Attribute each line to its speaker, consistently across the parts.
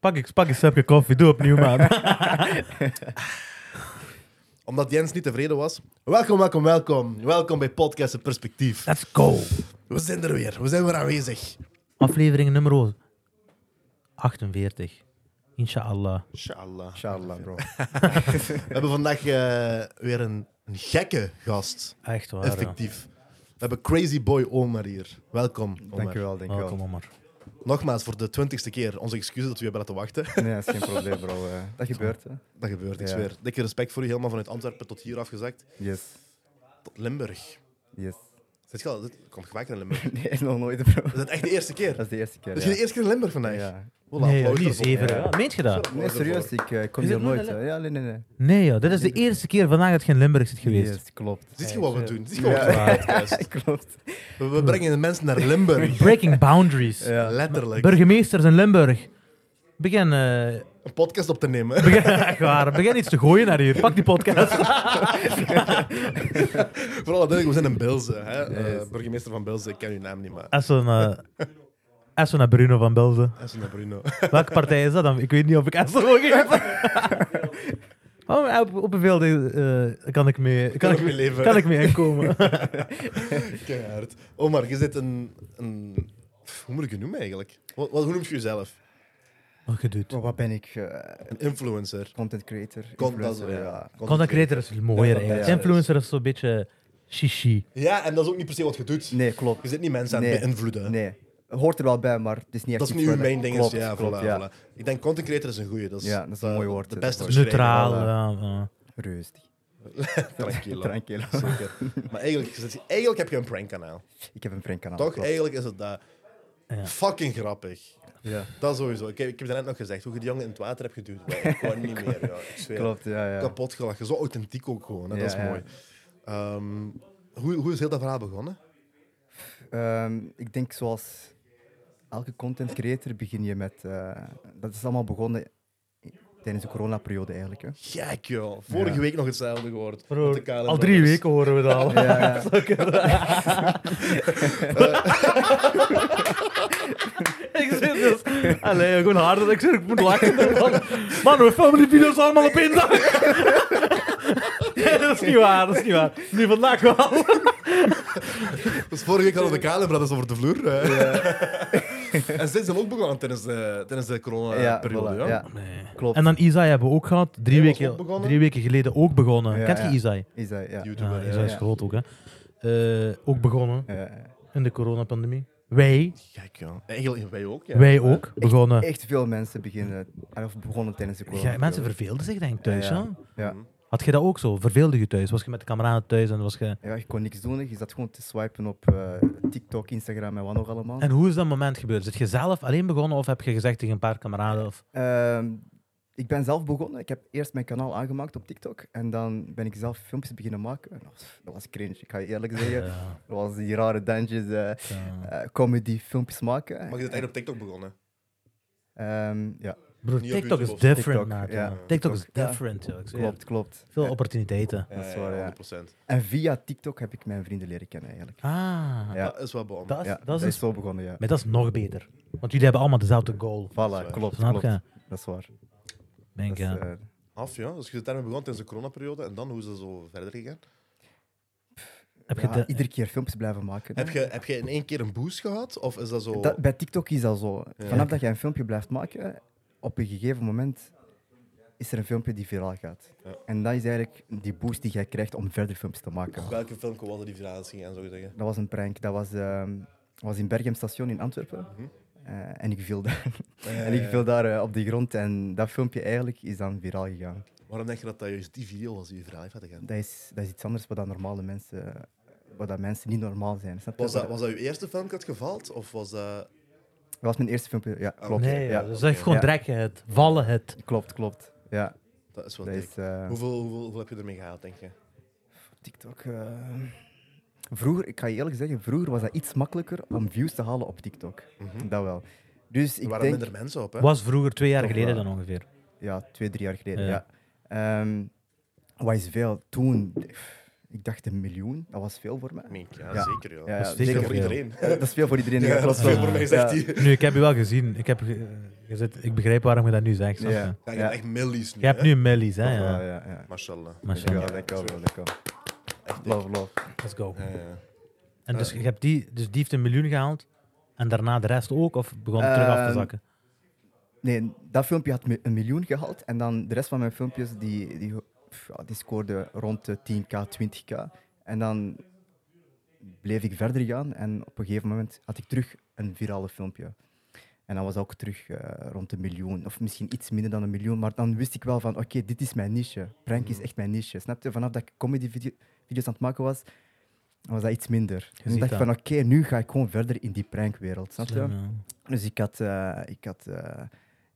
Speaker 1: Pak ik, pak een sapje koffie, doe opnieuw, man.
Speaker 2: Omdat Jens niet tevreden was. Welkom, welkom, welkom. Welkom bij Podcast Het Perspectief.
Speaker 1: Let's go.
Speaker 2: We zijn er weer. We zijn weer aanwezig.
Speaker 1: Aflevering nummer 48. Inshallah.
Speaker 2: Inshallah. Inshallah, bro. We hebben vandaag eh, weer een, een gekke gast.
Speaker 1: Echt waar.
Speaker 2: Effectief. We hebben Crazy Boy Omar hier. Welkom, Omar.
Speaker 3: Dankjewel,
Speaker 1: Ja. Welkom,
Speaker 3: dankjewel.
Speaker 1: Omar.
Speaker 2: Nogmaals, voor de twintigste keer. Onze excuses dat we je hebben laten wachten.
Speaker 3: Nee, dat is geen probleem, bro. eh, Dat gebeurt, hè.
Speaker 2: Dat gebeurt, ik
Speaker 3: Ja.
Speaker 2: zweer. Dikke respect voor u, helemaal vanuit Antwerpen tot hier afgezakt.
Speaker 3: Yes,
Speaker 2: Tot Limburg.
Speaker 3: yes.
Speaker 2: Zit je al? dit- Komt gemaakt in Limburg.
Speaker 3: Nee, nog nooit, bro.
Speaker 2: Is dat echt de eerste keer?
Speaker 3: Dat is de eerste keer,
Speaker 2: Dus je de
Speaker 3: ja.
Speaker 2: eerste keer in Limburg vandaag?
Speaker 3: Ja.
Speaker 2: Voilà,
Speaker 1: Nee,
Speaker 2: applaus
Speaker 1: joh, die
Speaker 2: daarvoor.
Speaker 1: zeven.
Speaker 3: Ja.
Speaker 1: Ja. Meent je dat?
Speaker 3: Nee, serieus, ik eh, kom
Speaker 1: Is het
Speaker 3: hier
Speaker 1: nog
Speaker 3: nooit.
Speaker 1: een
Speaker 3: hè. Ja, nee, nee, nee.
Speaker 1: Nee, joh, dit is de eerste keer vandaag dat je in Limburg zit geweest.
Speaker 3: Yes, klopt.
Speaker 2: Ziet je wat we doen? Ziet je
Speaker 3: Ja.
Speaker 2: wat we doen? Podcast.
Speaker 3: Klopt.
Speaker 2: We, we brengen de mensen naar Limburg.
Speaker 1: Breaking boundaries.
Speaker 3: Ja.
Speaker 2: Letterlijk.
Speaker 1: Burgemeesters in Limburg. Begin, eh,
Speaker 2: Een podcast op te nemen.
Speaker 1: begin, echt waar, begin iets te gooien naar hier. Pak die podcast.
Speaker 2: Vooral duidelijk, we zijn in Bilze. Hè? Eh,
Speaker 3: Yes.
Speaker 2: burgemeester van Bilze, ik ken uw naam niet, maar...
Speaker 1: Essen, eh Essen naar Bruno van Belzen.
Speaker 2: Essen naar Bruno.
Speaker 1: Welke partij is dat dan? Ik weet niet of ik Essen wil geven. Oh, maar op, op een veel eh, kan ik mee, kan ik,
Speaker 2: mee leven.
Speaker 1: kan ik mee inkomen.
Speaker 2: Keihard. Omar, je zit een... een... pff, Hoe moet ik je noemen eigenlijk? Wat, wat- hoe noem je jezelf?
Speaker 1: Wat je doet.
Speaker 3: Maar wat ben ik? eh,
Speaker 2: Een influencer.
Speaker 3: Content creator,
Speaker 2: Content,
Speaker 3: influencer, ja.
Speaker 1: Content creator is mooier eigenlijk.
Speaker 2: ja, Oh,
Speaker 1: Influencer is zo'n beetje shishi.
Speaker 2: Ja, en dat is ook niet per se wat je doet.
Speaker 3: Nee,
Speaker 2: Je
Speaker 3: klopt.
Speaker 2: zit niet mensen aan het
Speaker 3: Nee.
Speaker 2: beïnvloeden.
Speaker 3: Nee. Hoort er wel bij, maar het is niet
Speaker 2: Dat is
Speaker 3: echt iets
Speaker 2: niet uw
Speaker 3: voor-
Speaker 2: main ding. is.
Speaker 3: Klopt,
Speaker 2: Ja,
Speaker 3: klopt,
Speaker 2: voilà,
Speaker 3: ja.
Speaker 2: voilà. Ik denk content creator is een goeie. Dat is,
Speaker 3: Ja, dat is een
Speaker 2: eh,
Speaker 3: mooi woord,
Speaker 2: De
Speaker 3: dat
Speaker 2: beste
Speaker 3: woord.
Speaker 2: beschrijving.
Speaker 1: Neutraal.
Speaker 3: wel,
Speaker 1: ja, ja.
Speaker 3: Rustig.
Speaker 2: Tranquilo.
Speaker 3: Tranquilo.
Speaker 2: Zeker. Maar eigenlijk, is het- eigenlijk heb je een prankkanaal.
Speaker 3: Ik heb een prankkanaal.
Speaker 2: Toch?
Speaker 3: Ah, klopt.
Speaker 2: Eigenlijk is het dat.
Speaker 1: Ja.
Speaker 2: Fucking grappig.
Speaker 3: Ja.
Speaker 2: Dat sowieso. Ik heb, ik heb daarnet nog gezegd hoe je die jongen in het water hebt geduwd. Maar ik kon niet meer. Ja. Ik zweer.
Speaker 3: Klopt, ja, ja.
Speaker 2: Kapot gelachen. Zo authentiek ook gewoon. Hè.
Speaker 3: Ja,
Speaker 2: dat is
Speaker 3: ja.
Speaker 2: mooi. Ehm, hoe, hoe is heel dat verhaal begonnen?
Speaker 3: Ehm, ik denk zoals elke content creator begin je met. eh, dat is allemaal begonnen i- tijdens de coronaperiode eigenlijk. Hè.
Speaker 2: Gek joh. Vorige
Speaker 3: Ja.
Speaker 2: week nog hetzelfde gehoord.
Speaker 1: Bro,
Speaker 2: Met de Kale
Speaker 1: al drie
Speaker 2: Brothers.
Speaker 1: weken horen we dat al.
Speaker 3: Ja, ja.
Speaker 1: ik zit dus... Allee, gewoon harder. Ik zit, ik moet lachen. ervan. Man, we filmen die video's allemaal op één dag. Nee, dat is niet waar, dat is niet waar. Nu vandaag wel.
Speaker 2: Dus vorige week hadden we de Kale Brothers over de vloer. hè. en zij zijn ook begonnen tijdens de, tijdens de corona-periode.
Speaker 3: voilà,
Speaker 2: ja.
Speaker 3: ja. Klopt.
Speaker 1: En dan Isai hebben we ook gehad. Drie,
Speaker 2: Hij was ook
Speaker 1: weken,
Speaker 2: begonnen.
Speaker 1: drie weken geleden ook begonnen.
Speaker 3: Ja,
Speaker 1: Kent je
Speaker 3: ja.
Speaker 1: Isai?
Speaker 3: Is dat, ja.
Speaker 1: Ja,
Speaker 2: YouTuber.
Speaker 1: Isai
Speaker 2: ja.
Speaker 1: is
Speaker 3: Ah, ja.
Speaker 1: groot ook, hè. Eh, ook begonnen
Speaker 3: Eh,
Speaker 1: in de coronapandemie. Wij,
Speaker 2: Gek joh. Eigenlijk wij ook. Ja.
Speaker 1: wij ook, begonnen.
Speaker 3: echt veel mensen beginnen, eh, of begonnen tijdens de corona.
Speaker 1: Ja, Ah. mensen verveelden zich denk ik thuis,
Speaker 3: Ja, ja.
Speaker 1: ja.
Speaker 3: ja.
Speaker 1: Had je dat ook zo? Verveelde je thuis? Was je met de kameraden thuis en was je...
Speaker 3: ja, je kon niks doen. hè. Je zat gewoon te swipen op eh, TikTok, Instagram en wat nog allemaal.
Speaker 1: En hoe is dat moment gebeurd? Zit je zelf alleen begonnen of heb je gezegd tegen een paar kameraden? Of...
Speaker 3: Ehm, ik ben zelf begonnen. Ik heb eerst mijn kanaal aangemaakt op TikTok. En dan ben ik zelf filmpjes beginnen maken. En dat was- dat was cringe, ik ga je eerlijk zeggen.
Speaker 1: Ja,
Speaker 3: Dat was die rare dansjes, eh,
Speaker 1: ja.
Speaker 3: eh, comedy filmpjes maken.
Speaker 2: Maar je bent eigenlijk op TikTok begonnen.
Speaker 3: Ehm, ja,
Speaker 1: Broer,
Speaker 2: Niet op
Speaker 1: TikTok is
Speaker 2: YouTube of
Speaker 1: different,
Speaker 3: TikTok,
Speaker 1: maat,
Speaker 3: ja.
Speaker 1: ja. TikTok, is
Speaker 3: TikTok, ja.
Speaker 1: different, joh, ik zeg je.
Speaker 3: klopt, klopt.
Speaker 1: Veel opportuniteiten.
Speaker 3: Dat is waar, ja.
Speaker 2: 100%.
Speaker 3: En via TikTok heb ik mijn vrienden leren kennen eigenlijk.
Speaker 1: Ah,
Speaker 3: Ja.
Speaker 2: Dat is wel bom.
Speaker 1: dat is,
Speaker 3: ja,
Speaker 1: dat is, dus
Speaker 3: zo begonnen, ja.
Speaker 1: maar dat is nog beter. Want jullie hebben allemaal dezelfde goal.
Speaker 3: Voilà, klopt,
Speaker 1: Snap
Speaker 3: klopt.
Speaker 1: je?
Speaker 3: Dat is waar.
Speaker 1: Denk,
Speaker 3: Dat is,
Speaker 1: ja.
Speaker 3: eh,
Speaker 2: Af, ja. Dus je zit daarmee begonnen tijdens de coronaperiode en dan hoe is dat zo verder gegaan?
Speaker 1: heb je
Speaker 3: ja,
Speaker 1: de-
Speaker 3: iedere keer filmpjes blijven maken.
Speaker 2: Heb je, heb je in één keer een boost gehad? Of is dat zo...
Speaker 3: Dat, bij TikTok is dat zo.
Speaker 2: Ja.
Speaker 3: Vanaf dat je een filmpje blijft maken, op een gegeven moment is er een filmpje die viraal gaat.
Speaker 2: Ja.
Speaker 3: En dat is eigenlijk die boost die jij krijgt om verder filmpjes te maken.
Speaker 2: Welke film was dat die viraal ging en zo zeggen?
Speaker 3: Dat was een prank. Dat was, ehm, was in Berghem station in Antwerpen.
Speaker 2: Mhm.
Speaker 3: Eh, en ik viel daar, en ik viel daar eh, op de grond. En dat filmpje eigenlijk is dan viraal gegaan.
Speaker 2: Waarom denk je dat dat juist die video was die je viraal heeft laten gaan?
Speaker 3: Dat is, dat is iets anders wat dan normale mensen, wat dat mensen niet normaal zijn. Snap je?
Speaker 2: Was dat, was dat je eerste film dat gevallen? Of was dat...
Speaker 3: Dat was mijn eerste filmpje. Ja,
Speaker 2: Ah,
Speaker 3: klopt.
Speaker 1: Nee,
Speaker 3: ja.
Speaker 1: joh, dus dat heeft gewoon
Speaker 3: Ja.
Speaker 1: drekken het, vallen het.
Speaker 3: Klopt, klopt. Ja,
Speaker 2: Dat is wel
Speaker 3: dat
Speaker 2: dik.
Speaker 3: is. eh,
Speaker 2: Hoeveel, hoeveel, hoeveel heb je ermee gehaald, denk je?
Speaker 3: TikTok. eh, Vroeger, ik ga je eerlijk zeggen, vroeger was dat iets makkelijker om views te halen op TikTok. Dat wel.
Speaker 2: Mhm.
Speaker 3: Dus
Speaker 2: Hm. Er
Speaker 3: ik
Speaker 2: waren
Speaker 3: denk,
Speaker 2: minder mensen op, hè?
Speaker 1: Was vroeger twee jaar
Speaker 3: Toch
Speaker 1: geleden
Speaker 3: wel.
Speaker 1: dan ongeveer.
Speaker 3: ja, twee, drie jaar geleden.
Speaker 1: Ja.
Speaker 3: Ja. Ehm, wat is veel? Toen, ik dacht een miljoen. Dat was veel voor mij.
Speaker 2: Meen ik, ja,
Speaker 3: Ja.
Speaker 2: zeker. Ja.
Speaker 3: Ja,
Speaker 2: dat is zeker
Speaker 3: ja, zeker
Speaker 2: voor
Speaker 1: veel.
Speaker 2: iedereen.
Speaker 3: Ja, dat is veel voor iedereen.
Speaker 4: Ja,
Speaker 3: klopt
Speaker 4: dat is veel
Speaker 3: wel.
Speaker 4: voor mij, zegt
Speaker 3: Ja.
Speaker 4: hij.
Speaker 1: Nu, ik heb je wel gezien. Ik, heb, ge- eh, je zit, ik begrijp waarom je dat nu zegt. snap je?
Speaker 3: Ja.
Speaker 4: Ja, je hebt echt millies nu.
Speaker 1: Je hebt
Speaker 4: hè.
Speaker 1: nu mellies,
Speaker 3: Ja,
Speaker 1: hè?
Speaker 3: ja,
Speaker 1: Ja.
Speaker 3: ja. ja.
Speaker 2: Mashallah.
Speaker 1: Mashallah.
Speaker 3: Dankjewel, dankjewel, dankjewel. Love, love.
Speaker 1: Let's go.
Speaker 4: Ja, ja.
Speaker 1: En dus, je hebt die, dus die heeft een miljoen gehaald en daarna de rest ook? Of begon het terug af te
Speaker 3: Ehm,
Speaker 1: zakken?
Speaker 3: Nee, dat filmpje had me- een miljoen gehaald. En dan de rest van mijn filmpjes, die, die, pff, ja, die scoorden rond de 10k, 20k. En dan bleef ik verder gaan. En op een gegeven moment had ik terug een virale filmpje. En dan was dat ook terug eh, rond de miljoen. Of misschien iets minder dan een miljoen. Maar dan wist ik wel van, oké, dit is mijn niche. Prank
Speaker 1: Mm.
Speaker 3: is echt mijn niche. Snap je? Vanaf dat ik comedy-video's aan het maken was, was dat iets minder. En
Speaker 1: ziet
Speaker 3: dan dacht ik
Speaker 1: dat.
Speaker 3: van, oké, nu ga ik gewoon verder in die prankwereld. Snap je?
Speaker 1: Slim, ja.
Speaker 3: Dus ik had, eh, ik, had, eh,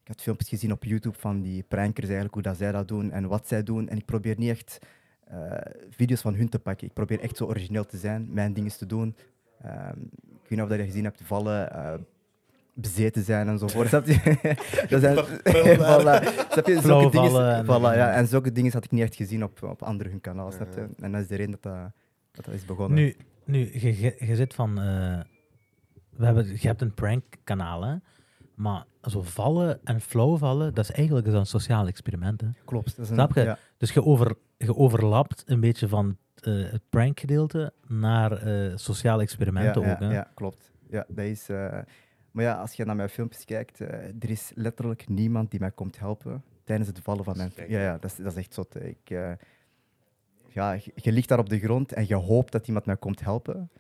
Speaker 3: ik had filmpjes gezien op YouTube van die prankers, eigenlijk, hoe dat zij dat doen en wat zij doen. En ik probeer niet echt eh, video's van hun te pakken. Ik probeer echt zo origineel te zijn, mijn dingen te doen. Ehm, ik weet niet of dat je gezien hebt, vallen, eh, bezeten zijn enzovoort. Snap je? dat zijn, voilà. Snap je?
Speaker 1: Flauw
Speaker 3: Zulke dingen,
Speaker 1: vallen en-
Speaker 3: voilà, ja, en zulke dingen had ik niet echt gezien op, op andere hun kanaal. Snap je? En dat is de reden dat dat, dat, dat is begonnen.
Speaker 1: Nu, nu je, je, je zit van. eh, we hebben, je hebt een prankkanaal, hè? Maar zo vallen en flow vallen, dat is eigenlijk zo'n sociaal experiment. Hè?
Speaker 3: Klopt. Dat is een,
Speaker 1: Snap je?
Speaker 3: Ja,
Speaker 1: Dus je, over, je overlapt een beetje van eh, het prankgedeelte naar eh sociale experimenten
Speaker 3: ja,
Speaker 1: ook.
Speaker 3: ja,
Speaker 1: Hè?
Speaker 3: ja, klopt. Ja, dat is, eh, maar ja, als je naar mijn filmpjes kijkt, eh, er is letterlijk niemand die mij komt helpen tijdens het vallen van mijn...
Speaker 2: Gek.
Speaker 3: Ja, ja dat, is, dat is echt zot. hè. Ik, eh, ja, je, je ligt daar op de grond en je hoopt dat iemand mij komt helpen.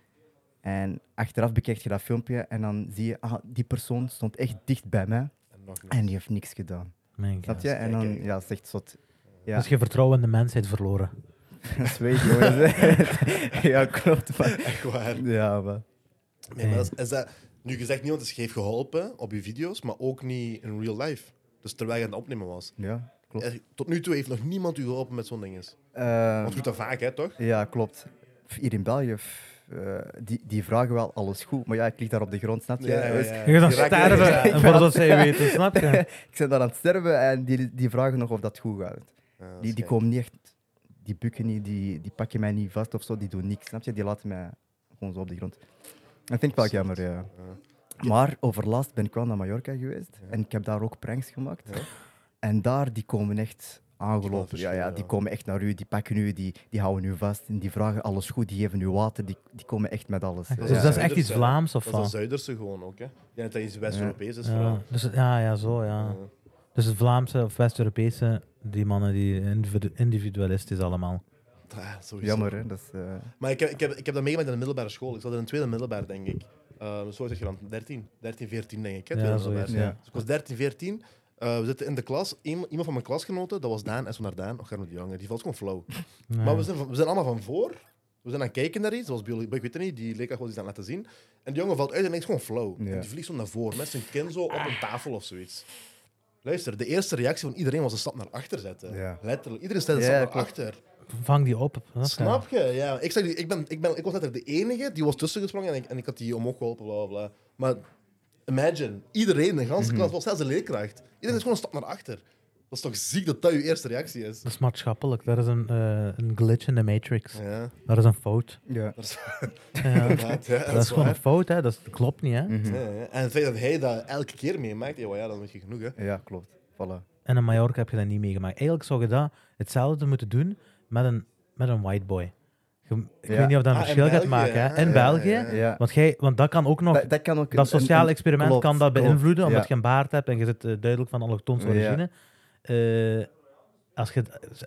Speaker 3: En achteraf bekijk je dat filmpje en dan zie je, ah, die persoon stond echt dicht bij mij
Speaker 4: En nog niet.
Speaker 3: en die heeft niks gedaan.
Speaker 1: Mijn
Speaker 3: Snap
Speaker 1: god.
Speaker 3: je? En dan,
Speaker 2: gek, hè.
Speaker 3: ja, dat is echt zot. Ja,
Speaker 1: Dus je vertrouwen in de mensheid verloren.
Speaker 3: dat weet je, jongens. ja, klopt. Maar,
Speaker 2: Echt waar.
Speaker 3: ja, maar...
Speaker 2: Nee, maar dat is, is dat, nu gezegd, niemand is heeft geholpen op je video's, maar ook niet in real life. Dus terwijl je aan het opnemen was.
Speaker 3: Ja, klopt.
Speaker 2: Eh, Tot nu toe heeft nog niemand u geholpen met zo'n ding.
Speaker 3: Ehm,
Speaker 2: Want goed, dat vaak, hè, toch?
Speaker 3: Ja, klopt. F- Hier in België, f- eh, die, die vragen wel alles goed. Maar ja, ik lig daar op de grond, snap je? Dus
Speaker 1: Je gaat dan
Speaker 2: Je raakt- Ja,
Speaker 1: sterven,
Speaker 3: Ik
Speaker 1: en
Speaker 3: ben-
Speaker 1: voordat zij weten, snap je?
Speaker 3: Ik ben daar aan het sterven en die, die vragen nog of dat goed gaat. Die, die komen niet echt, die bukken niet, die, die pakken mij niet vast of zo, die doen niks, snap je? Die laten mij gewoon zo op de grond. Dat vind ik wel jammer, ja. Maar overlast ben ik wel naar Mallorca geweest en ik heb daar ook pranks gemaakt. En daar, die komen echt aangelopen. Ja, ja, die komen echt naar u, die pakken u, die, die houden u vast en die vragen alles goed, die geven u water, die, die komen echt met alles.
Speaker 1: Dus
Speaker 3: Ja.
Speaker 1: dat is echt iets Vlaams of
Speaker 2: Dat is dat
Speaker 1: wat?
Speaker 2: Zuiderse gewoon ook, hè? Ik denk dat dat iets West-Europees is
Speaker 1: Ja,
Speaker 2: vooral.
Speaker 1: dus, het- ja, ja, zo, ja. Dus het Vlaamse of West-Europese, die mannen die individu- individualistisch allemaal.
Speaker 2: Ja, sowieso.
Speaker 3: Jammer, hè? Dat is, eh,
Speaker 2: Maar ik heb, ik, heb, ik heb dat meegemaakt in de middelbare school. Ik zat in een tweede middelbaar, denk ik. Ehm zo zeg je dan, 13, 13, 14, denk ik. Hè,
Speaker 1: Ja,
Speaker 2: tweede
Speaker 1: zoiets,
Speaker 2: middelbaar.
Speaker 3: ja.
Speaker 2: Dus ik was 13, 14. Eh, we zitten in de klas. Iem- iemand van mijn klasgenoten, dat was Daan, en zo naar Daan. Och, Arno de Jonge, die valt gewoon flauw.
Speaker 1: Ja.
Speaker 2: Maar we zijn, van- we zijn allemaal van voor. We zijn aan het kijken naar iets, zoals biologie, ik weet het niet, die leerkracht was iets aan het laten zien. En die jongen valt uit en is gewoon flauw.
Speaker 3: Ja.
Speaker 2: En die vliegt zo naar voren, met zijn kin zo op een tafel of zoiets. Luister, de eerste reactie van iedereen was een stap naar achter zetten.
Speaker 3: Ja.
Speaker 2: Letterlijk, iedereen zette een
Speaker 3: Ja,
Speaker 2: stap naar
Speaker 3: klopt.
Speaker 2: achter.
Speaker 1: Vang die op. eh, Snap je?
Speaker 2: Snap je? Ja. Ik, zeg, die- ik, ben, ik, ben, ik was letterlijk de enige die was tussengesprongen en ik, en ik had die omhoog geholpen, bla bla. bla. Maar imagine, iedereen, de hele klas, was zelfs de leerkracht. Iedereen is gewoon een stap naar achter. Dat is toch ziek dat dat je eerste reactie is?
Speaker 1: Dat is maatschappelijk. Dat is een, eh, een glitch in de matrix.
Speaker 2: Ja,
Speaker 1: Dat is een fout.
Speaker 3: ja.
Speaker 2: dat is,
Speaker 1: Ja. dat,
Speaker 2: inderdaad, ja, dat
Speaker 1: is
Speaker 2: is
Speaker 1: gewoon
Speaker 2: waar. Mm.
Speaker 1: een fout, hè. Dat is- dat klopt niet, hè.
Speaker 2: Ja, ja. En het feit dat hij dat elke keer meemaakt, ja, wel, ja dan weet je genoeg, hè.
Speaker 3: ja, klopt. Voilà.
Speaker 1: En in Mallorca heb je dat niet meegemaakt. Eigenlijk zou je dat hetzelfde moeten doen met een, met een white boy. Je- ik
Speaker 3: Ja.
Speaker 1: weet niet of dat een
Speaker 2: Ah, in
Speaker 1: verschil gaat
Speaker 2: België,
Speaker 1: maken, hè.
Speaker 2: hè.
Speaker 1: In
Speaker 2: Ja,
Speaker 1: België.
Speaker 2: ja,
Speaker 3: Ja.
Speaker 1: Want, jij, want dat kan ook nog...
Speaker 3: dat, dat kan ook
Speaker 1: Dat
Speaker 3: een- een-
Speaker 1: sociaal
Speaker 3: een-
Speaker 1: experiment
Speaker 3: klopt,
Speaker 1: kan dat
Speaker 3: klopt.
Speaker 1: beïnvloeden, omdat
Speaker 3: Ja.
Speaker 1: je een baard hebt en je zit eh, duidelijk van allochtoonse
Speaker 3: Ja.
Speaker 1: origine. Eh, als je het- z-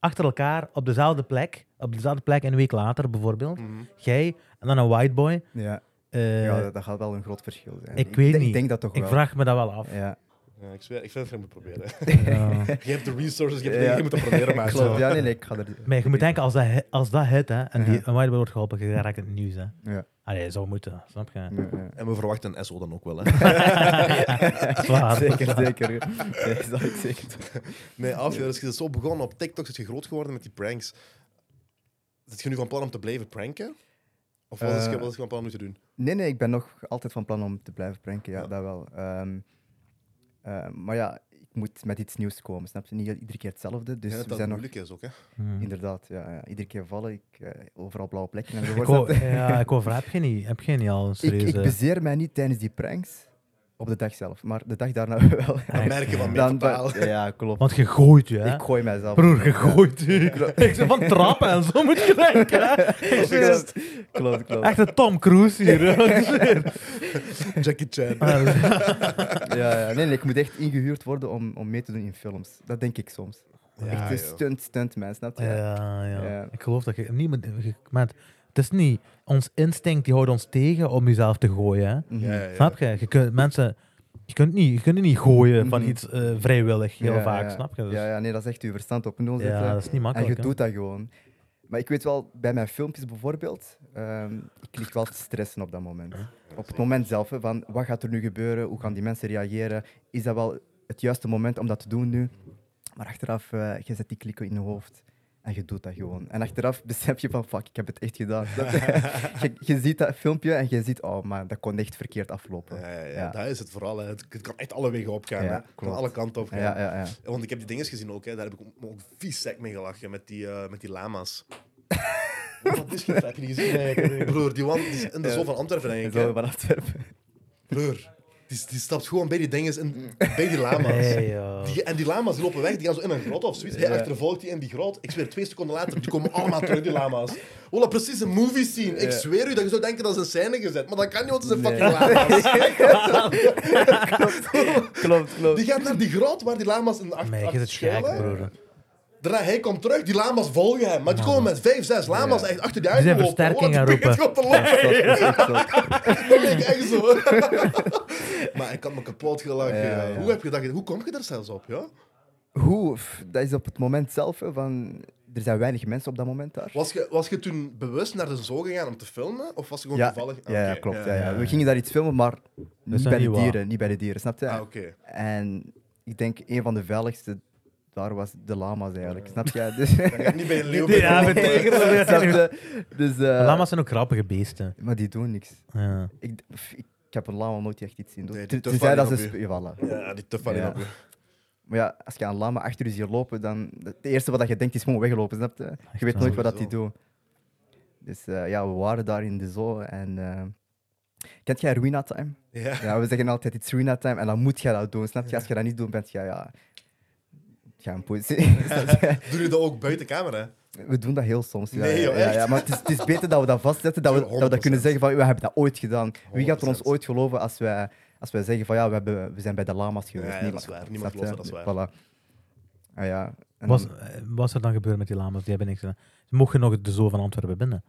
Speaker 1: achter elkaar op dezelfde plek, op dezelfde plek een week later bijvoorbeeld, jij en dan een white boy.
Speaker 3: Ja.
Speaker 1: eh,
Speaker 3: Mhm. ja, dat, dat gaat wel een groot verschil zijn.
Speaker 1: ik weet
Speaker 3: denk-
Speaker 1: niet.
Speaker 3: Ik denk dat toch
Speaker 1: ik
Speaker 3: wel.
Speaker 1: vraag me dat wel af.
Speaker 3: Ja,
Speaker 2: Ja, ik zweer, ik vind dat je moet proberen.
Speaker 1: Ja.
Speaker 2: Je hebt de resources, je hebt
Speaker 3: Ja.
Speaker 2: je moet dat proberen, maar...
Speaker 3: klopt. Ja, nee, nee, ik ga er...
Speaker 1: Maar je moet denken, als dat, hi- als dat hit hè, en die,
Speaker 3: Ja.
Speaker 1: een white boy wordt geholpen, je raakt in het nieuws. Hè.
Speaker 3: Ja.
Speaker 1: Allee, zou moeten, snap je?
Speaker 3: Ja, ja.
Speaker 2: En we verwachten een SO dan ook wel, hè.
Speaker 1: Zwaar.
Speaker 3: Zeker, zeker. Nee, dat zal ik zeker doen.
Speaker 2: Nee, af, ja, dus je is zo begonnen op TikTok, is je groot geworden met die pranks. Zit je nu van plan om te blijven pranken? Of wat is je,
Speaker 3: Eh.
Speaker 2: wat is je van plan om te doen?
Speaker 3: Nee, nee, ik ben nog altijd van plan om te blijven pranken. Ja, dat wel. Ehm, ehm, maar ja, ik moet met iets nieuws komen, snap je? Niet iedere keer hetzelfde, dus
Speaker 2: Ja,
Speaker 3: we
Speaker 2: dat dat
Speaker 3: zijn nog...
Speaker 2: moeilijk is ook, hè.
Speaker 1: Mm.
Speaker 3: Inderdaad, ja, ja. Iedere keer vallen, ik, eh, overal blauwe plekken. En zo
Speaker 1: Ik
Speaker 3: wordt
Speaker 1: hoor,
Speaker 3: dat-
Speaker 1: ja, ik hoor van, heb je niet, heb je niet al een
Speaker 3: ik,
Speaker 1: serieuze...
Speaker 3: ik bezeer mij niet tijdens die pranks, op de dag zelf, maar de dag daarna
Speaker 1: Ah,
Speaker 3: wel.
Speaker 2: Dat merken van "Ah,
Speaker 1: ja.
Speaker 2: mij
Speaker 3: Dan,
Speaker 2: totaal.
Speaker 3: dan- ja, klopt.
Speaker 1: Want je gooit je, hè?
Speaker 3: Ik gooi mijzelf.
Speaker 1: Broer, je gooit je. Ik zeg van trappen en zo moet je denken, hè? Ik zeg, dat
Speaker 3: klopt,
Speaker 1: is
Speaker 3: klopt, klopt.
Speaker 1: Echt een Tom Cruise hier. hè. Wat is er?
Speaker 2: oh, Jackie Chan.
Speaker 3: Ja, ja. Nee, nee, ik moet echt ingehuurd worden om, om mee te doen in films. Dat denk ik soms. echt een
Speaker 2: Ah, joh.
Speaker 3: stunt, stunt, man, snap je?
Speaker 1: Ja, ja.
Speaker 3: Ja.
Speaker 1: Ik geloof dat je niet moet... je- Maar het is niet... Ons instinct die houdt ons tegen om jezelf te gooien, hè?
Speaker 3: Mhm.
Speaker 2: Ja, ja, ja.
Speaker 1: Snap je? Je kunt mensen... Je kunt niet, je kunt niet gooien van
Speaker 3: Mhm.
Speaker 1: iets eh, vrijwillig, heel
Speaker 3: Ja,
Speaker 1: vaak,
Speaker 3: ja.
Speaker 1: snap je? Dus-
Speaker 3: Ja, ja, nee, dat is echt je verstand op nul zetten.
Speaker 1: ja, dat is niet
Speaker 3: en je
Speaker 1: makkelijk. hè.
Speaker 3: doet dat gewoon. Maar ik weet wel, bij mijn filmpjes bijvoorbeeld, ehm, ik lig wel te stressen op dat moment. Op het moment zelf, hè, van wat gaat er nu gebeuren? Hoe gaan die mensen reageren? Is dat wel het juiste moment om dat te doen nu? Maar achteraf, eh, je zet die klikken in je hoofd. En je doet dat gewoon. En achteraf besef je van, fuck, ik heb het echt gedaan. je, je ziet dat filmpje en je ziet, oh man, dat kon echt verkeerd aflopen.
Speaker 2: Ja, ja, ja,
Speaker 3: Ja.
Speaker 2: dat is het vooral. hè. Het, het kan echt alle wegen opgaan.
Speaker 3: Ja,
Speaker 2: hè. Het kan
Speaker 3: klopt.
Speaker 2: alle kanten op
Speaker 3: Ja,
Speaker 2: gaan.
Speaker 3: ja, ja. ja.
Speaker 2: Ja, Want ik heb die dinges gezien ook, hè. daar heb ik me ook vies sec mee gelachen met die, eh, met die lama's. Wat is dat? Heb je die gezien? Nee, ik heb die- Broer, die man die is in de zo van Antwerpen, denk ik.
Speaker 3: Zo,
Speaker 2: hè.
Speaker 3: van Antwerpen.
Speaker 2: Broer, die, die stapt gewoon bij die dinges en bij die lama's.
Speaker 1: Nee, joh.
Speaker 2: Die, en die lama's die lopen weg, die gaan zo in een grot of zoiets. Hij achtervolgt die in die grot. Ik zweer, twee seconden later, die komen allemaal terug, die lama's. Ola, precies een movie scene. Ik zweer u dat je zou denken dat is een scène gezet. Maar dat kan niet, want het is een
Speaker 3: Nee.
Speaker 2: fucking lama's.
Speaker 3: Klopt, klopt.
Speaker 2: Die gaat naar die grot waar die lama's in achter,
Speaker 1: Nee, je
Speaker 2: achter
Speaker 1: zit gek,
Speaker 2: schuilen.
Speaker 1: broer.
Speaker 3: Eh.
Speaker 2: Daarna, hij komt terug, die lama's volgen hem. Maar die komen met vijf, zes lama's echt achter die
Speaker 1: Die zijn
Speaker 2: uitgelopen.
Speaker 1: versterking gaan roepen.
Speaker 2: te lopen.
Speaker 3: Dat is echt zo.
Speaker 2: Dat leek echt zo. maar ik had me kapot gelachen.
Speaker 3: Ja,
Speaker 2: ja.
Speaker 3: ja.
Speaker 2: Hoe, heb je dat, ge- hoe kom je daar zelfs op, ja?
Speaker 3: Hoe? Pff, Dat is op het moment zelf. hè, van, er zijn weinig mensen op dat moment daar.
Speaker 2: Was je, was je toen bewust naar de zoo gegaan om te filmen? Of was je gewoon
Speaker 3: Ja,
Speaker 2: toevallig... Ah,
Speaker 3: ja, ja,
Speaker 2: oké.
Speaker 3: klopt.
Speaker 2: Ja,
Speaker 3: Ja, ja.
Speaker 1: ja.
Speaker 3: We gingen daar iets filmen, maar niet
Speaker 1: is
Speaker 3: bij,
Speaker 1: niet
Speaker 3: de
Speaker 1: waar.
Speaker 3: dieren, niet bij de dieren, snap je?
Speaker 2: Ah, oké.
Speaker 3: En ik denk, een van de veiligste daar was de lama's eigenlijk, snap je? Dus,
Speaker 2: Niet bij een leeuw. bij
Speaker 1: Ja,
Speaker 2: een
Speaker 1: we
Speaker 2: hond, hè.
Speaker 1: tegen
Speaker 3: Snap je? Dus, eh,
Speaker 1: Lama's zijn ook grappige beesten.
Speaker 3: Maar die doen niks.
Speaker 1: Ja.
Speaker 3: Ik, pff, ik, ik heb een lama nooit echt iets zien doen.
Speaker 2: Nee, die
Speaker 3: Ten-
Speaker 2: tuffe
Speaker 3: Tenzij dat
Speaker 2: die
Speaker 3: ze...
Speaker 2: op
Speaker 3: sp- Voilà.
Speaker 2: Ja, die tuffe
Speaker 3: Ja.
Speaker 2: op je.
Speaker 3: Maar ja, als je een lama achter je ziet lopen, dan... Het eerste wat je denkt is gewoon weglopen, snap je? Je weet
Speaker 1: waar.
Speaker 3: nooit wat dat die doen. Dus eh, ja, we waren daar in de zoo en... eh, kent jij Ruina Time?
Speaker 2: Ja.
Speaker 3: Ja, we zeggen altijd, it's Ruina Time en dan moet je dat doen, snap je? Als je dat niet doet, ben je, ja... Ja, een poesie. Snap je?
Speaker 2: Doe je dat ook buiten camera?
Speaker 3: We doen dat heel soms. Ja,
Speaker 2: Nee,
Speaker 3: ja,
Speaker 2: joh,
Speaker 3: ja,
Speaker 2: echt?
Speaker 3: ja, maar het is, het is beter dat we dat vastzetten, dat we, dat we dat
Speaker 2: 100%.
Speaker 3: kunnen zeggen van, we hebben dat ooit gedaan. Wie gaat er ons
Speaker 2: 100%.
Speaker 3: ooit geloven als wij, als wij zeggen van, ja, we, hebben, we zijn bij de lama's geweest?
Speaker 2: Ja, ja, dat is waar. Niemand
Speaker 3: snap je?
Speaker 2: gelooft dat, dat
Speaker 3: Voilà. Ah, ja. En
Speaker 1: Was,
Speaker 3: dan-
Speaker 1: eh, was er dan gebeurd met die lama's? Die hebben niks gedaan. Mocht je nog de zoo van Antwerpen binnen?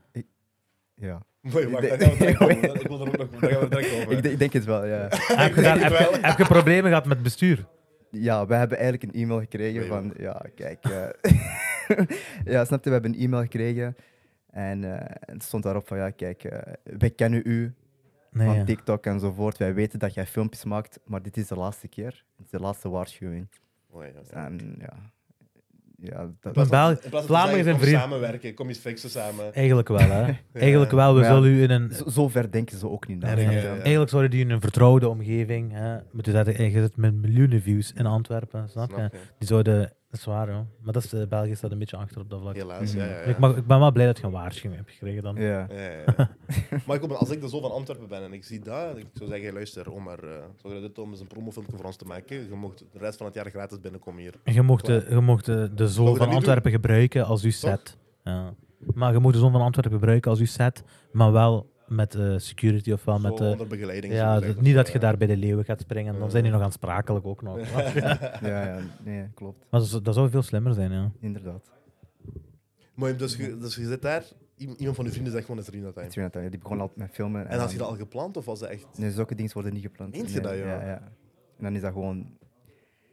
Speaker 3: ja.
Speaker 2: Mooi, wacht,
Speaker 3: Ik
Speaker 2: daar
Speaker 3: denk-
Speaker 2: gaan we direct over. Ik wil er ook nog... Daar gaan we direct over.
Speaker 3: Ik, denk- ik denk het wel, ja.
Speaker 1: Heb je, daar, heb, je, heb je problemen gehad met bestuur?
Speaker 3: Ja, wij hebben eigenlijk een e-mail gekregen
Speaker 2: Wij
Speaker 3: van... Ja, kijk... eh, ja, snap je? We hebben een e-mail gekregen. En eh, het stond daarop van, ja, kijk, eh, wij kennen u
Speaker 1: Nee.
Speaker 3: van
Speaker 1: ja.
Speaker 3: TikTok enzovoort. Wij weten dat jij filmpjes maakt, maar dit is de laatste keer. Het is de laatste waarschuwing.
Speaker 2: Mooi, ja, ja.
Speaker 3: En ja... Ja, dat,
Speaker 1: Maar Bel-
Speaker 2: In plaats van te
Speaker 1: Vlamingen
Speaker 2: zeggen,
Speaker 1: zijn
Speaker 2: kom
Speaker 1: vrienden.
Speaker 2: samenwerken, kom eens fixen samen.
Speaker 1: Eigenlijk wel, hè? Eigenlijk wel. We
Speaker 3: Maar ja,
Speaker 1: zullen u in een.
Speaker 3: zo, zo ver denken ze ook niet na.
Speaker 1: Ja,
Speaker 3: snap
Speaker 2: ja,
Speaker 3: je?
Speaker 2: ja.
Speaker 1: Eigenlijk zouden die in een vertrouwde omgeving. Hè, moeten zetten. Je zit met miljoenen views in Antwerpen, snap je?
Speaker 2: Snap je?
Speaker 1: Die zouden. Dat is waar, hoor. Maar dat is, eh, België staat een beetje achter op dat vlak.
Speaker 2: Helaas, ja, ja, ja.
Speaker 1: Ik, mag, ik ben wel blij dat je een waarschuwing hebt gekregen dan.
Speaker 3: Ja.
Speaker 2: Ja, ja, ja. maar ik hoop, als ik er zo van Antwerpen ben en ik zie dat, ik zou zeggen, luister, Omar, eh zou je dit doen om eens een promofilmpje voor ons te maken? Je mocht de rest van het jaar gratis binnenkomen hier.
Speaker 1: Je mocht, de, je mocht de, de
Speaker 2: Mogen we
Speaker 1: zoon
Speaker 2: dat
Speaker 1: van
Speaker 2: niet
Speaker 1: Antwerpen gebruiken als uw set. Ja. Maar je mocht de zoon van Antwerpen gebruiken als uw set, maar wel met eh, security of wel
Speaker 2: Zo
Speaker 1: met... eh,
Speaker 2: onder begeleiding. zo
Speaker 1: ja,
Speaker 2: gezegd,
Speaker 1: niet dat
Speaker 2: eh,
Speaker 1: je daar bij de leeuwen gaat springen, dan zijn
Speaker 3: Eh.
Speaker 1: die nog aansprakelijk ook nog.
Speaker 3: ja, ja, nee, klopt.
Speaker 1: Maar dat zou- dat zou veel slimmer zijn, ja.
Speaker 3: Inderdaad.
Speaker 2: Mooi, dus, je, dus je zit daar, i- iemand van je vrienden zegt gewoon, het is Rina Time.
Speaker 3: Het is weer dat- Die begon al met filmen.
Speaker 2: En had je
Speaker 3: dan-
Speaker 2: dat al gepland, of was dat echt...
Speaker 3: Nee, zulke dingen worden niet gepland.
Speaker 2: Meent je
Speaker 3: Nee,
Speaker 2: dat, joh?
Speaker 3: Ja, ja. En dan is dat gewoon...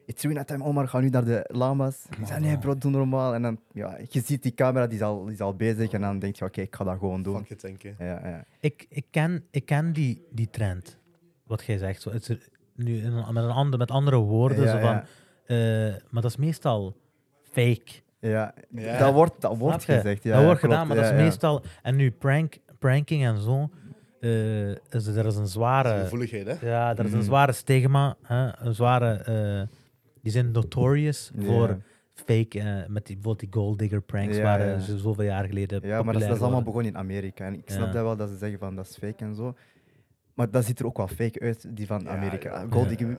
Speaker 3: It's Ruina time, Omar, ga nu naar de lama's. Ik zei, nee bro, doe normaal. En dan, ja, je ziet die camera, die is al, die is al bezig. En dan denk je, oké, ik ga dat gewoon doen.
Speaker 2: Fuck it, denk je.
Speaker 3: Ja, ja.
Speaker 1: Ik, ik ken, ik ken die, die trend, wat jij zegt. Zo, het is er nu in een- met, een ander, met andere woorden,
Speaker 3: Ja,
Speaker 1: zo van,
Speaker 3: ja.
Speaker 1: eh, maar dat is meestal fake.
Speaker 3: ja.
Speaker 2: Ja.
Speaker 3: Dat wordt, dat wordt
Speaker 1: Snap je?
Speaker 3: gezegd. Ja,
Speaker 1: dat
Speaker 3: ja,
Speaker 1: wordt
Speaker 3: klopt.
Speaker 1: gedaan, maar
Speaker 3: Ja,
Speaker 1: dat is
Speaker 3: ja.
Speaker 1: meestal. En nu prank, pranking en zo. eh, is, er is een
Speaker 2: Dat is
Speaker 3: eh,
Speaker 1: zware.
Speaker 3: Mm.
Speaker 2: gevoeligheid, hè?
Speaker 1: Ja, er is een zware stigma. Hè, een zware. eh, Die zijn notorious
Speaker 3: Ja.
Speaker 1: voor fake, eh, met die, bijvoorbeeld die gold digger pranks
Speaker 3: Ja,
Speaker 1: waren
Speaker 3: ja.
Speaker 1: zo- zoveel jaar geleden
Speaker 3: Ja, maar dat, is-
Speaker 1: populair
Speaker 3: dat is allemaal
Speaker 1: waren.
Speaker 3: begonnen in Amerika. En ik
Speaker 1: Ja.
Speaker 3: snap dat wel, dat ze zeggen van dat is fake en zo. Maar dat ziet er ook wel fake uit, die van Amerika.
Speaker 2: ja.
Speaker 3: Gold Digger,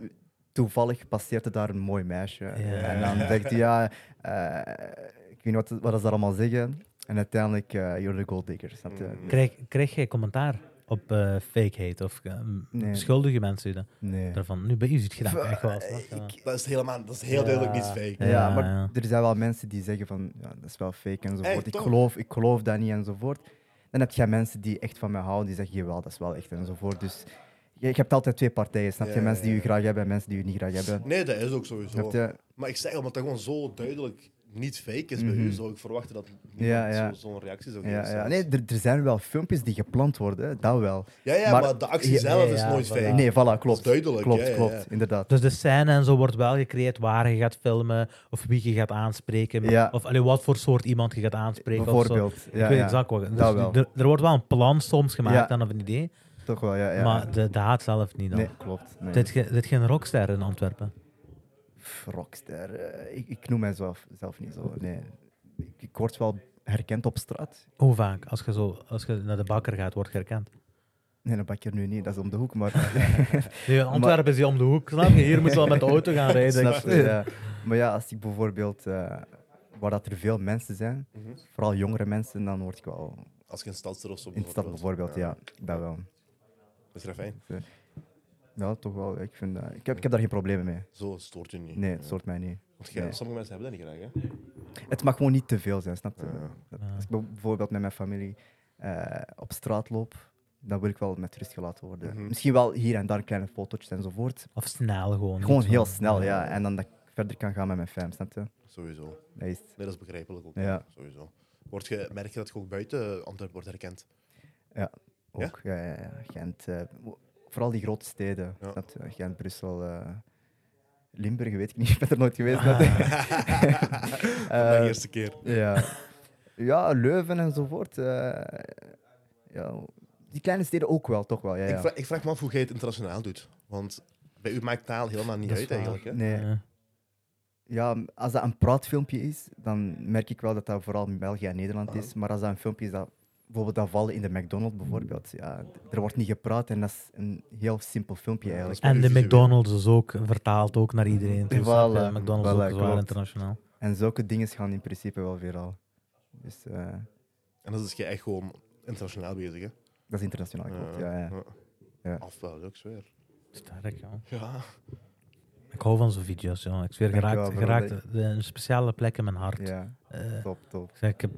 Speaker 3: toevallig passeerde daar een mooi meisje. En dan denkt hij, ja, eh, ik weet niet wat, wat ze daar allemaal zeggen. En uiteindelijk, eh you're the gold digger, snap je?
Speaker 2: Mm.
Speaker 1: Krijg, krijg jij commentaar op eh fakeheid of eh, m-
Speaker 3: Nee.
Speaker 1: schuldig je mensen je dat-
Speaker 3: Nee. eh,
Speaker 1: daarvan? Nu bij u ziet je dat echt wel.
Speaker 2: Ik- dat is helemaal, dat is heel duidelijk niet fake.
Speaker 3: Ja,
Speaker 1: Ja,
Speaker 3: maar
Speaker 1: ja.
Speaker 3: er zijn wel mensen die zeggen van, ja, dat is wel fake enzovoort.
Speaker 2: Echt,
Speaker 3: ik,
Speaker 2: toch?
Speaker 3: geloof, ik geloof dat niet enzovoort. Dan heb je mensen die echt van mij houden, die zeggen, jawel, dat is wel echt enzovoort. Dus je, je hebt altijd twee partijen, snap je?
Speaker 2: Ja,
Speaker 3: mensen die
Speaker 2: ja,
Speaker 3: je graag hebben en mensen die je niet graag hebben.
Speaker 2: Nee, dat is ook sowieso.
Speaker 3: Snap je?
Speaker 2: Maar ik zeg al, omdat dat gewoon zo duidelijk niet fake is bij u, zou ik verwachten dat niemand
Speaker 3: Mhm. Ja, ja.
Speaker 2: zo- zo'n reactie zou geven.
Speaker 3: Ja, ja.
Speaker 2: zelfs.
Speaker 3: Nee, er, er zijn wel filmpjes die gepland worden, hè, dat wel.
Speaker 2: ja, ja, maar,
Speaker 3: maar-
Speaker 2: de actie
Speaker 3: Ja,
Speaker 2: zelf
Speaker 1: ja,
Speaker 2: is
Speaker 1: ja,
Speaker 2: nooit
Speaker 1: voilà.
Speaker 2: fake.
Speaker 3: Nee, voilà, klopt.
Speaker 2: duidelijk,
Speaker 3: Klopt,
Speaker 2: ja, ja,
Speaker 3: klopt,
Speaker 2: ja.
Speaker 3: inderdaad.
Speaker 1: Dus de scène en zo wordt wel gecreëerd waar je gaat filmen of wie je gaat aanspreken.
Speaker 3: Ja.
Speaker 1: Of allee, wat voor soort iemand je gaat aanspreken. Of
Speaker 3: Bijvoorbeeld.
Speaker 1: zo.
Speaker 3: Ja,
Speaker 1: ik weet
Speaker 3: ja.
Speaker 1: exact wat. Dus
Speaker 3: Dat wel.
Speaker 1: Er, er wordt wel een plan soms gemaakt
Speaker 3: Ja.
Speaker 1: dan of een idee,
Speaker 3: Toch wel, ja. ja.
Speaker 1: maar de, de haat zelf niet dan.
Speaker 3: Nee, klopt. Nee.
Speaker 1: Dit, ge- dit geen rockster in Antwerpen.
Speaker 3: Pff, rockster. eh, ik, ik noem mijzelf zelf niet zo. Nee. Ik, ik word wel herkend op straat.
Speaker 1: Hoe vaak? Als je, zo, als je naar de bakker gaat, wordt je herkend.
Speaker 3: Nee, dat bak je nu niet, dat is om de hoek, maar...
Speaker 1: Nee, Antwerpen is hier om de hoek, snap je? Hier moet je wel met de auto gaan rijden.
Speaker 3: Snap je, ja. Maar ja, als ik bijvoorbeeld... eh, waar dat er veel mensen zijn, vooral jongere mensen, dan word ik wel...
Speaker 2: Als je in stadster of zo
Speaker 3: In de stad bijvoorbeeld, ja. Dat wel.
Speaker 2: Dat is vrij fijn.
Speaker 3: Ja, toch wel. Ik, vind, dat- ik, heb, ik heb daar geen problemen mee.
Speaker 2: Zo stoort je niet.
Speaker 3: Nee, het stoort mij niet.
Speaker 2: Want jij-
Speaker 3: nee.
Speaker 2: Sommige mensen hebben dat niet graag, hè?
Speaker 3: Het mag gewoon niet te veel zijn, snap je? Dat- Als ik bijvoorbeeld met mijn familie eh, op straat loop, dan wil ik wel met rust gelaten worden. Misschien wel hier en daar kleine fotootjes enzovoort.
Speaker 1: Of snel gewoon.
Speaker 3: Gewoon
Speaker 1: niet
Speaker 3: heel
Speaker 1: zo.
Speaker 3: snel, ja. En dan dat ik verder kan gaan met mijn fam, snap je?
Speaker 2: Sowieso. Nee,
Speaker 3: Dat is het.
Speaker 2: dat is begrijpelijk ook.
Speaker 3: Ja.
Speaker 2: Sowieso. Word je, merk je dat je ook buiten Antwerpen wordt herkend?
Speaker 3: Ja,
Speaker 2: Ja?
Speaker 3: ook. Ja? Ja, ja, Gent. eh, wo- vooral die grote steden.
Speaker 2: Ja.
Speaker 3: snap je? Gent, Brussel, eh, Limburg, weet ik niet. Ik ben er nooit geweest. snap je? Eh,
Speaker 2: de eerste keer.
Speaker 3: Ja. ja, Leuven enzovoort. eh, ja. Die kleine steden ook wel, toch wel. Ja, ja.
Speaker 2: Ik, vraag, ik vraag me af hoe jij het internationaal doet. Want bij u maakt taal helemaal niet
Speaker 1: Dat is
Speaker 2: uit,
Speaker 1: waar.
Speaker 2: eigenlijk. Hè?
Speaker 3: Nee.
Speaker 1: Ja.
Speaker 3: Ja, als dat een praatfilmpje is, dan merk ik wel dat dat vooral in België en Nederland is.
Speaker 2: Ah.
Speaker 3: Maar als dat een filmpje is dat bijvoorbeeld dat vallen in de McDonald's bijvoorbeeld, ja, d- er wordt niet gepraat en dat is een heel simpel filmpje eigenlijk.
Speaker 1: En de
Speaker 2: Visueel.
Speaker 1: McDonald's is ook vertaald ook naar iedereen. toe, snap je?
Speaker 3: Voilà,
Speaker 1: McDonald's
Speaker 3: voilà,
Speaker 1: ook zwaar
Speaker 3: klopt.
Speaker 1: internationaal.
Speaker 3: En zulke dingen gaan in principe wel viraal. Dus eh,
Speaker 2: En dat is jij echt gewoon internationaal bezig, hè?
Speaker 3: dat is internationaal. klopt. Ja, ja. Ja.
Speaker 2: Af wel, ik zweer.
Speaker 1: Sterk, ja.
Speaker 2: Ja.
Speaker 1: Ik hou van zo'n video's, ja. Ik zweer,
Speaker 3: Dankjewel,
Speaker 1: geraakt,
Speaker 3: bro.
Speaker 1: geraakt de- een speciale plek in mijn hart.
Speaker 3: ja,
Speaker 1: Eh,
Speaker 3: top, top.
Speaker 1: ik zeg, ik heb,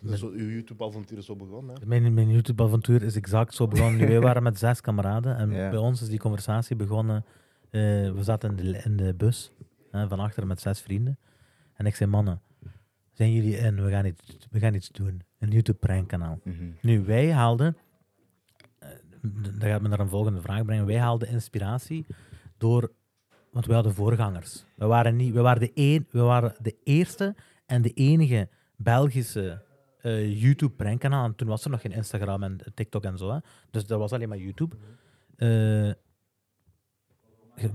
Speaker 2: Dus zo, uw YouTube-avontuur is zo begonnen, hè?
Speaker 1: mijn, mijn YouTube-avontuur is exact zo begonnen. Nu, wij waren met zes kameraden en
Speaker 3: Ja.
Speaker 1: bij ons is die conversatie begonnen. eh, we zaten in de, in de bus hè, van achter met zes vrienden. En ik zei, mannen, zijn jullie in? We gaan iets, we gaan iets doen. Een YouTube-prankkanaal.
Speaker 3: Mhm.
Speaker 1: Nu, wij haalden, eh, d- dat gaat me naar een volgende vraag brengen, wij haalden inspiratie door, want wij hadden voorgangers. We waren, niet, we waren, de, een, we waren de eerste en de enige Belgische eh, YouTube-prankkanaal. En toen was er nog geen Instagram en TikTok en zo, hè. dus dat was alleen maar YouTube. Eh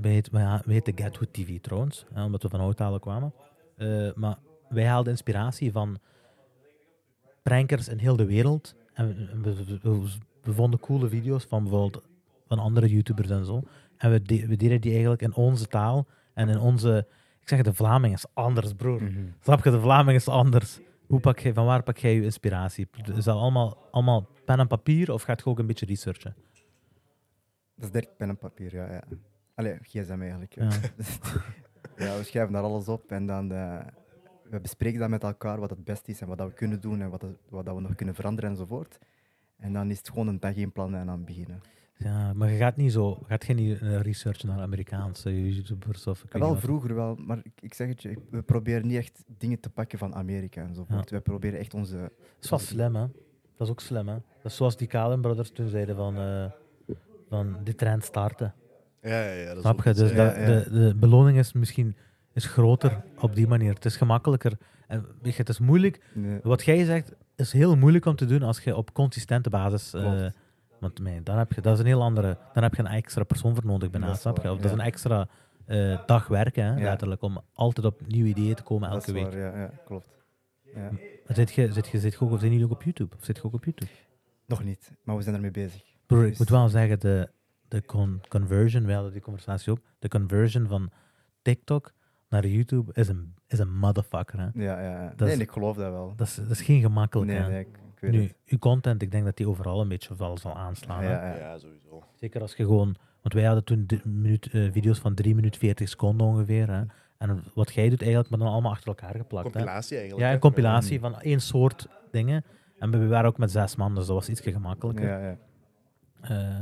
Speaker 1: wij, heet- wij ha- wij heten Get Good TV trouwens, hè, omdat we van Houtalen kwamen. Eh, maar wij haalden inspiratie van prankers in heel de wereld. En we, we- we- we vonden coole video's van bijvoorbeeld van andere YouTubers en zo. En we, de- we deden die eigenlijk in onze taal en in onze. Ik zeg, de Vlaming is anders, broer.
Speaker 3: Mhm.
Speaker 1: Snap je, de Vlaming is anders. Hoe pak jij, van waar pak jij je inspiratie? Is dat allemaal, allemaal pen en papier of gaat je ook een beetje researchen?
Speaker 3: Dat is direct pen en papier, ja. ja. Allee, gsm eigenlijk. Ja.
Speaker 1: Ja.
Speaker 3: Ja, we schrijven daar alles op en dan eh, we bespreken dat met elkaar wat het beste is en wat dat we kunnen doen en wat, dat- wat dat we nog kunnen veranderen enzovoort. En dan is het gewoon een dag één plan en dan beginnen.
Speaker 1: Ja, maar je gaat niet zo, gaat geen eh, research naar Amerikaanse YouTubers of. ik weet
Speaker 3: wel
Speaker 1: niet wat.
Speaker 3: vroeger wel, maar ik, ik zeg het je, ik- we proberen niet echt dingen te pakken van Amerika enzovoort. We proberen echt onze...
Speaker 1: Dat is wel slim, hè? Dat is ook slim, hè? Dat is zoals die Kalen Brothers toen zeiden van, eh, van de trend starten.
Speaker 2: Ja, ja, ja. Dat is
Speaker 1: Snap
Speaker 2: ook
Speaker 1: je?
Speaker 2: iets,
Speaker 1: Dus
Speaker 2: hè.
Speaker 1: dat-
Speaker 3: ja.
Speaker 1: De, de beloning is misschien is groter op die manier. Het is gemakkelijker. En weet je, het is moeilijk.
Speaker 3: Nee,
Speaker 1: Wat eh, jij zegt is heel moeilijk om te doen als je op consistente basis. eh,
Speaker 3: Klopt.
Speaker 1: want nee, dan heb je, dat is een heel andere. Dan heb je een extra persoon voor nodig bijna.
Speaker 3: Dat is
Speaker 1: Snap je?
Speaker 3: waar,
Speaker 1: Of dat is
Speaker 3: ja.
Speaker 1: een extra eh, dag werken, hè,
Speaker 3: Ja.
Speaker 1: letterlijk, om altijd op nieuwe ideeën te komen
Speaker 3: Dat
Speaker 1: elke
Speaker 3: is
Speaker 1: week.
Speaker 3: waar, ja, ja, klopt. Ja.
Speaker 1: Zit je, zit je, zit je ook, of zijn jullie ook op YouTube? Of zit je ook op YouTube?
Speaker 3: Nog niet, maar we zijn ermee bezig.
Speaker 1: Broer, ik
Speaker 3: Dus-
Speaker 1: moet wel zeggen, de, de con- conversion, we hadden die conversatie ook, de conversion van TikTok naar YouTube is een, is een motherfucker. Hè.
Speaker 3: Ja, ja. ja.
Speaker 1: Dat
Speaker 3: Nee,
Speaker 1: is-
Speaker 3: ik geloof dat wel.
Speaker 1: Dat, is, dat is geen gemakkelijk.
Speaker 3: nee,
Speaker 1: hè.
Speaker 3: nee, ik, ik weet
Speaker 1: nu,
Speaker 3: het.
Speaker 1: uw content, ik denk dat die overal een beetje wel zal aanslaan. hè.
Speaker 3: Ja, ja.
Speaker 2: Ja, sowieso.
Speaker 1: Zeker als je gewoon, want wij hadden toen drie minuut, eh, video's van 3 minuut 40 seconden ongeveer. Hè. En wat jij doet eigenlijk, maar dan allemaal achter elkaar geplakt. Hè.
Speaker 2: Compilatie eigenlijk.
Speaker 1: Ja,
Speaker 2: hè.
Speaker 1: een compilatie van één soort dingen. En we waren ook met zes man, dus dat was iets gemakkelijker.
Speaker 3: ja, ja.
Speaker 1: Eh,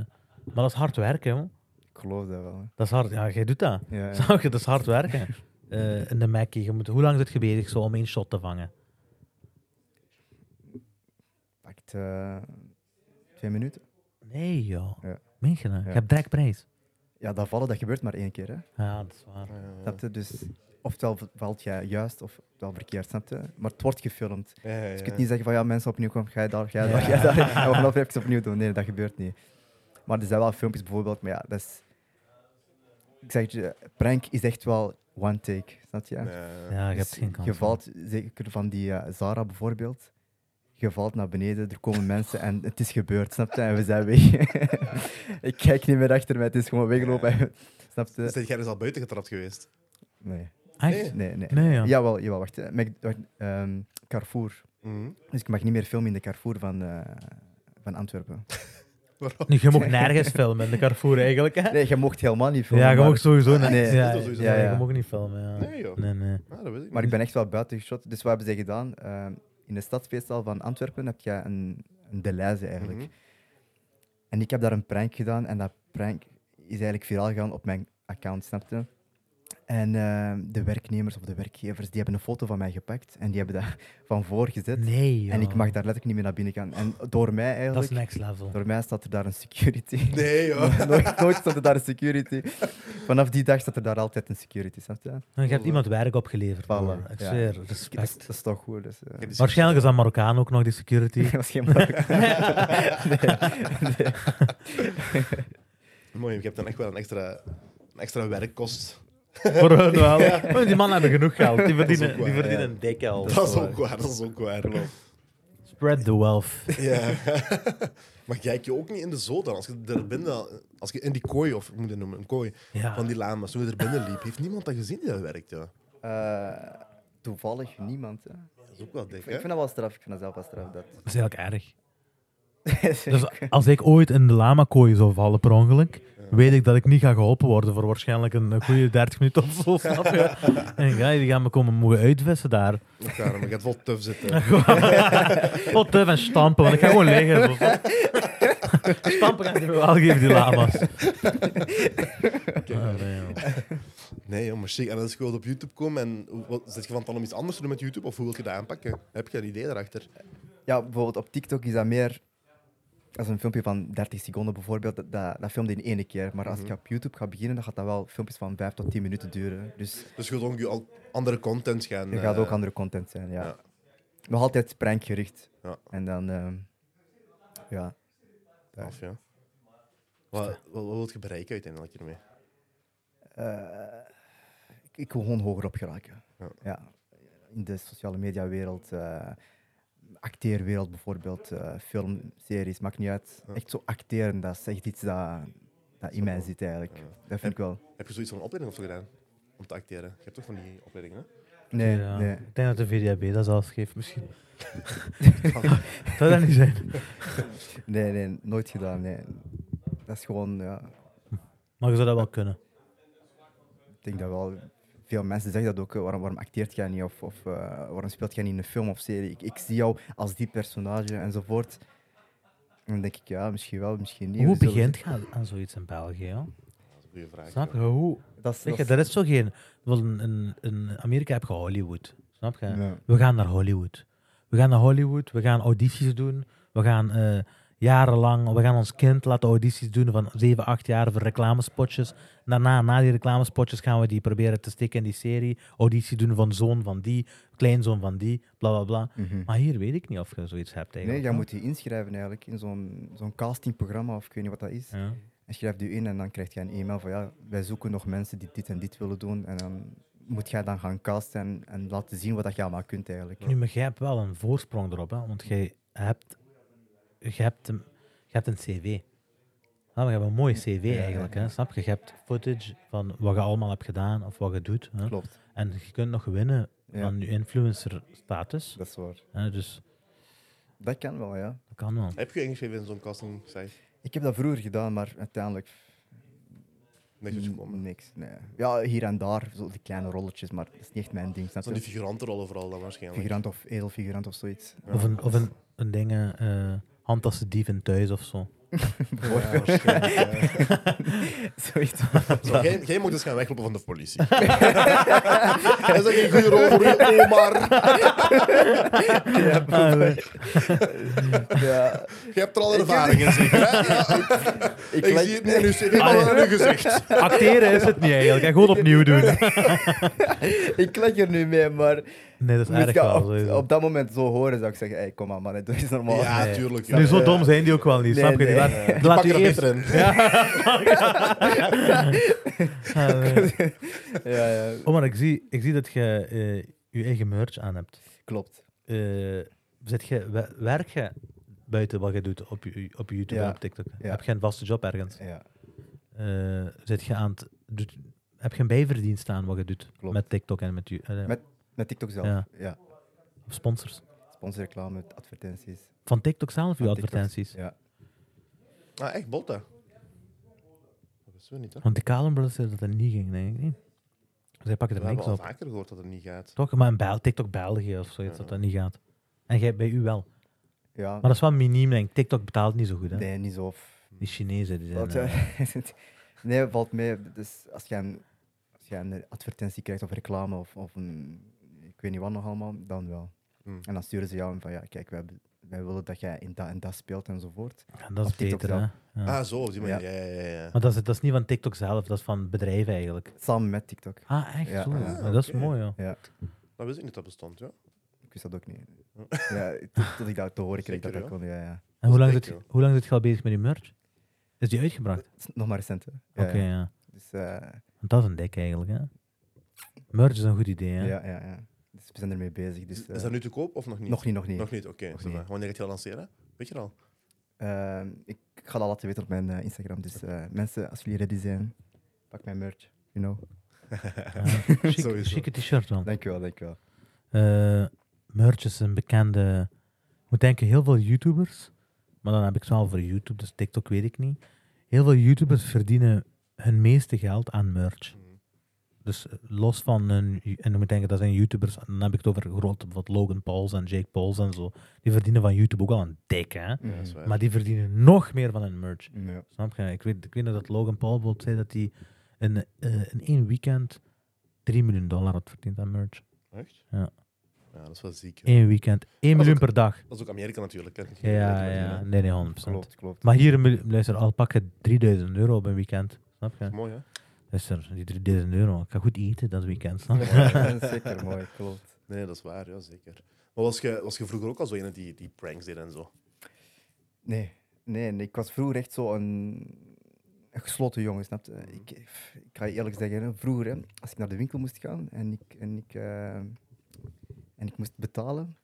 Speaker 1: maar dat is hard werken, joh.
Speaker 3: Ik geloof dat wel.
Speaker 1: Dat is hard. Ja, jij doet dat.
Speaker 3: hè. Ja, ja.
Speaker 1: Zou je? Dat is hard werken. Eh, in de Mackie, je moet, hoe lang zit je bezig zo om één shot te vangen?
Speaker 3: Pakt eh, twee minuten.
Speaker 1: Nee, joh.
Speaker 3: Ja.
Speaker 1: Meen je dat? Je
Speaker 3: Ja.
Speaker 1: hebt direct prijs.
Speaker 3: Ja, dat vallen, dat gebeurt maar één keer. Hè.
Speaker 1: Ja, dat is waar.
Speaker 3: Snap je? Dus oftewel v- valt jij juist, of wel verkeerd, snap je? Maar het wordt gefilmd.
Speaker 2: Ja, ja, ja.
Speaker 3: Dus je kunt niet zeggen van ja, mensen opnieuw komen, jij daar, jij daar, jij daar. En we gaan nog even opnieuw doen. Nee, dat gebeurt niet. Maar er zijn wel filmpjes bijvoorbeeld, maar ja, dat is. Ik zeg het je, prank is echt wel one take, snap je?
Speaker 2: Nee.
Speaker 1: Ja, je
Speaker 3: Dus
Speaker 1: hebt geen kans.
Speaker 3: Je valt, zeker van die eh, Zara bijvoorbeeld, je valt naar beneden, er komen mensen en het is gebeurd, snap je? En we zijn weg. ik kijk niet meer achter mij, het is gewoon weglopen. snap
Speaker 2: Dus
Speaker 3: je?
Speaker 2: dat jij is al buiten getrapt geweest.
Speaker 3: Nee,
Speaker 1: Echt?
Speaker 3: nee, nee.
Speaker 1: Nee, ja.
Speaker 3: Jawel, jawel, wacht. hè. Mac- wacht, ehm, Carrefour.
Speaker 2: Mhm.
Speaker 3: Dus ik mag niet meer filmen in de Carrefour van, eh, van Antwerpen.
Speaker 2: Waarom?
Speaker 1: Nee, je mag nergens filmen in de Carrefour eigenlijk. Hè?
Speaker 3: Nee, je mocht helemaal niet filmen.
Speaker 1: ja, je
Speaker 3: maar,
Speaker 1: mag sowieso niet.
Speaker 3: Nee.
Speaker 1: ja,
Speaker 2: Dat is sowieso
Speaker 1: ja,
Speaker 3: zo.
Speaker 1: je mag niet filmen. Ja.
Speaker 2: Nee, joh.
Speaker 1: Nee, nee.
Speaker 2: Ah, dat weet ik
Speaker 3: maar
Speaker 2: niet.
Speaker 3: ik ben echt wel buiten geschoten. Dus wat hebben ze gedaan? Ehm, in de stadsfeestzaal van Antwerpen heb je een, een Deleuze eigenlijk.
Speaker 2: Mhm.
Speaker 3: En ik heb daar een prank gedaan en dat prank is eigenlijk viraal gegaan op mijn account, snapte? En ehm, de werknemers of de werkgevers die hebben een foto van mij gepakt en die hebben dat van voor gezet.
Speaker 1: Nee, joh.
Speaker 3: En ik mag daar letterlijk niet meer naar binnen gaan. En door mij
Speaker 1: Dat is
Speaker 3: eigenlijk,
Speaker 1: next level.
Speaker 3: door mij staat er daar een security.
Speaker 2: Nee, joh.
Speaker 3: nooit, nooit stond er daar een security. Vanaf die dag staat er daar altijd een security. Snap je?
Speaker 1: En je hebt iemand werk opgeleverd. broer.
Speaker 3: Voilà,
Speaker 1: Ik
Speaker 3: ja.
Speaker 1: zweer,
Speaker 3: Dat is, dat
Speaker 1: respect.
Speaker 3: is toch goed. Dus, eh,
Speaker 2: Ik heb die
Speaker 1: Waarschijnlijk is dat Marokkaan ook nog, die security.
Speaker 3: dat was geen markt.
Speaker 2: Mooi, je hebt dan echt wel een extra, een extra werkkost.
Speaker 1: Voor hun wel. Maar die mannen hebben genoeg geld. Die
Speaker 2: ook
Speaker 1: verdienen,
Speaker 2: waar,
Speaker 1: die verdienen
Speaker 2: ja.
Speaker 1: een dikke al.
Speaker 2: Dat, is ook waar, dat is ook waar.
Speaker 1: Spread the wealth.
Speaker 2: Ja. maar kijk je ook niet in de zoden als je er binnen, als je in die kooi, of ik moet het noemen, een kooi
Speaker 1: Ja.
Speaker 2: van die lama's, toen je er binnen liep, heeft niemand dat gezien die dat werkt, ja.
Speaker 3: Eh, toevallig niemand. Hè.
Speaker 2: Dat is ook wel dik,
Speaker 3: Ik vind
Speaker 2: hè?
Speaker 3: dat wel straf. Ik vind dat zelf wel straf. Dat.
Speaker 1: Dat is eigenlijk erg. Dus als ik ooit in de lamakooi zou vallen per ongeluk, weet ik dat ik niet ga geholpen worden voor waarschijnlijk een een goede 30 minuten of zo. Snap je? En ik ga, die gaan me komen mogen uitvissen daar.
Speaker 2: Ook daarom, maar je gaat wel tuf zitten.
Speaker 1: Wat te van stampen, want ik ga gewoon liggen. zo. stampen kan ik wel geven, die lama's. Ah, nee, joh.
Speaker 2: Nee, joh, maar chic. En als je wilt op YouTube komen, en hoe- wat, zit je van plan om iets anders te doen met YouTube, of hoe wil je dat aanpakken? Heb je een idee daarachter?
Speaker 3: Ja, bijvoorbeeld op TikTok is dat meer. Als een filmpje van 30 seconden bijvoorbeeld, dat, dat, dat filmde in één keer. Maar als ik op YouTube ga beginnen, dan gaat dat wel filmpjes van 5 tot 10 minuten duren. Dus
Speaker 2: Dus je wilt ook je al- andere content gaan...
Speaker 3: Er gaat
Speaker 2: eh,
Speaker 3: ook andere content zijn, ja.
Speaker 2: ja.
Speaker 3: Nog altijd prankgericht.
Speaker 2: Ja.
Speaker 3: En dan, ehm, ja.
Speaker 2: af, ja. Wat, wat, wat wil je bereiken uiteindelijk hiermee?
Speaker 3: Eh, ik, ik wil gewoon hoger op geraken.
Speaker 2: Ja.
Speaker 3: Ja. In de sociale mediawereld, eh acteerwereld bijvoorbeeld, eh, film, series, maakt niet uit. Echt zo acteren, dat is echt iets dat, dat in mij zit eigenlijk. Dat vind ik wel.
Speaker 2: Heb je zoiets van een opleiding of zo gedaan? Om te acteren? Je hebt toch van die opleidingen, hè?
Speaker 3: Nee,
Speaker 1: Ja,
Speaker 3: nee.
Speaker 1: Ik denk dat de VDAB dat zelfs geeft, misschien. Zou dat niet zijn?
Speaker 3: nee, nee, nooit gedaan, nee. Dat is gewoon, ja,
Speaker 1: Maar je zou dat wel kunnen.
Speaker 3: Ik denk dat wel. Veel mensen zeggen dat ook. hè. Waarom, waarom acteert jij niet? Of, of eh, waarom speelt jij niet in een film of serie? Ik, ik zie jou als die personage enzovoort. En dan denk ik, ja, misschien wel, misschien niet.
Speaker 1: Hoe
Speaker 3: We zullen
Speaker 1: begint je aan zoiets in België? Joh?
Speaker 2: Dat is een goede vraag.
Speaker 1: Snap je?
Speaker 2: ja.
Speaker 1: Hoe?
Speaker 3: zien. Dat is,
Speaker 1: Zeg
Speaker 3: dat
Speaker 1: je,
Speaker 3: is-
Speaker 1: er is zo geen... wel, In, in, in Amerika heb je Hollywood. Snap je?
Speaker 3: Ja.
Speaker 1: We gaan naar Hollywood. We gaan naar Hollywood, we gaan audities doen. We gaan eh, jarenlang... We gaan ons kind laten audities doen van 7, 8 jaar voor reclamespotjes. Daarna, na die reclamespotjes, gaan we die proberen te stikken in die serie. Auditie doen van zoon van die, kleinzoon van die, bla bla bla. Maar hier weet ik niet of je zoiets hebt
Speaker 3: Mhm. Mm.
Speaker 1: eigenlijk.
Speaker 3: Nee, jij
Speaker 1: hoor.
Speaker 3: moet je inschrijven eigenlijk in zo'n zo'n castingprogramma of ik weet niet wat dat is.
Speaker 1: Ja.
Speaker 3: En schrijf je in en dan krijg je een e-mail van ja, wij zoeken nog mensen die dit en dit willen doen. En dan moet jij dan gaan casten en, en laten zien wat dat je allemaal kunt eigenlijk.
Speaker 1: Nu, maar jij hebt wel een voorsprong erop, hè? want jij hebt, jij hebt, een, jij hebt een cv. Ja, maar je hebt een mooi cv
Speaker 3: ja,
Speaker 1: eigenlijk,
Speaker 3: ja.
Speaker 1: Hè? snap je? Je hebt footage van wat je allemaal hebt gedaan of wat je doet. Hè?
Speaker 3: Klopt,
Speaker 1: En je kunt nog winnen
Speaker 3: Ja.
Speaker 1: van je influencer status.
Speaker 3: dat is waar.
Speaker 1: Hè? Dus
Speaker 3: Dat kan wel, ja.
Speaker 1: dat kan wel.
Speaker 2: Heb je ingeschreven in zo'n casting site?
Speaker 3: Ik heb dat vroeger gedaan, maar uiteindelijk
Speaker 2: Niks is gekomen.
Speaker 1: Mm,
Speaker 3: niks. Nee. Ja, hier en daar, zo die kleine rolletjes, maar dat is niet echt mijn ding. Snap
Speaker 2: Dat zijn die
Speaker 3: je?
Speaker 2: figurantenrollen vooral dan waarschijnlijk.
Speaker 3: Figurant of edelfigurant of zoiets.
Speaker 1: Of een, of een, een ding, eh, eh, handtassendief in thuis of zo.
Speaker 3: Zoiets.
Speaker 2: Zo, jij, jij moet dus gaan weglopen van de politie. Hij is geen goede rol voor je Omar.
Speaker 3: Ja,
Speaker 2: Je hebt er al ervaring in, zeker? hè? Ja,
Speaker 3: ik
Speaker 2: ik
Speaker 3: lijk-
Speaker 2: zie het niet in uw cv, maar
Speaker 1: Ah,
Speaker 2: wel in uw gezicht.
Speaker 1: Acteren is het niet eigenlijk, hè? gewoon opnieuw doen.
Speaker 3: ik leg er nu mee, maar
Speaker 1: Nee, dat is
Speaker 3: moest
Speaker 1: erg
Speaker 3: ik dat
Speaker 1: wel.
Speaker 3: op,
Speaker 1: sowieso.
Speaker 3: op dat moment zo horen, zou ik zeggen, hey, kom maar man, dat is normaal.
Speaker 2: Ja,
Speaker 1: Nee.
Speaker 2: tuurlijk. Ja.
Speaker 1: Nu, zo dom zijn die ook wel niet,
Speaker 3: Nee,
Speaker 1: snap je? Die
Speaker 3: nee.
Speaker 1: laat,
Speaker 3: Nee.
Speaker 1: die
Speaker 2: Die
Speaker 1: laat u
Speaker 2: pakken er
Speaker 1: eerst...
Speaker 2: beter in.
Speaker 1: Ja, nee.
Speaker 3: Ja, ja,
Speaker 1: Oh, maar ik zie, ik zie dat je eh, je eigen merch aan hebt.
Speaker 3: klopt.
Speaker 1: Eh, zit je, we- werk je buiten wat je doet op, je- op je YouTube
Speaker 3: Ja.
Speaker 1: en op TikTok?
Speaker 3: Ja.
Speaker 1: Heb je een vaste job ergens?
Speaker 3: Ja,
Speaker 1: Eh, zit je aan het, doet, heb je een bijverdienst aan wat je doet
Speaker 3: Klopt.
Speaker 1: met TikTok en met, je- eh,
Speaker 3: Met- met TikTok zelf.
Speaker 1: Ja.
Speaker 3: Ja.
Speaker 1: of sponsors?
Speaker 3: Sponsorreclame, advertenties.
Speaker 1: Van TikTok zelf, je
Speaker 3: Van TikTok.
Speaker 1: advertenties?
Speaker 3: Ja.
Speaker 2: Ah, echt bot, hè? Dat wisten we niet, hè?
Speaker 1: Want de Kalem Brothers zei dat dat niet ging, denk ik niet. Zij pakken
Speaker 2: We
Speaker 1: er niks
Speaker 2: hebben al
Speaker 1: op.
Speaker 2: vaker gehoord dat het niet gaat.
Speaker 1: Toch? Maar in Bel- TikTok België of zoiets, dat dat niet gaat. En jij, bij u wel.
Speaker 3: ja.
Speaker 1: Maar dat is wel miniem, denk ik. TikTok betaalt niet zo goed, hè?
Speaker 3: Nee, niet zo. f-
Speaker 1: Die Chinezen, die zijn...
Speaker 3: Wat,
Speaker 1: eh,
Speaker 3: eh, nee, valt mee. Dus als je een, als je een advertentie krijgt of reclame of, of een, ik weet niet wat nog allemaal, dan wel.
Speaker 2: Hmm.
Speaker 3: En dan sturen ze jou in van ja, kijk, wij, hebben- wij willen dat jij in dat en dat speelt enzovoort.
Speaker 1: ja, eh, dat is
Speaker 3: op TikTok
Speaker 1: beter, hè? Ja.
Speaker 2: Ah, zo, op die manier. Ja, ja, ja. ja.
Speaker 1: Maar dat is, dat is niet van TikTok zelf, dat is van bedrijven eigenlijk.
Speaker 3: Samen met TikTok.
Speaker 1: Ah, echt?
Speaker 3: Ja,
Speaker 1: zo?
Speaker 3: ja.
Speaker 1: Ja, dat is
Speaker 2: Oké.
Speaker 1: mooi, ja.
Speaker 3: Ja,
Speaker 2: Dat wist ik niet dat bestond, ja.
Speaker 3: ik wist dat ook niet. Ja, tot, tot ik dat te horen kreeg dat
Speaker 2: Zeker,
Speaker 3: dat kon. Ja, ja.
Speaker 1: En hoe lang,
Speaker 2: dik,
Speaker 1: zit,
Speaker 2: joh.
Speaker 1: hoe lang zit je al bezig met die merch? Is die uitgebracht?
Speaker 3: Het is Nog maar recent. hè. Ja,
Speaker 1: Oké,
Speaker 3: ja.
Speaker 1: ja.
Speaker 3: Dus, eh,
Speaker 1: Want dat is een dik eigenlijk, hè? Merch is een goed idee, hè?
Speaker 3: ja. Ja, ja, Dus we zijn ermee bezig. Dus, eh,
Speaker 2: is dat nu te koop of nog niet?
Speaker 3: Nog niet, nog niet.
Speaker 2: Nog niet, oké. ça
Speaker 3: niet.
Speaker 2: va. Wanneer gaat je dat lanceren? Weet je dat al?
Speaker 3: Ehm, ik ga dat laten weten op mijn eh, Instagram. Dus eh, mensen, als jullie ready zijn, pak mijn merch. You know.
Speaker 1: Ja. Chique,
Speaker 2: Sowieso.
Speaker 1: chique t-shirt, man.
Speaker 3: Dankjewel, dankjewel.
Speaker 1: Eh merch is een bekende... Ik moet denken, heel veel YouTubers... Maar dan heb ik het wel voor YouTube, dus TikTok weet ik niet. Heel veel YouTubers verdienen hun meeste geld aan merch. Dus eh, los van hun... En dan moet je denken, dat zijn YouTubers... Dan heb ik het over grote, wat Logan Pauls en Jake Pauls en zo. Die verdienen van YouTube ook al een dik, hè.
Speaker 2: Ja,
Speaker 3: Mhm.
Speaker 2: dat is waar.
Speaker 1: Maar die verdienen nog meer van hun merch.
Speaker 3: Ja.
Speaker 1: Snap je? Ik weet, ik weet nog dat Logan Paul bijvoorbeeld zei dat hij in, eh, in één weekend 3 miljoen dollar had verdiend aan merch.
Speaker 2: Echt?
Speaker 1: Ja.
Speaker 2: Ja, dat is wel ziek. ja.
Speaker 1: Eén weekend, 1 miljoen per dag.
Speaker 2: Dat is ook Amerika natuurlijk. Hè.
Speaker 1: Ja, ja, ja. Nee, nee, 100%.
Speaker 3: Klopt, klopt.
Speaker 1: Maar hier, een miljoen- luister, al pak je 3000 euro op een weekend. Snap je?
Speaker 2: Dat is mooi, hè?
Speaker 1: Luister, die 3000 euro. Ik ga goed eten dat weekend. Snap je?
Speaker 3: Ja, Zeker mooi, klopt.
Speaker 2: Nee, dat is waar, ja, zeker. Maar was je, was je vroeger ook al zo iemand die, die pranks deed en zo?
Speaker 3: Nee, nee, nee, ik was vroeger echt zo'n een, een gesloten jongen, snap je? Ik, ik ga je eerlijk zeggen, hè, vroeger, hè, als ik naar de winkel moest gaan en ik, en ik, eh, en ik moest betalen,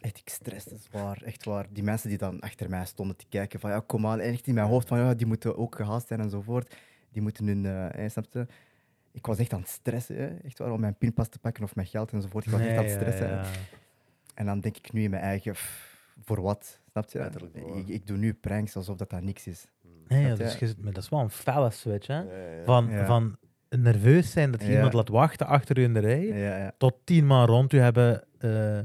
Speaker 3: echt, ik stresste zwaar, echt waar. Die mensen die dan achter mij stonden te kijken, van ja, kom aan, en echt in mijn hoofd, van ja, die moeten ook gehaast zijn enzovoort. Die moeten hun, eh, eh, snap je? Ik was echt aan het stressen, hè, echt waar, om mijn pinpas te pakken of mijn geld enzovoort. Ik was echt aan het stressen. hè. En dan denk ik nu in mijn eigen, pff, voor wat? Snap je?
Speaker 2: Letterlijk voor wat.
Speaker 3: Ik, ik doe nu pranks alsof dat, dat niks is.
Speaker 1: Nee, ja,
Speaker 3: Dat,
Speaker 1: dus
Speaker 3: ja.
Speaker 1: je zit- maar dat is wel een felle switch, hè?
Speaker 2: Mm. Ja, ja, ja.
Speaker 1: Van,
Speaker 3: Ja.
Speaker 1: van nerveus zijn dat je
Speaker 3: Ja.
Speaker 1: iemand laat wachten achter je in de rij,
Speaker 3: Ja, ja.
Speaker 1: tot tien man rond je hebben, eh,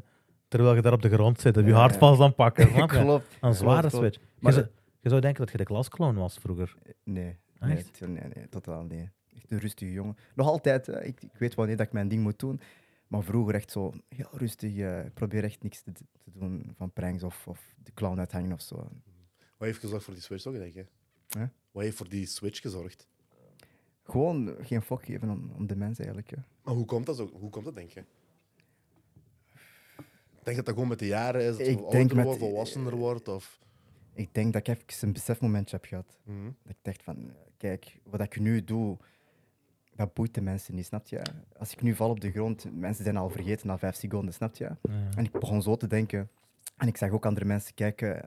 Speaker 1: terwijl je daar op de grond zit, dat je
Speaker 3: Ja,
Speaker 1: hart
Speaker 3: ja.
Speaker 1: vast aan pakken. Snap je?
Speaker 3: Klopt.
Speaker 1: Een zware
Speaker 3: Klopt, klopt.
Speaker 1: switch. Je
Speaker 3: Maar
Speaker 1: zou, je zou denken dat je de klaskloon was vroeger.
Speaker 3: Nee, nee,
Speaker 1: Echt?
Speaker 3: t- nee, nee, totaal nee. Echt een rustige jongen. Nog altijd, hè. ik, ik weet wanneer dat ik mijn ding moet doen. Maar vroeger echt zo heel rustig. eh, ik probeer echt niks te, te doen van pranks of, of de clown uithangen of zo.
Speaker 2: Wat heeft gezorgd voor die Switch, toch, denk je?
Speaker 3: Hè?
Speaker 2: Wat heeft voor die Switch gezorgd?
Speaker 3: Gewoon geen fuck geven om, om de mensen eigenlijk. hè.
Speaker 2: Maar hoe komt dat, zo, hoe komt dat denk je? Ik denk dat dat gewoon met de jaren is, dat je
Speaker 3: Ik
Speaker 2: ouder
Speaker 3: denk met-
Speaker 2: wordt, volwassener wordt, of...
Speaker 3: Ik denk dat ik even een besefmomentje heb gehad.
Speaker 2: Mhm.
Speaker 3: Dat ik dacht van, kijk, wat ik nu doe, dat boeit de mensen niet, snap je? Als ik nu val op de grond, mensen zijn al vergeten na vijf seconden, snap je?
Speaker 1: Ja.
Speaker 3: En ik begon zo te denken. En ik zag ook andere mensen kijken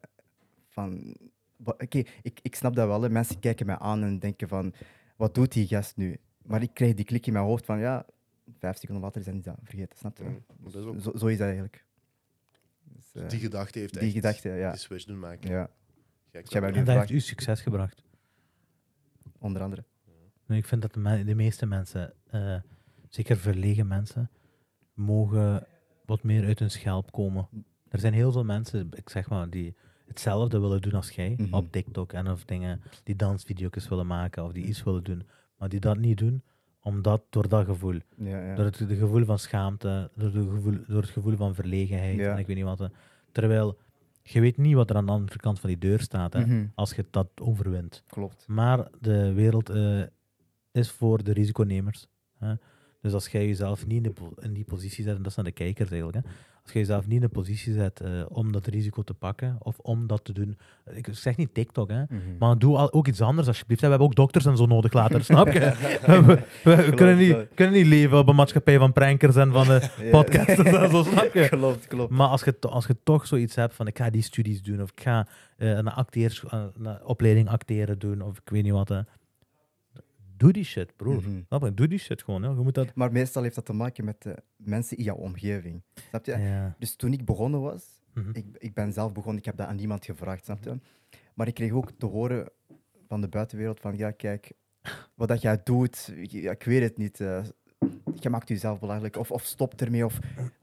Speaker 3: van... wa- Oké, ik, ik snap dat wel. hè. Mensen kijken mij aan en denken van... Wat doet die gast nu? Maar ik kreeg die klik in mijn hoofd van... Ja, vijf seconden later zijn die dat vergeten. Snap je?
Speaker 2: Mm, dat is ook-
Speaker 3: Zo, zo is dat eigenlijk. Dus, eh,
Speaker 2: Die gedachte heeft
Speaker 3: die
Speaker 2: echt
Speaker 3: gedachte, ja.
Speaker 2: die switch doen maken.
Speaker 3: ja.
Speaker 2: Gek,
Speaker 3: Jij bent
Speaker 2: man.
Speaker 1: En dat
Speaker 3: vraag-
Speaker 1: heeft u succes gebracht.
Speaker 3: Onder andere.
Speaker 1: En ik vind dat de, me- de meeste mensen, eh, zeker verlegen mensen, mogen wat meer uit hun schelp komen. Er zijn heel veel mensen, ik zeg maar, die hetzelfde willen doen als jij
Speaker 3: Mhm.
Speaker 1: op TikTok en of dingen, die dansvideo's willen maken of die iets willen doen, maar die dat niet doen omdat door dat gevoel.
Speaker 3: Ja, ja.
Speaker 1: Door het de gevoel van schaamte, door, de gevoel, door het gevoel van verlegenheid
Speaker 3: Ja.
Speaker 1: en ik weet niet wat. eh. Terwijl je weet niet wat er aan de andere kant van die deur staat hè,
Speaker 3: Mhm,
Speaker 1: als je dat overwint.
Speaker 3: klopt.
Speaker 1: Maar de wereld eh, is voor de risiconemers. Hè? Dus als jij jezelf niet in, de po- in die positie zet, en dat zijn de kijkers eigenlijk, hè? als jij jezelf niet in de positie zet eh, om dat risico te pakken of om dat te doen. Ik zeg niet TikTok, hè?
Speaker 3: Mhm.
Speaker 1: maar doe al, ook iets anders alsjeblieft. hè. We hebben ook dokters en zo nodig later, snap je? We, we- we kunnen,
Speaker 3: dat.
Speaker 1: niet, kunnen niet leven op een maatschappij van prankers en van eh,
Speaker 3: Ja.
Speaker 1: podcasters en zo, snap je?
Speaker 3: Klopt, klopt.
Speaker 1: Maar als je, to- als je toch zoiets hebt van ik ga die studies doen, of ik ga eh, een, acteers, een opleiding acteren doen, of ik weet niet wat. hè. Doe die shit, broer.
Speaker 3: Mhm.
Speaker 1: Snap je? Doe die shit gewoon. Hè. Je moet dat...
Speaker 3: Maar meestal heeft dat te maken met de mensen in jouw omgeving. Snap je?
Speaker 1: Ja.
Speaker 3: Dus toen ik begonnen was,
Speaker 1: Mhm.
Speaker 3: ik, ik ben zelf begonnen, ik heb dat aan niemand gevraagd, snap je? Maar ik kreeg ook te horen van de buitenwereld van, ja, kijk, wat dat jij doet, ik, ja, ik weet het niet, eh je maakt jezelf belachelijk, of, of stop ermee, of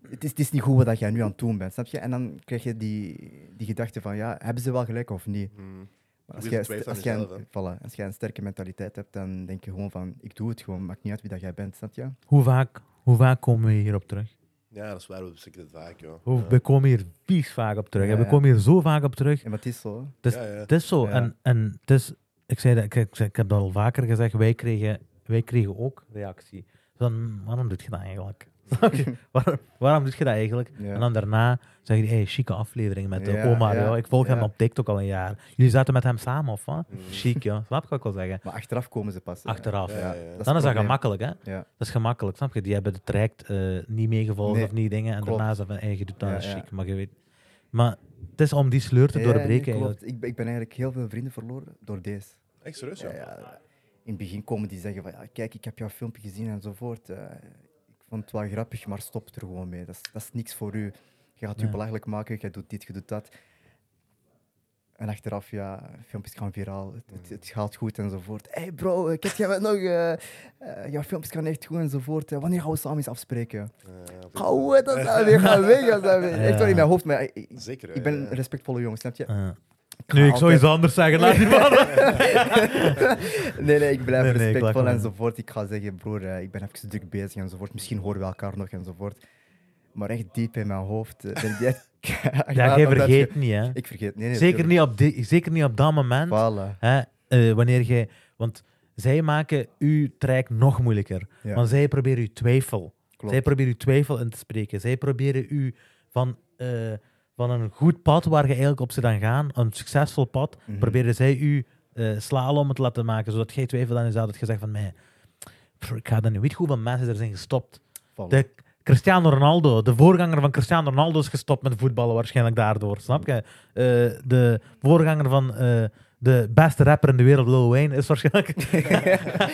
Speaker 3: het is, het is niet goed wat dat jij nu aan het doen bent, snap je? En dan krijg je die, die gedachte van, ja, hebben ze wel gelijk of niet?
Speaker 2: Mm.
Speaker 3: Maar
Speaker 2: Wees
Speaker 3: als, jij,
Speaker 2: twijfel aan
Speaker 3: als, jij
Speaker 2: jezelf,
Speaker 3: een, voilà, als jij een sterke mentaliteit hebt, dan denk je gewoon van, ik doe het gewoon, maakt niet uit wie dat jij bent, snap je?
Speaker 1: Hoe, vaak, hoe vaak komen we hierop terug?
Speaker 2: Ja, dat is waar. We bespreken het vaak, joh.
Speaker 1: Hoe, We komen hier vies vaak op terug. hè.
Speaker 3: Ja,
Speaker 1: We
Speaker 3: ja.
Speaker 1: komen hier zo vaak op terug.
Speaker 3: En wat is zo? hè?
Speaker 1: Dus
Speaker 2: Ja, ja.
Speaker 1: Het is zo.
Speaker 3: Ja.
Speaker 1: En, en het is, ik, zei dat, ik, ik, ik heb dat al vaker gezegd. Wij kregen, wij kregen ook reactie. Van, waarom doet je dat eigenlijk? Snap je? waarom, waarom doe je dat eigenlijk?
Speaker 3: Ja.
Speaker 1: En dan daarna zeg je, hey, chique aflevering met
Speaker 3: Ja,
Speaker 1: eh, Omar.
Speaker 3: ja,
Speaker 1: joh. Ik volg hem
Speaker 3: ja. Mm.
Speaker 1: op TikTok al een jaar. Jullie zaten met hem samen, of wat? Chic, ja. Snap je wat ik wil zeggen?
Speaker 3: Maar achteraf komen ze pas. hè.
Speaker 1: Achteraf.
Speaker 2: Ja, ja, ja.
Speaker 3: het
Speaker 1: Dan is dat
Speaker 3: probleem.
Speaker 1: gemakkelijk, hè?
Speaker 3: Ja.
Speaker 1: Dat is gemakkelijk, snap je? Die hebben het traject eh, niet meegevolgd
Speaker 3: Nee,
Speaker 1: of niet dingen. En
Speaker 3: klopt.
Speaker 1: daarna is dat van, hey, je doet dat,
Speaker 3: Ja,
Speaker 1: dat is
Speaker 3: ja.
Speaker 1: chic. Maar je weet... Maar het is om die sleur te
Speaker 3: Ja, nee,
Speaker 1: doorbreken,
Speaker 3: klopt.
Speaker 1: eigenlijk.
Speaker 3: Ik, ben- ik ben eigenlijk heel veel vrienden verloren door deze.
Speaker 2: Echt serieus,
Speaker 3: Ja,
Speaker 2: joh.
Speaker 3: ja. In het begin komen die zeggen van, ja, kijk, ik heb jouw filmpje gezien enzovoort. eh, ik vond het wel grappig, maar stop er gewoon mee. Dat is, dat is niks voor u. Je gaat
Speaker 1: Ja.
Speaker 3: u belachelijk maken, je doet dit, je doet dat. En achteraf, ja, filmpjes gaan viraal, het, het, het gaat goed enzovoort. Hé hey bro, ik heb jij wat nog, eh, eh, jouw filmpjes gaan echt goed enzovoort. Eh, wanneer gaan we samen eens afspreken?
Speaker 2: Ja,
Speaker 3: Gauw, hè, dat zijn weer, ga weg, dat zijn weer.
Speaker 1: Ja.
Speaker 3: Echt wel in mijn hoofd, maar ik, ik-
Speaker 2: Zeker, hè,
Speaker 3: ik ben een
Speaker 2: ja.
Speaker 3: respectvolle jongen, snap je?
Speaker 1: Eh.
Speaker 3: ga
Speaker 1: Nu, ik zou
Speaker 3: altijd-
Speaker 1: iets anders zeggen. Laat die man.
Speaker 3: Nee, nee, ik blijf
Speaker 1: Nee, nee, ik lach
Speaker 3: respectvol
Speaker 1: hem aan.
Speaker 3: enzovoort. Ik ga zeggen, broer, eh, ik ben even druk bezig enzovoort. Misschien horen we elkaar nog enzovoort. Maar echt diep in mijn hoofd. eh, Ben ik echt keihard
Speaker 1: Ja,
Speaker 3: aan
Speaker 1: jij
Speaker 3: dat
Speaker 1: vergeet
Speaker 3: ge-
Speaker 1: niet, hè.
Speaker 3: Ik vergeet. Nee, nee,
Speaker 1: Zeker
Speaker 3: tuurlijk.
Speaker 1: niet, op di- zeker niet op dat moment.
Speaker 3: Voilà.
Speaker 1: Hè, eh, wanneer jij... Want zij maken uw traject nog moeilijker.
Speaker 3: Ja.
Speaker 1: Want zij proberen uw twijfel.
Speaker 3: Klopt.
Speaker 1: Zij proberen uw twijfel in te spreken. Zij proberen u van, eh, van een goed pad waar je eigenlijk op ze dan gaan, een succesvol pad,
Speaker 3: Mhm.
Speaker 1: proberen zij u eh slalom te laten maken, zodat jij twijfel aan jezelf dat je zegt van, mij, pff, ik ga dat nu. Weet je hoeveel mensen er zijn gestopt?
Speaker 3: Voilà.
Speaker 1: De Cristiano Ronaldo, de voorganger van Cristiano Ronaldo is gestopt met voetballen waarschijnlijk daardoor, snap je? Eh, de voorganger van eh, de beste rapper in de wereld, Lil Wayne, is waarschijnlijk,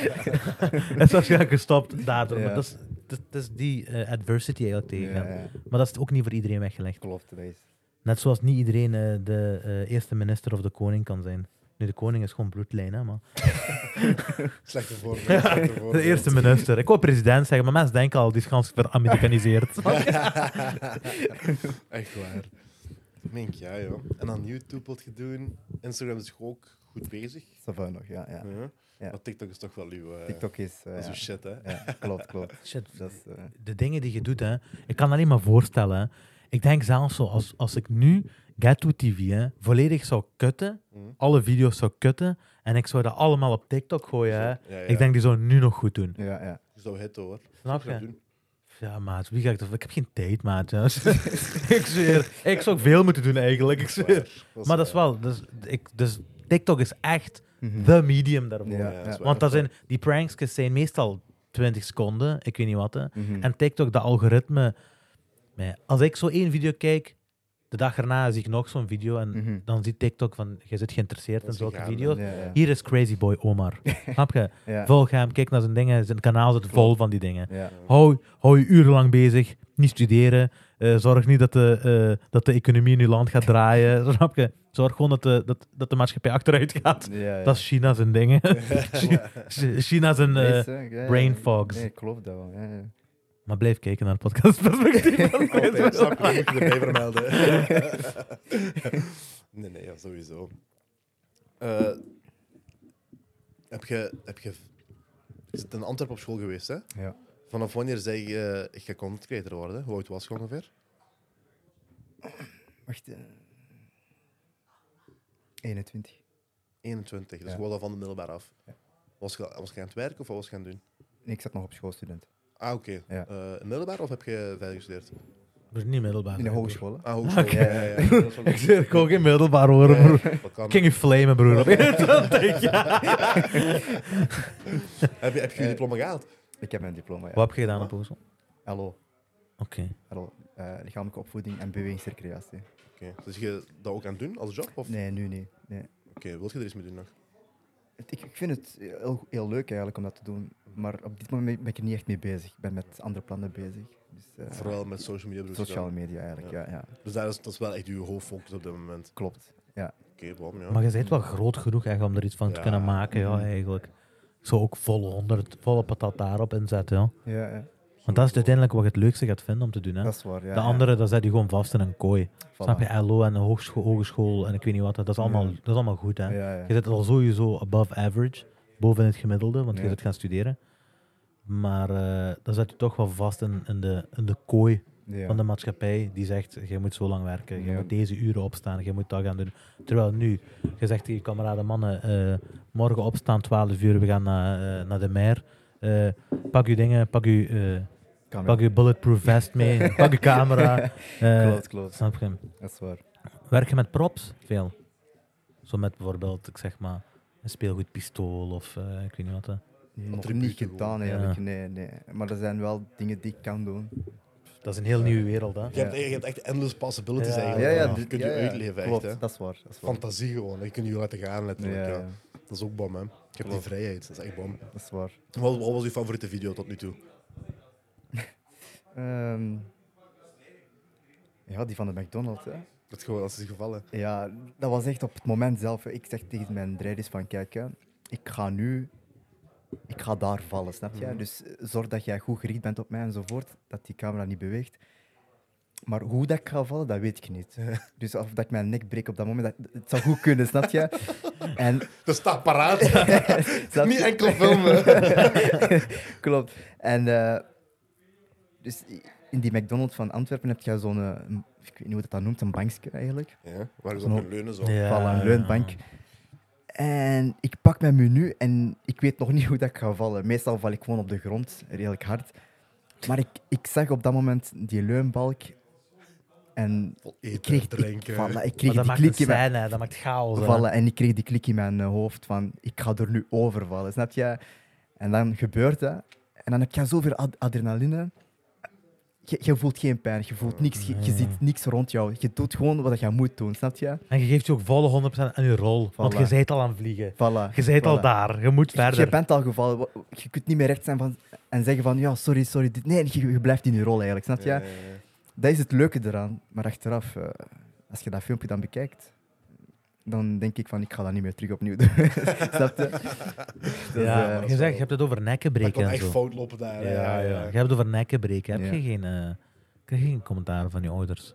Speaker 1: is waarschijnlijk gestopt daardoor.
Speaker 3: Ja.
Speaker 1: Maar dat is, dat, dat is die eh, adversity eigenlijk tegen
Speaker 3: Ja,
Speaker 1: hem.
Speaker 3: ja,
Speaker 1: Maar dat is ook niet voor iedereen weggelegd.
Speaker 3: klopt. Dat is.
Speaker 1: Net zoals niet iedereen eh, de eh, eerste minister of de koning kan zijn. Nu, de koning is gewoon bloedlijn, hè, maar...
Speaker 2: Slechte voorbeeld. slechte
Speaker 1: De
Speaker 2: voorbeeld.
Speaker 1: eerste minister. Ik wou president zeggen, maar mensen denken al, die is gans veramerikaniseerd.
Speaker 2: Echt waar. Dat meen ik, ja, joh. En dan YouTube wat je doen. Instagram is toch ook goed bezig.
Speaker 3: Ça va nog, ja. ja.
Speaker 2: Ja.
Speaker 3: Ja.
Speaker 2: Maar TikTok is toch wel uw, eh,
Speaker 3: TikTok is... eh,
Speaker 2: Dat is uw shit, hè?
Speaker 3: ja, klopt, klopt.
Speaker 1: Shit,
Speaker 3: Dat is, eh,
Speaker 1: de dingen die je doet, hè. Ik kan alleen maar voorstellen. hè. Ik denk zelfs zo, als, als ik nu Gato TV hè, volledig zou kutten,
Speaker 2: Mm.
Speaker 1: alle video's zou kutten, en ik zou dat allemaal op TikTok gooien, hè.
Speaker 2: Ja, ja.
Speaker 1: Ik denk, die zou nu nog goed doen.
Speaker 3: ja, ja.
Speaker 2: Zo hit hoor.
Speaker 1: Snap
Speaker 2: Gaan
Speaker 1: je?
Speaker 2: doen.
Speaker 1: Ja, maat, wie ga ik dat... Ik heb geen tijd, maat. Ja. ik zweer. Ik zou ook veel moeten doen, eigenlijk. Ik zweer. Maar dat is wel... Dus, ik, dus TikTok is echt the medium daarvoor.
Speaker 3: Ja,
Speaker 2: Ja, dat is
Speaker 3: ja.
Speaker 2: waar.
Speaker 1: Want dat zijn, die prankskes zijn meestal 20 seconden, ik weet niet wat. Hè.
Speaker 3: Mhm.
Speaker 1: En TikTok, dat algoritme... nee, Als ik zo één video kijk, de dag erna zie ik nog zo'n video en
Speaker 3: Mhm.
Speaker 1: dan ziet TikTok van, je zit geïnteresseerd in
Speaker 2: is
Speaker 1: zulke
Speaker 2: gegaan, hè.
Speaker 1: video's.
Speaker 3: Ja, ja.
Speaker 1: Hier is Crazy Boy Omar. Snap je?
Speaker 3: Ja.
Speaker 1: Volg hem, kijk naar zijn dingen. Zijn kanaal zit vol van die dingen.
Speaker 3: Ja.
Speaker 1: Hou, hou je urenlang bezig, niet studeren. eh, zorg niet dat de, eh, dat de economie in je land gaat draaien. Snap je? Zorg gewoon dat de, dat, dat de maatschappij achteruit gaat.
Speaker 3: Ja, ja.
Speaker 1: Dat is China zijn dingen. Chi- Chi- China zijn... eh,
Speaker 3: Meeste, ja, ja.
Speaker 1: brain fogs.
Speaker 3: Nee, ik geloof dat wel. Ja, ja.
Speaker 1: maar blijf kijken naar het podcastperspectief.
Speaker 2: Altijd, Oh, snap je, moet je erbij vermelden. nee, nee, ja, sowieso. Eh, heb je... Heb je je zit in Antwerpen op school geweest, hè?
Speaker 3: Ja.
Speaker 2: Vanaf wanneer zei je, ik ga content creator worden? Hoe oud was je ongeveer?
Speaker 3: Wacht. eh. 21.
Speaker 2: 21, dus
Speaker 3: Ja.
Speaker 2: gewoon al van de middelbaar af. Was je, was je aan het werken of wat was je aan het doen?
Speaker 3: Nee, ik zat nog op schoolstudent.
Speaker 2: Ah, oké. Eh
Speaker 3: Ja.
Speaker 2: middelbaar of heb je verder gestudeerd?
Speaker 1: Maar niet middelbaar.
Speaker 3: In de hogeschool. hè.
Speaker 2: Ah, hogeschool. Ja, ja, ja. Dat is wel-
Speaker 1: Ik zeg ook in middelbaar hoor, broer.
Speaker 2: dat kan.
Speaker 1: Ik ging je flamen, broer.
Speaker 2: Heb je, heb je
Speaker 3: Eh.
Speaker 2: je diploma gehaald?
Speaker 3: Ik heb mijn diploma. Ja.
Speaker 1: Wat heb je gedaan op hogeschool?
Speaker 3: Hallo.
Speaker 1: Oké.
Speaker 3: Hallo. Eh, lichamelijke opvoeding en bewegingsrecreatie.
Speaker 2: Oké. Dus je dat ook aan het doen als job? Of?
Speaker 3: Nee, nu niet. Nee.
Speaker 2: Oké, wil je er iets mee doen nog?
Speaker 3: Het- Ik, ik vind het heel, heel leuk eigenlijk om dat te doen. Maar op dit moment ben ik er niet echt mee bezig. Ik ben met andere plannen bezig. Dus, eh,
Speaker 2: Vooral met social media
Speaker 1: dus
Speaker 2: bedoel je
Speaker 3: sociale media eigenlijk. Ja. Ja,
Speaker 2: dan? Dus daar is, dat is wel echt je hoofdfocus op dit moment.
Speaker 3: klopt. Ja. Mhm.
Speaker 2: Oké, waarom ja.
Speaker 1: Maar je bent wel groot genoeg eigenlijk om er iets van te
Speaker 2: Ja.
Speaker 1: kunnen maken, ja, eigenlijk. Ik zou ook volle 100, volle patat daarop inzetten, ja.
Speaker 3: Ja, ja.
Speaker 1: Want dat is uiteindelijk wat je het leukste gaat vinden om te doen, hè.
Speaker 3: Dat is waar. Ja,
Speaker 1: de andere, dat zet je gewoon vast in een kooi.
Speaker 3: Ja. Voilà.
Speaker 1: Snap je? LO en hogeschool, hogeschool en ik weet niet wat. Dat is allemaal,
Speaker 3: Ja.
Speaker 1: dat is allemaal goed, hè.
Speaker 3: Mhm. Ja, ja.
Speaker 1: Je zit al sowieso above average, boven het gemiddelde, want je
Speaker 3: Ja.
Speaker 1: zit gaan studeren. Maar eh dan zit je toch wel vast in, in, de, in de kooi
Speaker 3: Ja.
Speaker 1: van de maatschappij die zegt, je moet zo lang werken, je
Speaker 3: Ja.
Speaker 1: moet deze uren opstaan, je moet dat gaan doen. Terwijl nu, je zegt tegen je kameraden, mannen, eh, morgen opstaan, 12 uur, we gaan naar, eh, naar de mer. Eh, pak je dingen, pak je, eh,
Speaker 3: Camera.
Speaker 1: pak je bulletproof vest mee, pak je camera. Eh,
Speaker 3: Klopt, klopt.
Speaker 1: Snap je?
Speaker 3: Dat is waar.
Speaker 1: Werk je met props veel? Zo met bijvoorbeeld, ik zeg maar, een speelgoedpistool of eh, ik weet niet wat. hè.
Speaker 3: Nog
Speaker 2: Attributen
Speaker 3: niet gedaan
Speaker 1: gewoon.
Speaker 3: eigenlijk,
Speaker 1: Ja.
Speaker 3: nee, nee. Maar er zijn wel dingen die ik kan doen.
Speaker 1: Dat is een heel nieuwe wereld, hè?
Speaker 2: Je, hebt, je hebt echt endless possibilities
Speaker 1: Ja,
Speaker 2: eigenlijk.
Speaker 1: ja,
Speaker 2: hè.
Speaker 3: dit-
Speaker 2: Je kunt
Speaker 3: ja,
Speaker 2: je
Speaker 3: ja,
Speaker 2: uitleven echt.
Speaker 3: klopt,
Speaker 2: hè.
Speaker 3: dat is waar. Dat is waar.
Speaker 2: Fantasie gewoon. Je kunt je laten gaan letterlijk.
Speaker 3: Ja,
Speaker 2: Ja,
Speaker 3: ja.
Speaker 2: Dat is ook bom hè. Je hebt die vrijheid. Dat is echt bom.
Speaker 3: Dat is waar.
Speaker 2: Wat, wat was je favoriete video tot nu toe?
Speaker 3: Ehm, ja, die van de McDonald's, hè.
Speaker 2: Dat is gewoon, dat is het geval hè.
Speaker 3: Ja, dat was echt op het moment zelf. hè. Ik zeg tegen mijn rijders van, kijk, hè, ik ga nu... Ik ga daar vallen, snap je? Dus eh, zorg dat jij goed gericht bent op mij enzovoort, dat die camera niet beweegt. Maar hoe dat ik ga vallen, dat weet ik niet. Dus of dat ik mijn nek breek op dat moment, dat, het zou goed kunnen, snap je? En,
Speaker 2: Dat staat paraat.
Speaker 3: snap
Speaker 2: Niet
Speaker 3: je?
Speaker 2: enkel filmen.
Speaker 3: Klopt. En eh, dus i- in die McDonald's van Antwerpen heb je zo'n, eh, een- ik weet niet hoe dat, dat noemt, een bankje eigenlijk.
Speaker 2: Ja, waar je zo op kunt leunen zo.
Speaker 1: Ja.
Speaker 3: Voilà, een leunbank. En ik pak mijn menu en ik weet nog niet hoe dat ik ga vallen. Meestal val ik gewoon op de grond, redelijk hard. Maar ik, ik zag op dat moment die leunbalk en
Speaker 2: Vol
Speaker 3: ik
Speaker 2: Eten,
Speaker 3: kreeg, ik,
Speaker 2: drinken.
Speaker 3: voilà, ik
Speaker 1: Maar dat
Speaker 3: kreeg die
Speaker 1: maakt een
Speaker 3: klik in mijn,
Speaker 1: scène, hè, dat maakt chaos. hè.
Speaker 3: vallen en ik kreeg die klik in mijn eh, hoofd van ik ga er nu over vallen, snap je? En dan gebeurt dat. En dan heb je zoveel ad- adrenaline. Je, je voelt geen pijn, je voelt niks, je, je ziet niks rond jou. Je doet gewoon wat je moet doen, snap je?
Speaker 1: En je geeft je ook volle 100% aan je rol, want
Speaker 3: Voilà.
Speaker 1: je bent al aan het vliegen.
Speaker 3: Voilà.
Speaker 1: Je bent al
Speaker 3: voilà.
Speaker 1: daar, je moet verder.
Speaker 3: Je bent al gevallen. Wa- Je kunt niet meer recht zijn van, en zeggen van ja, sorry, sorry. Dit. Nee, je, je blijft in je rol eigenlijk, snap je?
Speaker 2: Ja, ja, ja.
Speaker 3: Dat is het leuke eraan. Maar achteraf, eh, als je dat filmpje dan bekijkt, dan denk ik van ik ga dat niet meer terug opnieuw doen. snap je? Dus,
Speaker 1: ja,
Speaker 3: eh,
Speaker 1: maar je, zegt, je hebt het over nekken
Speaker 2: Dat
Speaker 1: breken
Speaker 2: kon
Speaker 1: en
Speaker 2: echt
Speaker 1: zo.
Speaker 2: fout lopen daar. eh,
Speaker 1: Ja,
Speaker 2: hè.
Speaker 1: ja, Je hebt het over nekken breken. Heb
Speaker 3: Ja.
Speaker 1: je geen, eh, krijg je geen commentaar van je ouders?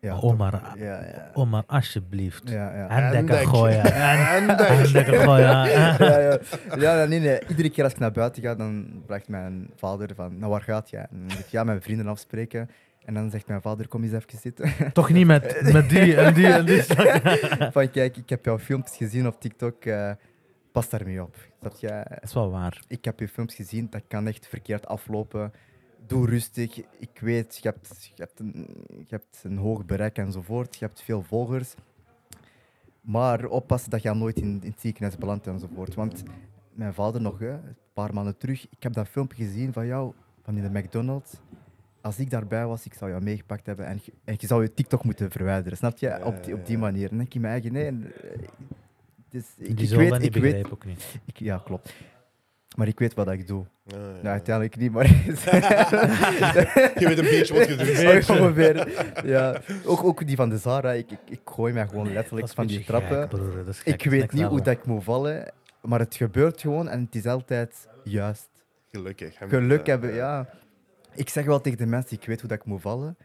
Speaker 3: ja,
Speaker 1: Maar
Speaker 3: toch.
Speaker 1: Omar,
Speaker 3: Ja, ja.
Speaker 1: Omar, alsjeblieft.
Speaker 3: Ja, ja.
Speaker 1: En dekken
Speaker 2: Handek.
Speaker 1: gooien. En
Speaker 2: En dat-
Speaker 1: en dekken gooien.
Speaker 3: Ja, ja. ja nee, nee. Iedere keer als ik naar buiten ga, dan vraagt mijn vader van, nou waar gaat jij? En dan zeg ik, ja, mijn vrienden afspreken. En dan zegt mijn vader, kom eens even zitten.
Speaker 1: Toch niet met, met die en die en die.
Speaker 3: van, kijk, ik heb jouw filmpjes gezien op TikTok, eh, pas daarmee op. Dat jij,
Speaker 1: Dat is wel waar.
Speaker 3: ik heb je films gezien, dat kan echt verkeerd aflopen. doe rustig. Ik weet, je hebt, je, hebt een, je hebt een hoog bereik enzovoort. Je hebt veel volgers. Maar oppassen dat je nooit in, in het ziekenhuis belandt enzovoort. Want mijn vader nog, hè, een paar maanden terug, ik heb dat filmpje gezien van jou, van in de McDonald's. Als ik daarbij was, ik zou jou meegepakt hebben en, je- en je zou je TikTok moeten verwijderen. Snap je? Op die, op die manier. En dan denk ik in mijn eigen, nee. eh, Dus, ik,
Speaker 1: Die
Speaker 3: ik
Speaker 1: zullen dat
Speaker 3: weet,
Speaker 1: niet
Speaker 3: ik weet,
Speaker 1: begrijpen ook niet.
Speaker 3: ik- ja, klopt. Maar ik weet wat ik doe.
Speaker 2: Ja, ja.
Speaker 3: Nou, uiteindelijk niet, maar...
Speaker 2: Je weet een beetje wat je doet.
Speaker 3: Zo ongeveer. Ja. Ook, ook die van de Zara, ik, ik, ik gooi mij gewoon letterlijk
Speaker 1: Dat is
Speaker 3: van
Speaker 1: een
Speaker 3: die
Speaker 1: beetje
Speaker 3: trappen.
Speaker 1: gek, broer. Dat is gek,
Speaker 3: ik
Speaker 1: dat is
Speaker 3: weet
Speaker 1: next
Speaker 3: niet hoe
Speaker 1: level.
Speaker 3: dat ik moet vallen, maar het gebeurt gewoon en het is altijd juist.
Speaker 2: Gelukkig. eh, hè.
Speaker 3: Geluk hebben, ja. Ik zeg wel tegen de mensen, ik weet hoe dat ik moet vallen.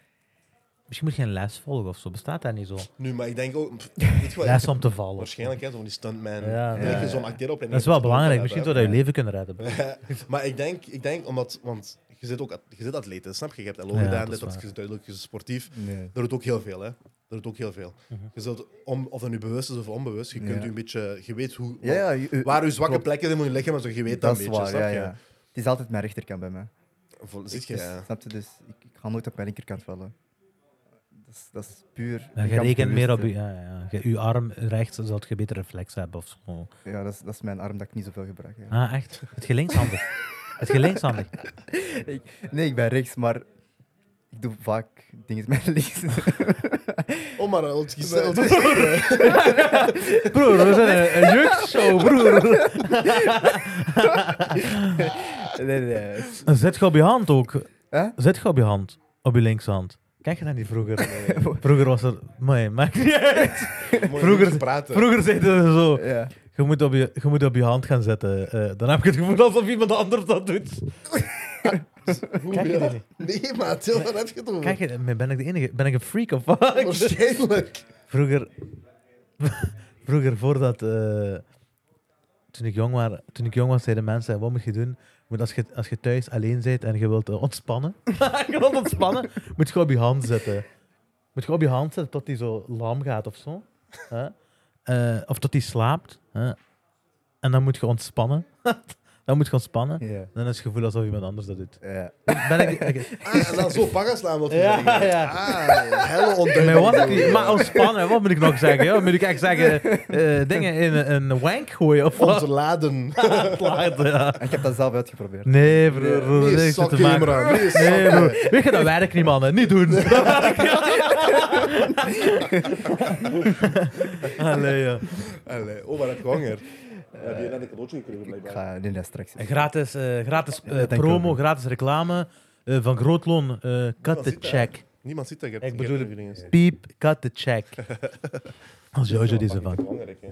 Speaker 1: Misschien moet je een les volgen of zo. Bestaat dat niet zo?
Speaker 2: Nu, maar ik denk ook... pff, Weet je wat,
Speaker 1: Les om te vallen.
Speaker 2: Waarschijnlijk, hè, zo'n die stuntman.
Speaker 1: Ja,
Speaker 2: Ik denk
Speaker 1: ja.
Speaker 2: je zo'n acteeropleiding
Speaker 1: Dat is
Speaker 2: moet
Speaker 1: wel
Speaker 2: je
Speaker 1: belangrijk.
Speaker 2: ook
Speaker 1: Misschien
Speaker 2: hebben,
Speaker 1: zou dat je leven kunnen redden. bro.
Speaker 2: maar ik denk, ik denk omdat... Want je zit ook je zit atleet, hè, snap je? Je hebt LO
Speaker 1: Ja,
Speaker 2: gedaan,
Speaker 1: dat is
Speaker 2: dit, dat
Speaker 1: waar.
Speaker 2: je zit duidelijk, je zit sportief.
Speaker 3: Nee.
Speaker 2: Dat doet ook heel veel, hè. Dat doet ook heel veel.
Speaker 1: Mhm.
Speaker 2: Je zult, om, of dat nu bewust is of onbewust, je kunt
Speaker 3: Ja.
Speaker 2: je een beetje... Je weet hoe,
Speaker 3: Ja, ja, je- je-
Speaker 2: waar je zwakke
Speaker 3: klopt.
Speaker 2: plekken zijn in je lichaam, zo je weet dat,
Speaker 3: Dat is
Speaker 2: een beetje,
Speaker 3: waar,
Speaker 2: snap
Speaker 3: ja,
Speaker 2: je?
Speaker 3: ja. Het is altijd mijn rechterkant bij mij.
Speaker 2: Vol-
Speaker 3: Ik,
Speaker 2: zit je,
Speaker 3: dus-
Speaker 2: ja.
Speaker 3: Snap je? Dus ik, ik ga nooit op mijn linkerkant vallen. Dat is, dat is puur...
Speaker 1: Ja, je
Speaker 3: lichaamsbewust,
Speaker 1: rekent meer op
Speaker 3: hè.
Speaker 1: je, ja, ja. Je, je arm rechts, dan zult je beter reflex hebben of zo.
Speaker 3: Ja, dat is, dat is mijn arm dat ik niet zoveel gebruik. ja.
Speaker 1: Ah, echt? Het je linkshandig? Het je linkshandig?
Speaker 3: Ik- nee, ik ben rechts, maar ik doe vaak dingen met links.
Speaker 2: Oh, maar eh, wat je zei- wat-
Speaker 5: Broer, we zijn een, een show, broer.
Speaker 3: nee, nee.
Speaker 1: Zet je op je hand ook.
Speaker 3: Hè?
Speaker 1: Zet je op je hand. Op je linkshand. Kijk je dat niet vroeger? Vroeger was er... Mooi, maakt niet uit.
Speaker 2: mooi
Speaker 1: Vroeger-
Speaker 2: praten.
Speaker 1: Vroeger zeiden ze zo...
Speaker 3: Ja.
Speaker 1: Je moet op je, je, moet op je hand gaan zetten. eh, dan heb je het gevoel alsof iemand anders dat doet.
Speaker 2: Hoe
Speaker 1: Kijk je
Speaker 2: ja?
Speaker 1: dat niet?
Speaker 2: Nee, maar Til, waar heb je het over?
Speaker 1: Kijk, je- ben ik de enige? Ben ik een freak of
Speaker 2: Oh,
Speaker 1: wat?
Speaker 2: Waarschijnlijk.
Speaker 1: Vroeger, vroeger voordat. eh, toen, ik jong was, toen ik jong was, zeiden mensen: wat moet je doen? Moet als, je, als je thuis alleen bent en je wilt eh, ontspannen, je wilt ontspannen, moet je op je hand zetten. Moet je op je hand zetten tot hij zo lam gaat of zo. hè? Eh, of tot hij slaapt. hè? En dan moet je ontspannen. dan moet je ontspannen.
Speaker 3: Ja.
Speaker 1: Dan is het gevoel alsof iemand anders dat doet.
Speaker 3: Ja.
Speaker 1: Ben ik, ik-
Speaker 2: Ah, en dan zo pakken slaan wat je
Speaker 1: Ja,
Speaker 2: zeggen.
Speaker 1: ja.
Speaker 2: Ah, helle
Speaker 1: Maar
Speaker 2: onduidelijk.
Speaker 1: wat ik niet- maar ontspannen, wat moet ik nog zeggen? joh? Moet ik echt zeggen, eh, dingen in een- een wank gooien of wat?
Speaker 2: Ontladen.
Speaker 1: Ontladen, ja.
Speaker 3: En ik heb dat zelf uitgeprobeerd.
Speaker 1: Nee, broer, broer, dat
Speaker 2: Nee,
Speaker 1: heeft niks te maken.
Speaker 2: zakcamera. Nee,
Speaker 1: Nee,
Speaker 2: zak-
Speaker 1: broer. Weet je, dat werkt niet, mannen. Niet doen. Allee, ja.
Speaker 2: Allee, oh, maar dat kwam er. Heb je net een cadeautje gekregen,
Speaker 3: Ik
Speaker 2: blijkbaar?
Speaker 3: ga nee, nee, straks.
Speaker 1: Een Gratis, eh, gratis eh,
Speaker 3: dat denk ik
Speaker 1: promo,
Speaker 3: ook.
Speaker 1: gratis reclame eh, van Grootloon. eh cut
Speaker 2: Dat
Speaker 1: the
Speaker 2: ziet hij.
Speaker 1: check.
Speaker 2: Niemand ziet dat. Je
Speaker 1: Ik
Speaker 2: hebt, je
Speaker 1: bedoel-
Speaker 2: hebt nog dingen.
Speaker 1: Piep, cut the check. Als Jojo deze van.
Speaker 2: Belangrijk, hè.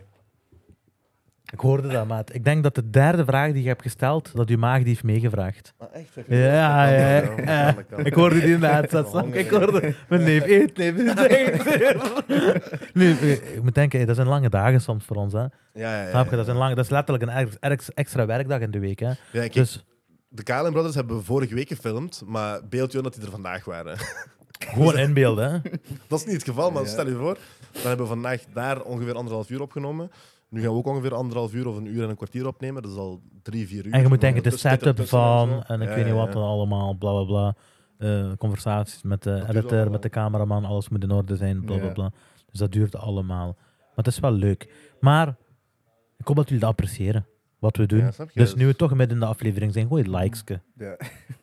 Speaker 1: Ik hoorde dat, maat. Ik denk dat de derde vraag die je hebt gesteld, dat je maag die heeft meegevraagd.
Speaker 2: Maar echt, heb je-
Speaker 1: Ja,
Speaker 2: Dat kan,
Speaker 1: ja.
Speaker 2: dat kan,
Speaker 1: ja.
Speaker 2: dat kan.
Speaker 1: Ik hoorde die in de uitzet.
Speaker 2: Honger,
Speaker 1: Ik
Speaker 2: ja.
Speaker 1: hoorde mijn neef eet, neef eet, eet. Nu, eh, ik moet denken, hé, dat zijn lange dagen soms voor ons. Hè.
Speaker 2: Ja, ja,
Speaker 1: Snap je?
Speaker 2: ja.
Speaker 1: Dat, zijn lang, dat is letterlijk een erg- erg extra werkdag in de week. Hè.
Speaker 2: Ja, kijk,
Speaker 1: Dus
Speaker 2: De KLM Brothers hebben we vorige week gefilmd, maar beeld je in dat die er vandaag waren.
Speaker 1: gewoon inbeelden. Hè.
Speaker 2: Dat is niet het geval, maar
Speaker 3: Ja.
Speaker 2: stel je voor. Dan hebben we vandaag daar ongeveer anderhalf uur opgenomen. Nu gaan we ook ongeveer anderhalf uur of een uur en een kwartier opnemen. Dat is al drie, vier uur.
Speaker 1: En je moet denken, de
Speaker 2: Dus dit
Speaker 1: setup
Speaker 2: ertussen en
Speaker 1: van,
Speaker 2: zo.
Speaker 1: en ik
Speaker 2: Ja,
Speaker 1: weet niet
Speaker 2: ja,
Speaker 1: wat
Speaker 2: ja.
Speaker 1: dan allemaal, bla bla bla. Eh, conversaties met de
Speaker 2: duurt
Speaker 1: editor,
Speaker 2: allemaal.
Speaker 1: met de cameraman, alles moet in orde zijn, bla bla
Speaker 3: Ja.
Speaker 1: bla. Dus dat duurt allemaal. Maar het is wel leuk. Maar ik hoop dat jullie dat appreciëren, wat we doen.
Speaker 2: Ja, snap je? Mm.
Speaker 1: dus nu we toch midden in de aflevering zijn, gooi een likeske.
Speaker 3: Ja.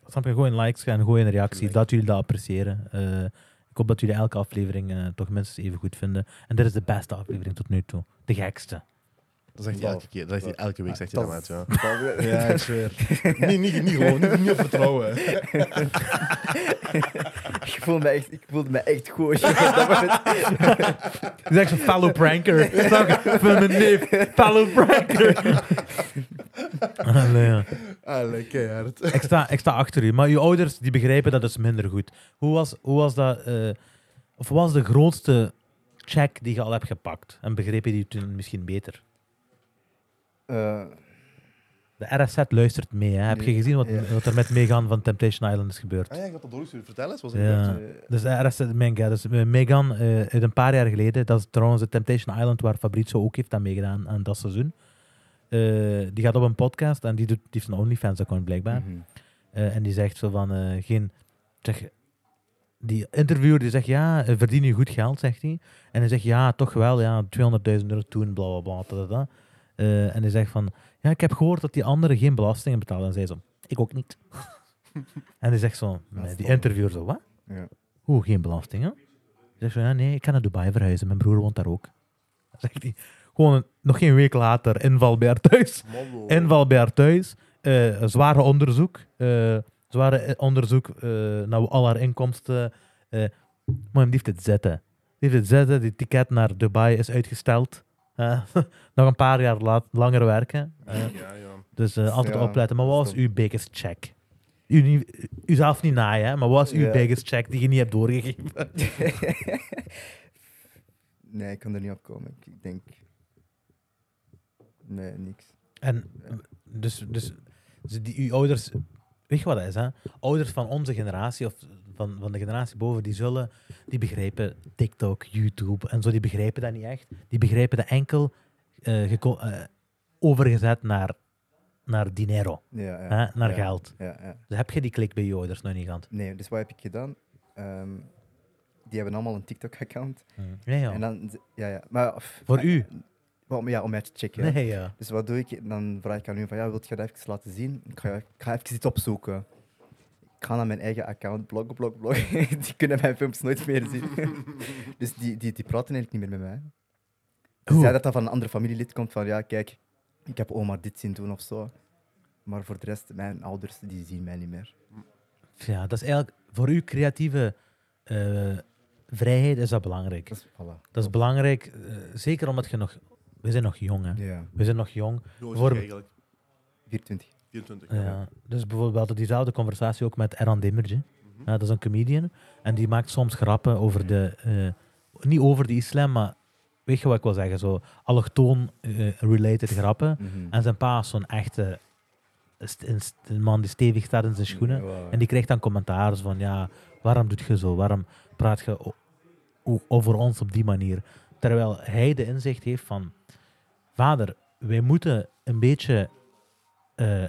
Speaker 1: Snap je? Gooi een likeske en gooi een reactie, dat jullie dat appreciëren. Eh, ik hoop dat jullie elke aflevering eh, toch minstens even goed vinden. En dit is de beste aflevering tot nu toe. De gekste.
Speaker 2: Dat zegt hij elke keer. Dat zegt hij elke week,
Speaker 1: Ah,
Speaker 2: zegt hij dat,
Speaker 3: Dat is-
Speaker 2: maat, ja.
Speaker 3: dat is-
Speaker 2: Ja, ik zweer. niet, niet, niet gewoon, niet, niet op vertrouwen.
Speaker 3: Ik voelde me echt, ik voelde me echt goed. Dat was het.
Speaker 1: Dat is echt zo'n fellow pranker. Snap je? Van mijn neef. Fellow pranker. Allee, ja.
Speaker 2: Ah, lekker hard.
Speaker 1: ik, sta, ik sta achter u. Maar uw ouders die begrijpen dat dus minder goed. Hoe was, hoe was dat... eh, of wat was de grootste check die je al hebt gepakt? En begrepen die toen misschien beter?
Speaker 3: Eh,
Speaker 1: De RSZ luistert mee. Hè? Heb je
Speaker 3: Nee.
Speaker 1: gezien wat,
Speaker 3: Ja.
Speaker 1: wat er met Megan van Temptation Island is gebeurd?
Speaker 2: Ah ja, ik had dat doorgestuurd. Vertel eens, was het
Speaker 1: Ja.
Speaker 2: gebeurd?
Speaker 1: Dus de RSZ, mijn guy, dus eh, Megan, eh, uit een paar jaar geleden, dat is trouwens de Temptation Island waar Fabrizio ook heeft aan meegedaan aan dat seizoen. Eh, die gaat op een podcast en die, doet, die heeft een OnlyFans-account blijkbaar.
Speaker 3: mhm.
Speaker 1: Eh, Eh, en die zegt zo van, eh, geen... Zeg, die interviewer die zegt, ja, eh, verdien je goed geld, zegt hij. En hij zegt, ja, toch wel, ja, 200.000 euro toen, bla, bla, bla, da, da, da. Eh, en hij zegt van, ja, ik heb gehoord dat die anderen geen belastingen betalen. En zij zo, ik ook niet. en hij zegt zo, nee, die interviewer zo, wat?
Speaker 3: Ja.
Speaker 1: Hoe, geen belastingen? Hij zegt zo, ja, nee, ik kan naar Dubai verhuizen, mijn broer woont daar ook. Dan Zegt hij, gewoon een- nog geen week later, inval bij haar thuis. Inval bij haar thuis. eh, een zware onderzoek. eh, zware eh, onderzoek eh, naar al haar inkomsten. eh maar hem die heeft het zetten. Die heeft het zetten, die ticket naar Dubai is uitgesteld. Eh, nog een paar jaar laat, langer werken. Eh,
Speaker 2: Ja, ja.
Speaker 1: dus eh, altijd
Speaker 3: Ja,
Speaker 1: opletten. Maar wat was
Speaker 3: dat is
Speaker 1: uw biggest check? U, niet- uzelf niet naaien, hè, maar wat was uw
Speaker 3: Ja.
Speaker 1: biggest check die je niet hebt doorgegeven?
Speaker 3: nee, ik kan er niet op komen. Ik- Ik denk. Nee, niks.
Speaker 1: En dus, dus, dus die, uw ouders, weet je wat dat is, hè? Ouders van onze generatie of van, van de generatie boven, die zullen, die begrijpen TikTok, YouTube en zo, die begrijpen dat niet echt. Die begrijpen dat enkel eh, geco- eh, overgezet naar, naar dinero,
Speaker 3: Ja, ja.
Speaker 1: hè? Ah, naar
Speaker 3: ja.
Speaker 1: geld.
Speaker 3: Ja, ja.
Speaker 1: Dus heb je die klik bij je ouders nog niet gehad?
Speaker 3: Nee, dus wat heb ik gedaan? Ehm, die hebben allemaal een TikTok-account.
Speaker 1: Nee,
Speaker 3: En
Speaker 1: ja.
Speaker 3: dan, ja, ja. Maar, of-
Speaker 1: Voor u?
Speaker 3: Wel, ja, om mij te checken. hè.
Speaker 1: Nee, ja.
Speaker 3: Dus wat doe ik? Dan vraag ik aan hun van, ja, wilt je dat even laten zien? Ik ga, ik ga even iets opzoeken. Ik ga naar mijn eigen account, blog, blog, blog. die kunnen mijn films nooit meer zien. dus die, die, die praten eigenlijk niet meer met mij. Ze
Speaker 1: Oeh.
Speaker 3: zei dat dat van een ander familielid komt, van ja, kijk, ik heb oma dit zien doen of zo. Maar voor de rest, mijn ouders, die zien mij niet meer.
Speaker 1: Ja, dat is eigenlijk voor uw creatieve eh, vrijheid is dat belangrijk.
Speaker 3: Dus, voilà.
Speaker 1: Dat is belangrijk, eh, zeker omdat je nog, we zijn nog jong, hè?
Speaker 3: Ja,
Speaker 1: We zijn nog jong.
Speaker 2: Nooit
Speaker 1: Voor-
Speaker 2: eigenlijk.
Speaker 3: 24.
Speaker 2: 24.
Speaker 1: Ja. Dus bijvoorbeeld we hadden diezelfde conversatie ook met Eran Dimmertje. Ja, dat is een comedian. En die maakt soms grappen over de... eh, niet over de islam, maar... Weet je wat ik wil zeggen? Zo allochtoon-related grappen.
Speaker 3: Mhm.
Speaker 1: En zijn pa is zo'n echte... st- een st- een man die stevig staat in zijn schoenen.
Speaker 3: Ja,
Speaker 1: En die krijgt dan commentaars van, ja, waarom doet je zo? Waarom praat je o- o- over ons op die manier? Terwijl hij de inzicht heeft van, vader, wij moeten een beetje eh,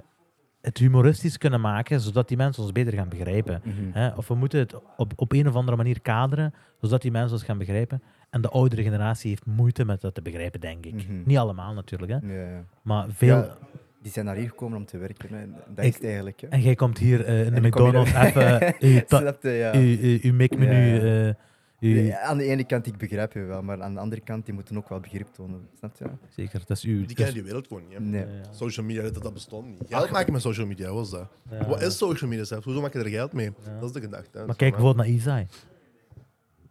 Speaker 1: het humoristisch kunnen maken, zodat die mensen ons beter gaan begrijpen.
Speaker 3: Mhm.
Speaker 1: Hè? Of we moeten het op, op een of andere manier kaderen, zodat die mensen ons gaan begrijpen. En de oudere generatie heeft moeite met dat te begrijpen, denk ik.
Speaker 3: Mhm.
Speaker 1: Niet allemaal natuurlijk, hè?
Speaker 3: Ja, ja.
Speaker 1: maar veel.
Speaker 3: Ja, die zijn naar hier gekomen om te werken. hè. Dat
Speaker 1: Ik-
Speaker 3: is het eigenlijk. Hè.
Speaker 1: En jij komt hier eh, in de
Speaker 3: En ik kom hier-
Speaker 1: McDonald's even je ta-
Speaker 3: Snap je, ja.
Speaker 1: uw, uw, uw menu
Speaker 3: Ja.
Speaker 1: uw,
Speaker 3: Ja, aan de ene kant, ik begrijp je wel, maar aan de andere kant, die moeten ook wel begrip tonen. Snap je?
Speaker 1: zeker, dat is uw...
Speaker 2: Die
Speaker 1: dat is-
Speaker 2: kennen die wereld gewoon niet. hè.
Speaker 3: Nee.
Speaker 1: ja.
Speaker 2: Social media, dat, dat bestond niet. Geld maken met social media, was dat?
Speaker 1: Ja.
Speaker 2: Wat is social media zelfs? Hoezo maak je er geld mee? Dat is de gedachte. hè.
Speaker 1: Maar kijk
Speaker 2: Zo, hè.
Speaker 1: bijvoorbeeld naar Isai.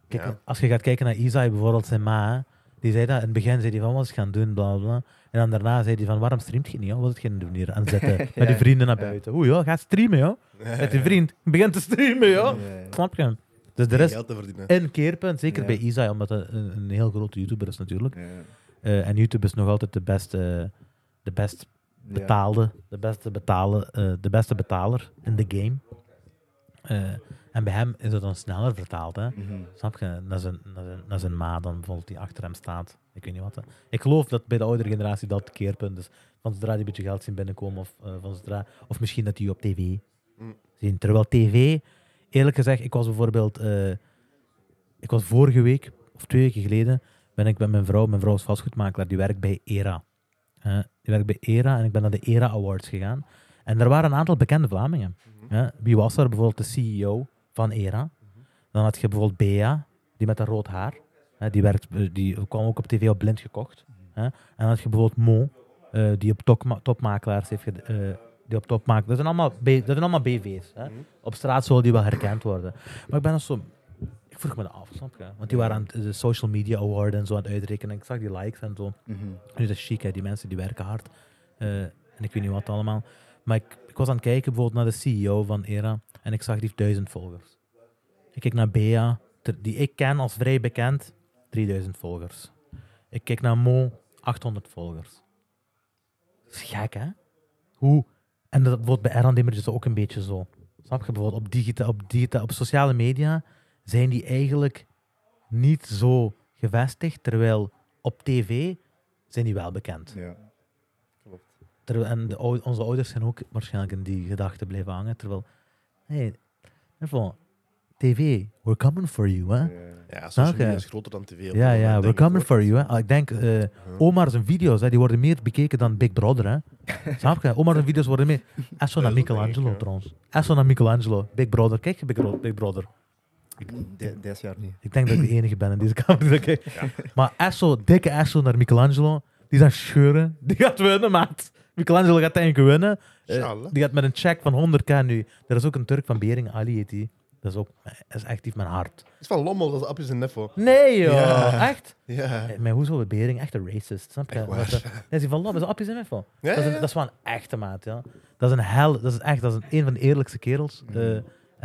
Speaker 1: Kijk,
Speaker 2: Ja.
Speaker 1: Als je gaat kijken naar Isai, bijvoorbeeld zijn ma, hè, die zei dat in het begin, zei hij van wat is gaan doen, bla bla, bla. En dan daarna zei hij van waarom streamt je niet, joh? wat is het gaan doen hier aan het zetten met je vrienden naar buiten. Oeh, joh, ga streamen, joh. Met je vriend, begin te streamen, joh.
Speaker 3: Ja, ja.
Speaker 1: Snap je? Dus er is
Speaker 2: Geld te verdienen.
Speaker 1: een keerpunt, zeker
Speaker 3: Ja.
Speaker 1: bij Isai, omdat hij een, een heel grote YouTuber is natuurlijk.
Speaker 3: Ja.
Speaker 1: Eh, en YouTube is nog altijd de beste, de best betaalde, de beste, betalen, eh, de beste betaler in de game. Eh, en bij hem is dat dan sneller vertaald. Hè?
Speaker 3: Mhm.
Speaker 1: Snap je? Naar zijn, naar, zijn, naar zijn ma dan bijvoorbeeld die achter hem staat. Ik weet niet wat. hè. Ik geloof dat bij de oudere generatie dat het keerpunt is. Van zodra die een beetje geld zien binnenkomen. Of, eh, van zodra, of misschien dat die op tv zien. Terwijl tv, eerlijk gezegd, ik was bijvoorbeeld... eh, ik was vorige week, of twee weken geleden, ben ik met mijn vrouw... Mijn vrouw is vastgoedmakelaar, die werkt bij ERA. Eh, die werkt bij ERA en ik ben naar de ERA Awards gegaan. En er waren een aantal bekende Vlamingen. Eh, wie was er? Bijvoorbeeld de CEO van E ERA. Dan had je bijvoorbeeld Bea, die met dat rood haar. Hè, die, werkt, eh, die kwam ook op tv op blind gekocht. Hè. En dan had je bijvoorbeeld Mo, eh, die op tokma- topmakelaars heeft... ged- eh, die op topmakelaars... Dat zijn allemaal, B- dat zijn allemaal BV's. Hè. Op straat zullen die wel herkend worden. Maar ik ben dan zo... Ik vroeg me dat af, snap je? Want die waren aan het- de social media award en zo aan het uitrekenen. Ik zag die likes en zo.
Speaker 3: Mhm.
Speaker 1: Nu, dat is chic, hè. die mensen die werken hard. Eh, en ik weet niet wat allemaal. Maar ik, ik was aan het kijken bijvoorbeeld naar de CEO van ERA. En ik zag die heeft duizend volgers. Ik kijk naar Bea, ter- die ik ken als vrij bekend, 3000 volgers. Ik kijk naar Mo, 800 volgers. Dat is gek, hè? Hoe? En dat wordt bij Eran Dimmer dus ook een beetje zo. Snap je? Bijvoorbeeld op, digita, op, digita, op sociale media zijn die eigenlijk niet zo gevestigd, terwijl op tv zijn die wel bekend.
Speaker 3: Ja.
Speaker 1: Terwijl, en de, ou- onze ouders zijn ook waarschijnlijk in die gedachte blijven hangen. Terwijl, hey, ervan, TV, we're coming for you, hè?
Speaker 2: Ja, social
Speaker 1: Oké.
Speaker 2: media is groter dan tv. op dit
Speaker 1: Ja,
Speaker 2: moment,
Speaker 1: ja,
Speaker 2: denk
Speaker 1: we're
Speaker 2: ik,
Speaker 1: coming
Speaker 2: hoor.
Speaker 1: for you. Hè. Ah, Ik denk, eh Omar zijn video's, hè, die worden meer bekeken dan Big Brother. Hè. Snap je? Omar zijn video's worden meer... Esso naar Michelangelo, trouwens. Esso naar Michelangelo. Big Brother. Kijk je Big, Bro- Big Brother?
Speaker 3: Mm, De- Dit jaar niet.
Speaker 1: Ik denk dat ik de enige ben in deze kamer die dat kijkt. Maar Esso, dikke Esso naar Michelangelo, die gaat scheuren. Die gaat winnen, maat. Michelangelo gaat eigenlijk winnen. Eh,
Speaker 2: Inshallah.
Speaker 1: die gaat met een check van 100k nu. Er is ook een Turk van Bering, Ali heet die. Dat is ook dat is echt diep mijn hart.
Speaker 2: Het is van Lommel, dat is Appjes en Neffo.
Speaker 1: Nee, joh. Echt?
Speaker 2: Ja.
Speaker 1: Eh, Maar hoezo we Bering? Echt een racist, snap je? Dat is- eh, dat is die van Lob, dat is Appie zijn van.
Speaker 2: Ja,
Speaker 1: Dat is,
Speaker 2: ja,
Speaker 1: een-
Speaker 2: ja.
Speaker 1: dat is wel een echte maat, ja. Dat is een hel, dat is echt, dat is een, een van de eerlijkste kerels. eh, en,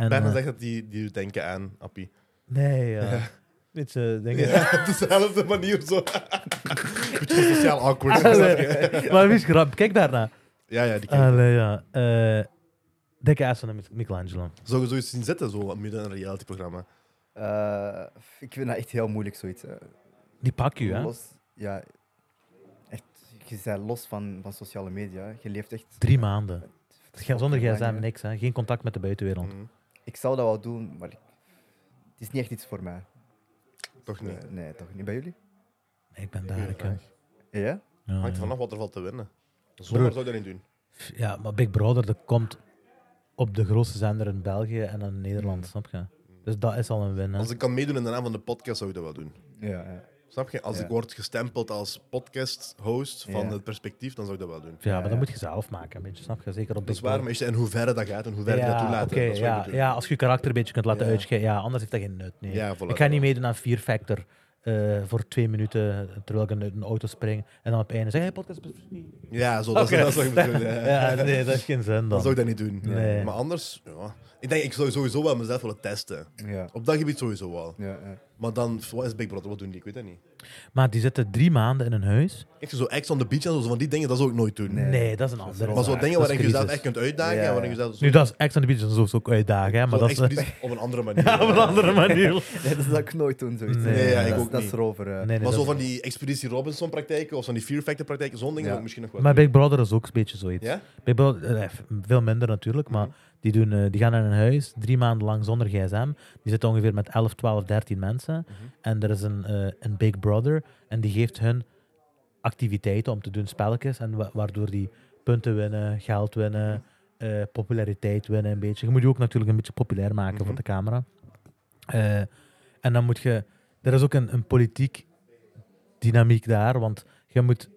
Speaker 2: Bijna
Speaker 1: eh,
Speaker 2: zegt dat die, die denken aan Appie.
Speaker 1: nee, ja. eh, Niet zo, denk ik.
Speaker 2: Ja, op dezelfde manier zo. Beetje sociaal awkward.
Speaker 1: Ah, Allee, maar wie is grap? Kijk daarna.
Speaker 2: Ja, ja, die kan
Speaker 1: Allee, ja. eh, dikke ass van Mich- Michelangelo.
Speaker 2: Zou je zoiets zien zitten, zo midden in een realityprogramma?
Speaker 3: Eh, ik vind dat echt heel moeilijk, zoiets. eh.
Speaker 1: Die pak je, hè?
Speaker 3: Los, ja, echt, je bent los van, van sociale media. hè. Je leeft echt...
Speaker 1: Drie maanden. Ge- Zonder
Speaker 3: Fucking
Speaker 1: gsm
Speaker 3: lang, hè.
Speaker 1: niks, hè? Geen contact met de buitenwereld.
Speaker 2: Mhm.
Speaker 3: Ik zou dat wel doen, maar ik- het is niet echt iets voor mij.
Speaker 2: Toch niet.
Speaker 3: Eh, nee, toch niet bij jullie?
Speaker 1: Ik ben daar. Ik, eh, ja,
Speaker 3: Ja?
Speaker 1: Ah, ja.
Speaker 2: Hangt er vanaf wat er valt te winnen.
Speaker 1: Broer.
Speaker 2: Zomaar zou je dat niet doen.
Speaker 1: Ja, maar Big Brother dat komt op de grootste zender in België en dan in Nederland, snap je? Dus dat is al een win. hè.
Speaker 2: Mm. Als ik kan meedoen in de naam van de podcast, zou ik dat wel doen.
Speaker 3: Ja, ja.
Speaker 2: Snap je? Als
Speaker 3: Ja.
Speaker 2: ik word gestempeld als podcast-host van
Speaker 3: Ja.
Speaker 2: het perspectief, dan zou ik dat wel doen.
Speaker 1: Ja, maar dat
Speaker 3: ja.
Speaker 1: moet je zelf maken, een beetje, snap je? Zeker op
Speaker 2: Dat is
Speaker 1: Big
Speaker 2: waar, maar
Speaker 1: Brother.
Speaker 2: is het in hoeverre dat gaat en hoeverre je dat
Speaker 1: ja,
Speaker 2: toelaat.
Speaker 1: oké,
Speaker 2: dat is wat je
Speaker 1: ja,
Speaker 2: moet doen.
Speaker 1: ja, als je je karakter een beetje kunt laten
Speaker 2: Ja.
Speaker 1: uitschijnen, ja, anders heeft dat geen nut. Nee.
Speaker 2: Ja, voilà,
Speaker 1: ik ga niet
Speaker 2: voilà.
Speaker 1: meedoen aan Fear Factor eh, voor twee minuten terwijl ik in een auto spring en dan op het einde zeg hey, podcast.
Speaker 2: Ja, zo, dat, is-
Speaker 1: Oké.
Speaker 2: dat zou ik moeten doen. Ja.
Speaker 1: Ja, nee, dat is geen zin
Speaker 2: Dan zou
Speaker 1: dan.
Speaker 2: ik dat niet doen.
Speaker 1: Nee.
Speaker 2: Maar anders, ja. Ik denk, ik zou sowieso wel mezelf willen testen.
Speaker 3: Ja,
Speaker 2: Op dat gebied sowieso wel.
Speaker 3: ja, ja.
Speaker 2: Maar dan, wat is Big Brother? Wat doen die? Ik weet dat niet.
Speaker 1: Maar die zitten drie maanden in een huis.
Speaker 2: Echt zo ex on the beach en zo, zo van die dingen, dat zou ik nooit doen.
Speaker 1: Nee, dat is een andere.
Speaker 2: Maar zo
Speaker 1: zaak.
Speaker 2: dingen
Speaker 1: Dat
Speaker 2: waarin
Speaker 1: is
Speaker 2: je jezelf
Speaker 1: crisis.
Speaker 2: echt kunt uitdagen
Speaker 3: Ja,
Speaker 2: en
Speaker 3: ja.
Speaker 2: waarin je jezelf zo,
Speaker 1: Nu, dat is echt aan de beach, dat is ook uitdagen, hè, maar
Speaker 2: zo
Speaker 1: dat is eh,
Speaker 2: expliciet op een andere manier.
Speaker 1: op een andere manier.
Speaker 3: Nee, dat zou ik nooit doen, zoiets.
Speaker 1: Nee,
Speaker 2: ja, ik
Speaker 3: dat,
Speaker 2: ook
Speaker 3: dat
Speaker 2: niet.
Speaker 3: is erover. eh.
Speaker 1: Nee, nee,
Speaker 2: Maar
Speaker 1: dat
Speaker 2: zo
Speaker 1: is-
Speaker 2: van die Expeditie Robinson praktijken of van die Fear Factor praktijken, zo'n dingen
Speaker 3: Ja.
Speaker 2: zou ik misschien nog wel
Speaker 1: Maar
Speaker 2: doen.
Speaker 1: Big Brother is ook een beetje zoiets.
Speaker 2: Ja? Mhm.
Speaker 1: Big Brother, eh, f- veel minder natuurlijk, maar die, doen, eh, die gaan naar een huis, drie maanden lang zonder gsm. Die zitten ongeveer met 11, 12, 13 mensen.
Speaker 2: Mhm.
Speaker 1: En er is een, eh, een Big Brother en die geeft hun activiteiten om te doen, spelletjes. En wa- waardoor die punten winnen, geld winnen, eh, populariteit winnen een beetje. Je moet je ook natuurlijk een beetje populair maken
Speaker 2: Mhm.
Speaker 1: voor de camera. Eh, en dan moet je... Er is ook een, een politiek dynamiek daar, want je moet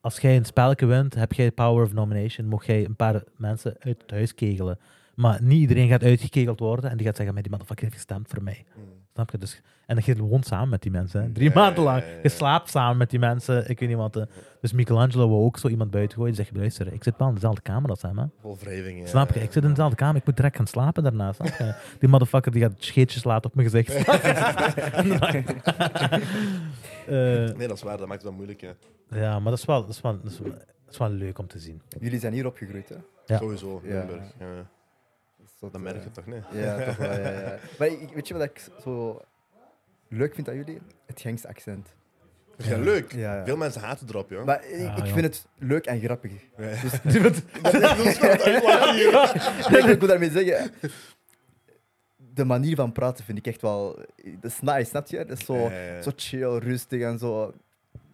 Speaker 1: als jij een spelletje wint, heb jij power of nomination, mocht jij een paar mensen uit het huis kegelen. Maar niet iedereen gaat uitgekegeld worden en die gaat zeggen, maar die motherfucker heeft gestemd voor mij. Snap je? Dus, en dan je woont samen met die mensen. hè. Drie
Speaker 2: Hmm. Ja, ja,
Speaker 1: maanden lang.
Speaker 2: ja, ja, ja.
Speaker 1: Je slaapt samen met die mensen. Ik weet niet wat. hè. Dus Michelangelo wil ook zo iemand buiten gooien. Die zegt, luister, ik zit wel in dezelfde kamer als hem. Hè.
Speaker 2: Vol wrijving. ja.
Speaker 1: Snap je? Ik zit in dezelfde kamer. Ik moet direct gaan slapen daarna. Snap je? Die motherfucker die gaat scheetjes laten op mijn gezicht. Eh,
Speaker 2: Nee, dat is waar, dat maakt het wel moeilijk. Hè.
Speaker 1: ja, maar dat is, wel, dat, is wel, dat, is, wel- dat is wel leuk om te zien.
Speaker 3: Jullie zijn hier opgegroeid, hè?
Speaker 1: Ja.
Speaker 2: Sowieso,
Speaker 3: Ja.
Speaker 2: Limburg. Ja.
Speaker 3: Tot,
Speaker 2: Dat
Speaker 3: eh,
Speaker 2: merk je toch, nee?
Speaker 3: Ja, toch wel, ja, ja. Maar ik- weet je wat ik zo leuk vind aan jullie? Het Genks accent.
Speaker 2: Ja, leuk.
Speaker 3: Ja, ja.
Speaker 2: Veel mensen haten erop, joh.
Speaker 3: Maar ik,
Speaker 1: Ah, Ja,
Speaker 3: ik
Speaker 1: joh.
Speaker 3: vind het leuk en grappig. Dus,
Speaker 2: Ja.
Speaker 3: Nee, ik wil daarmee zeggen. De manier van praten vind ik echt wel. Dat is nice, snap je? Dat is zo,
Speaker 2: Ja, ja, ja.
Speaker 3: zo chill, rustig en zo.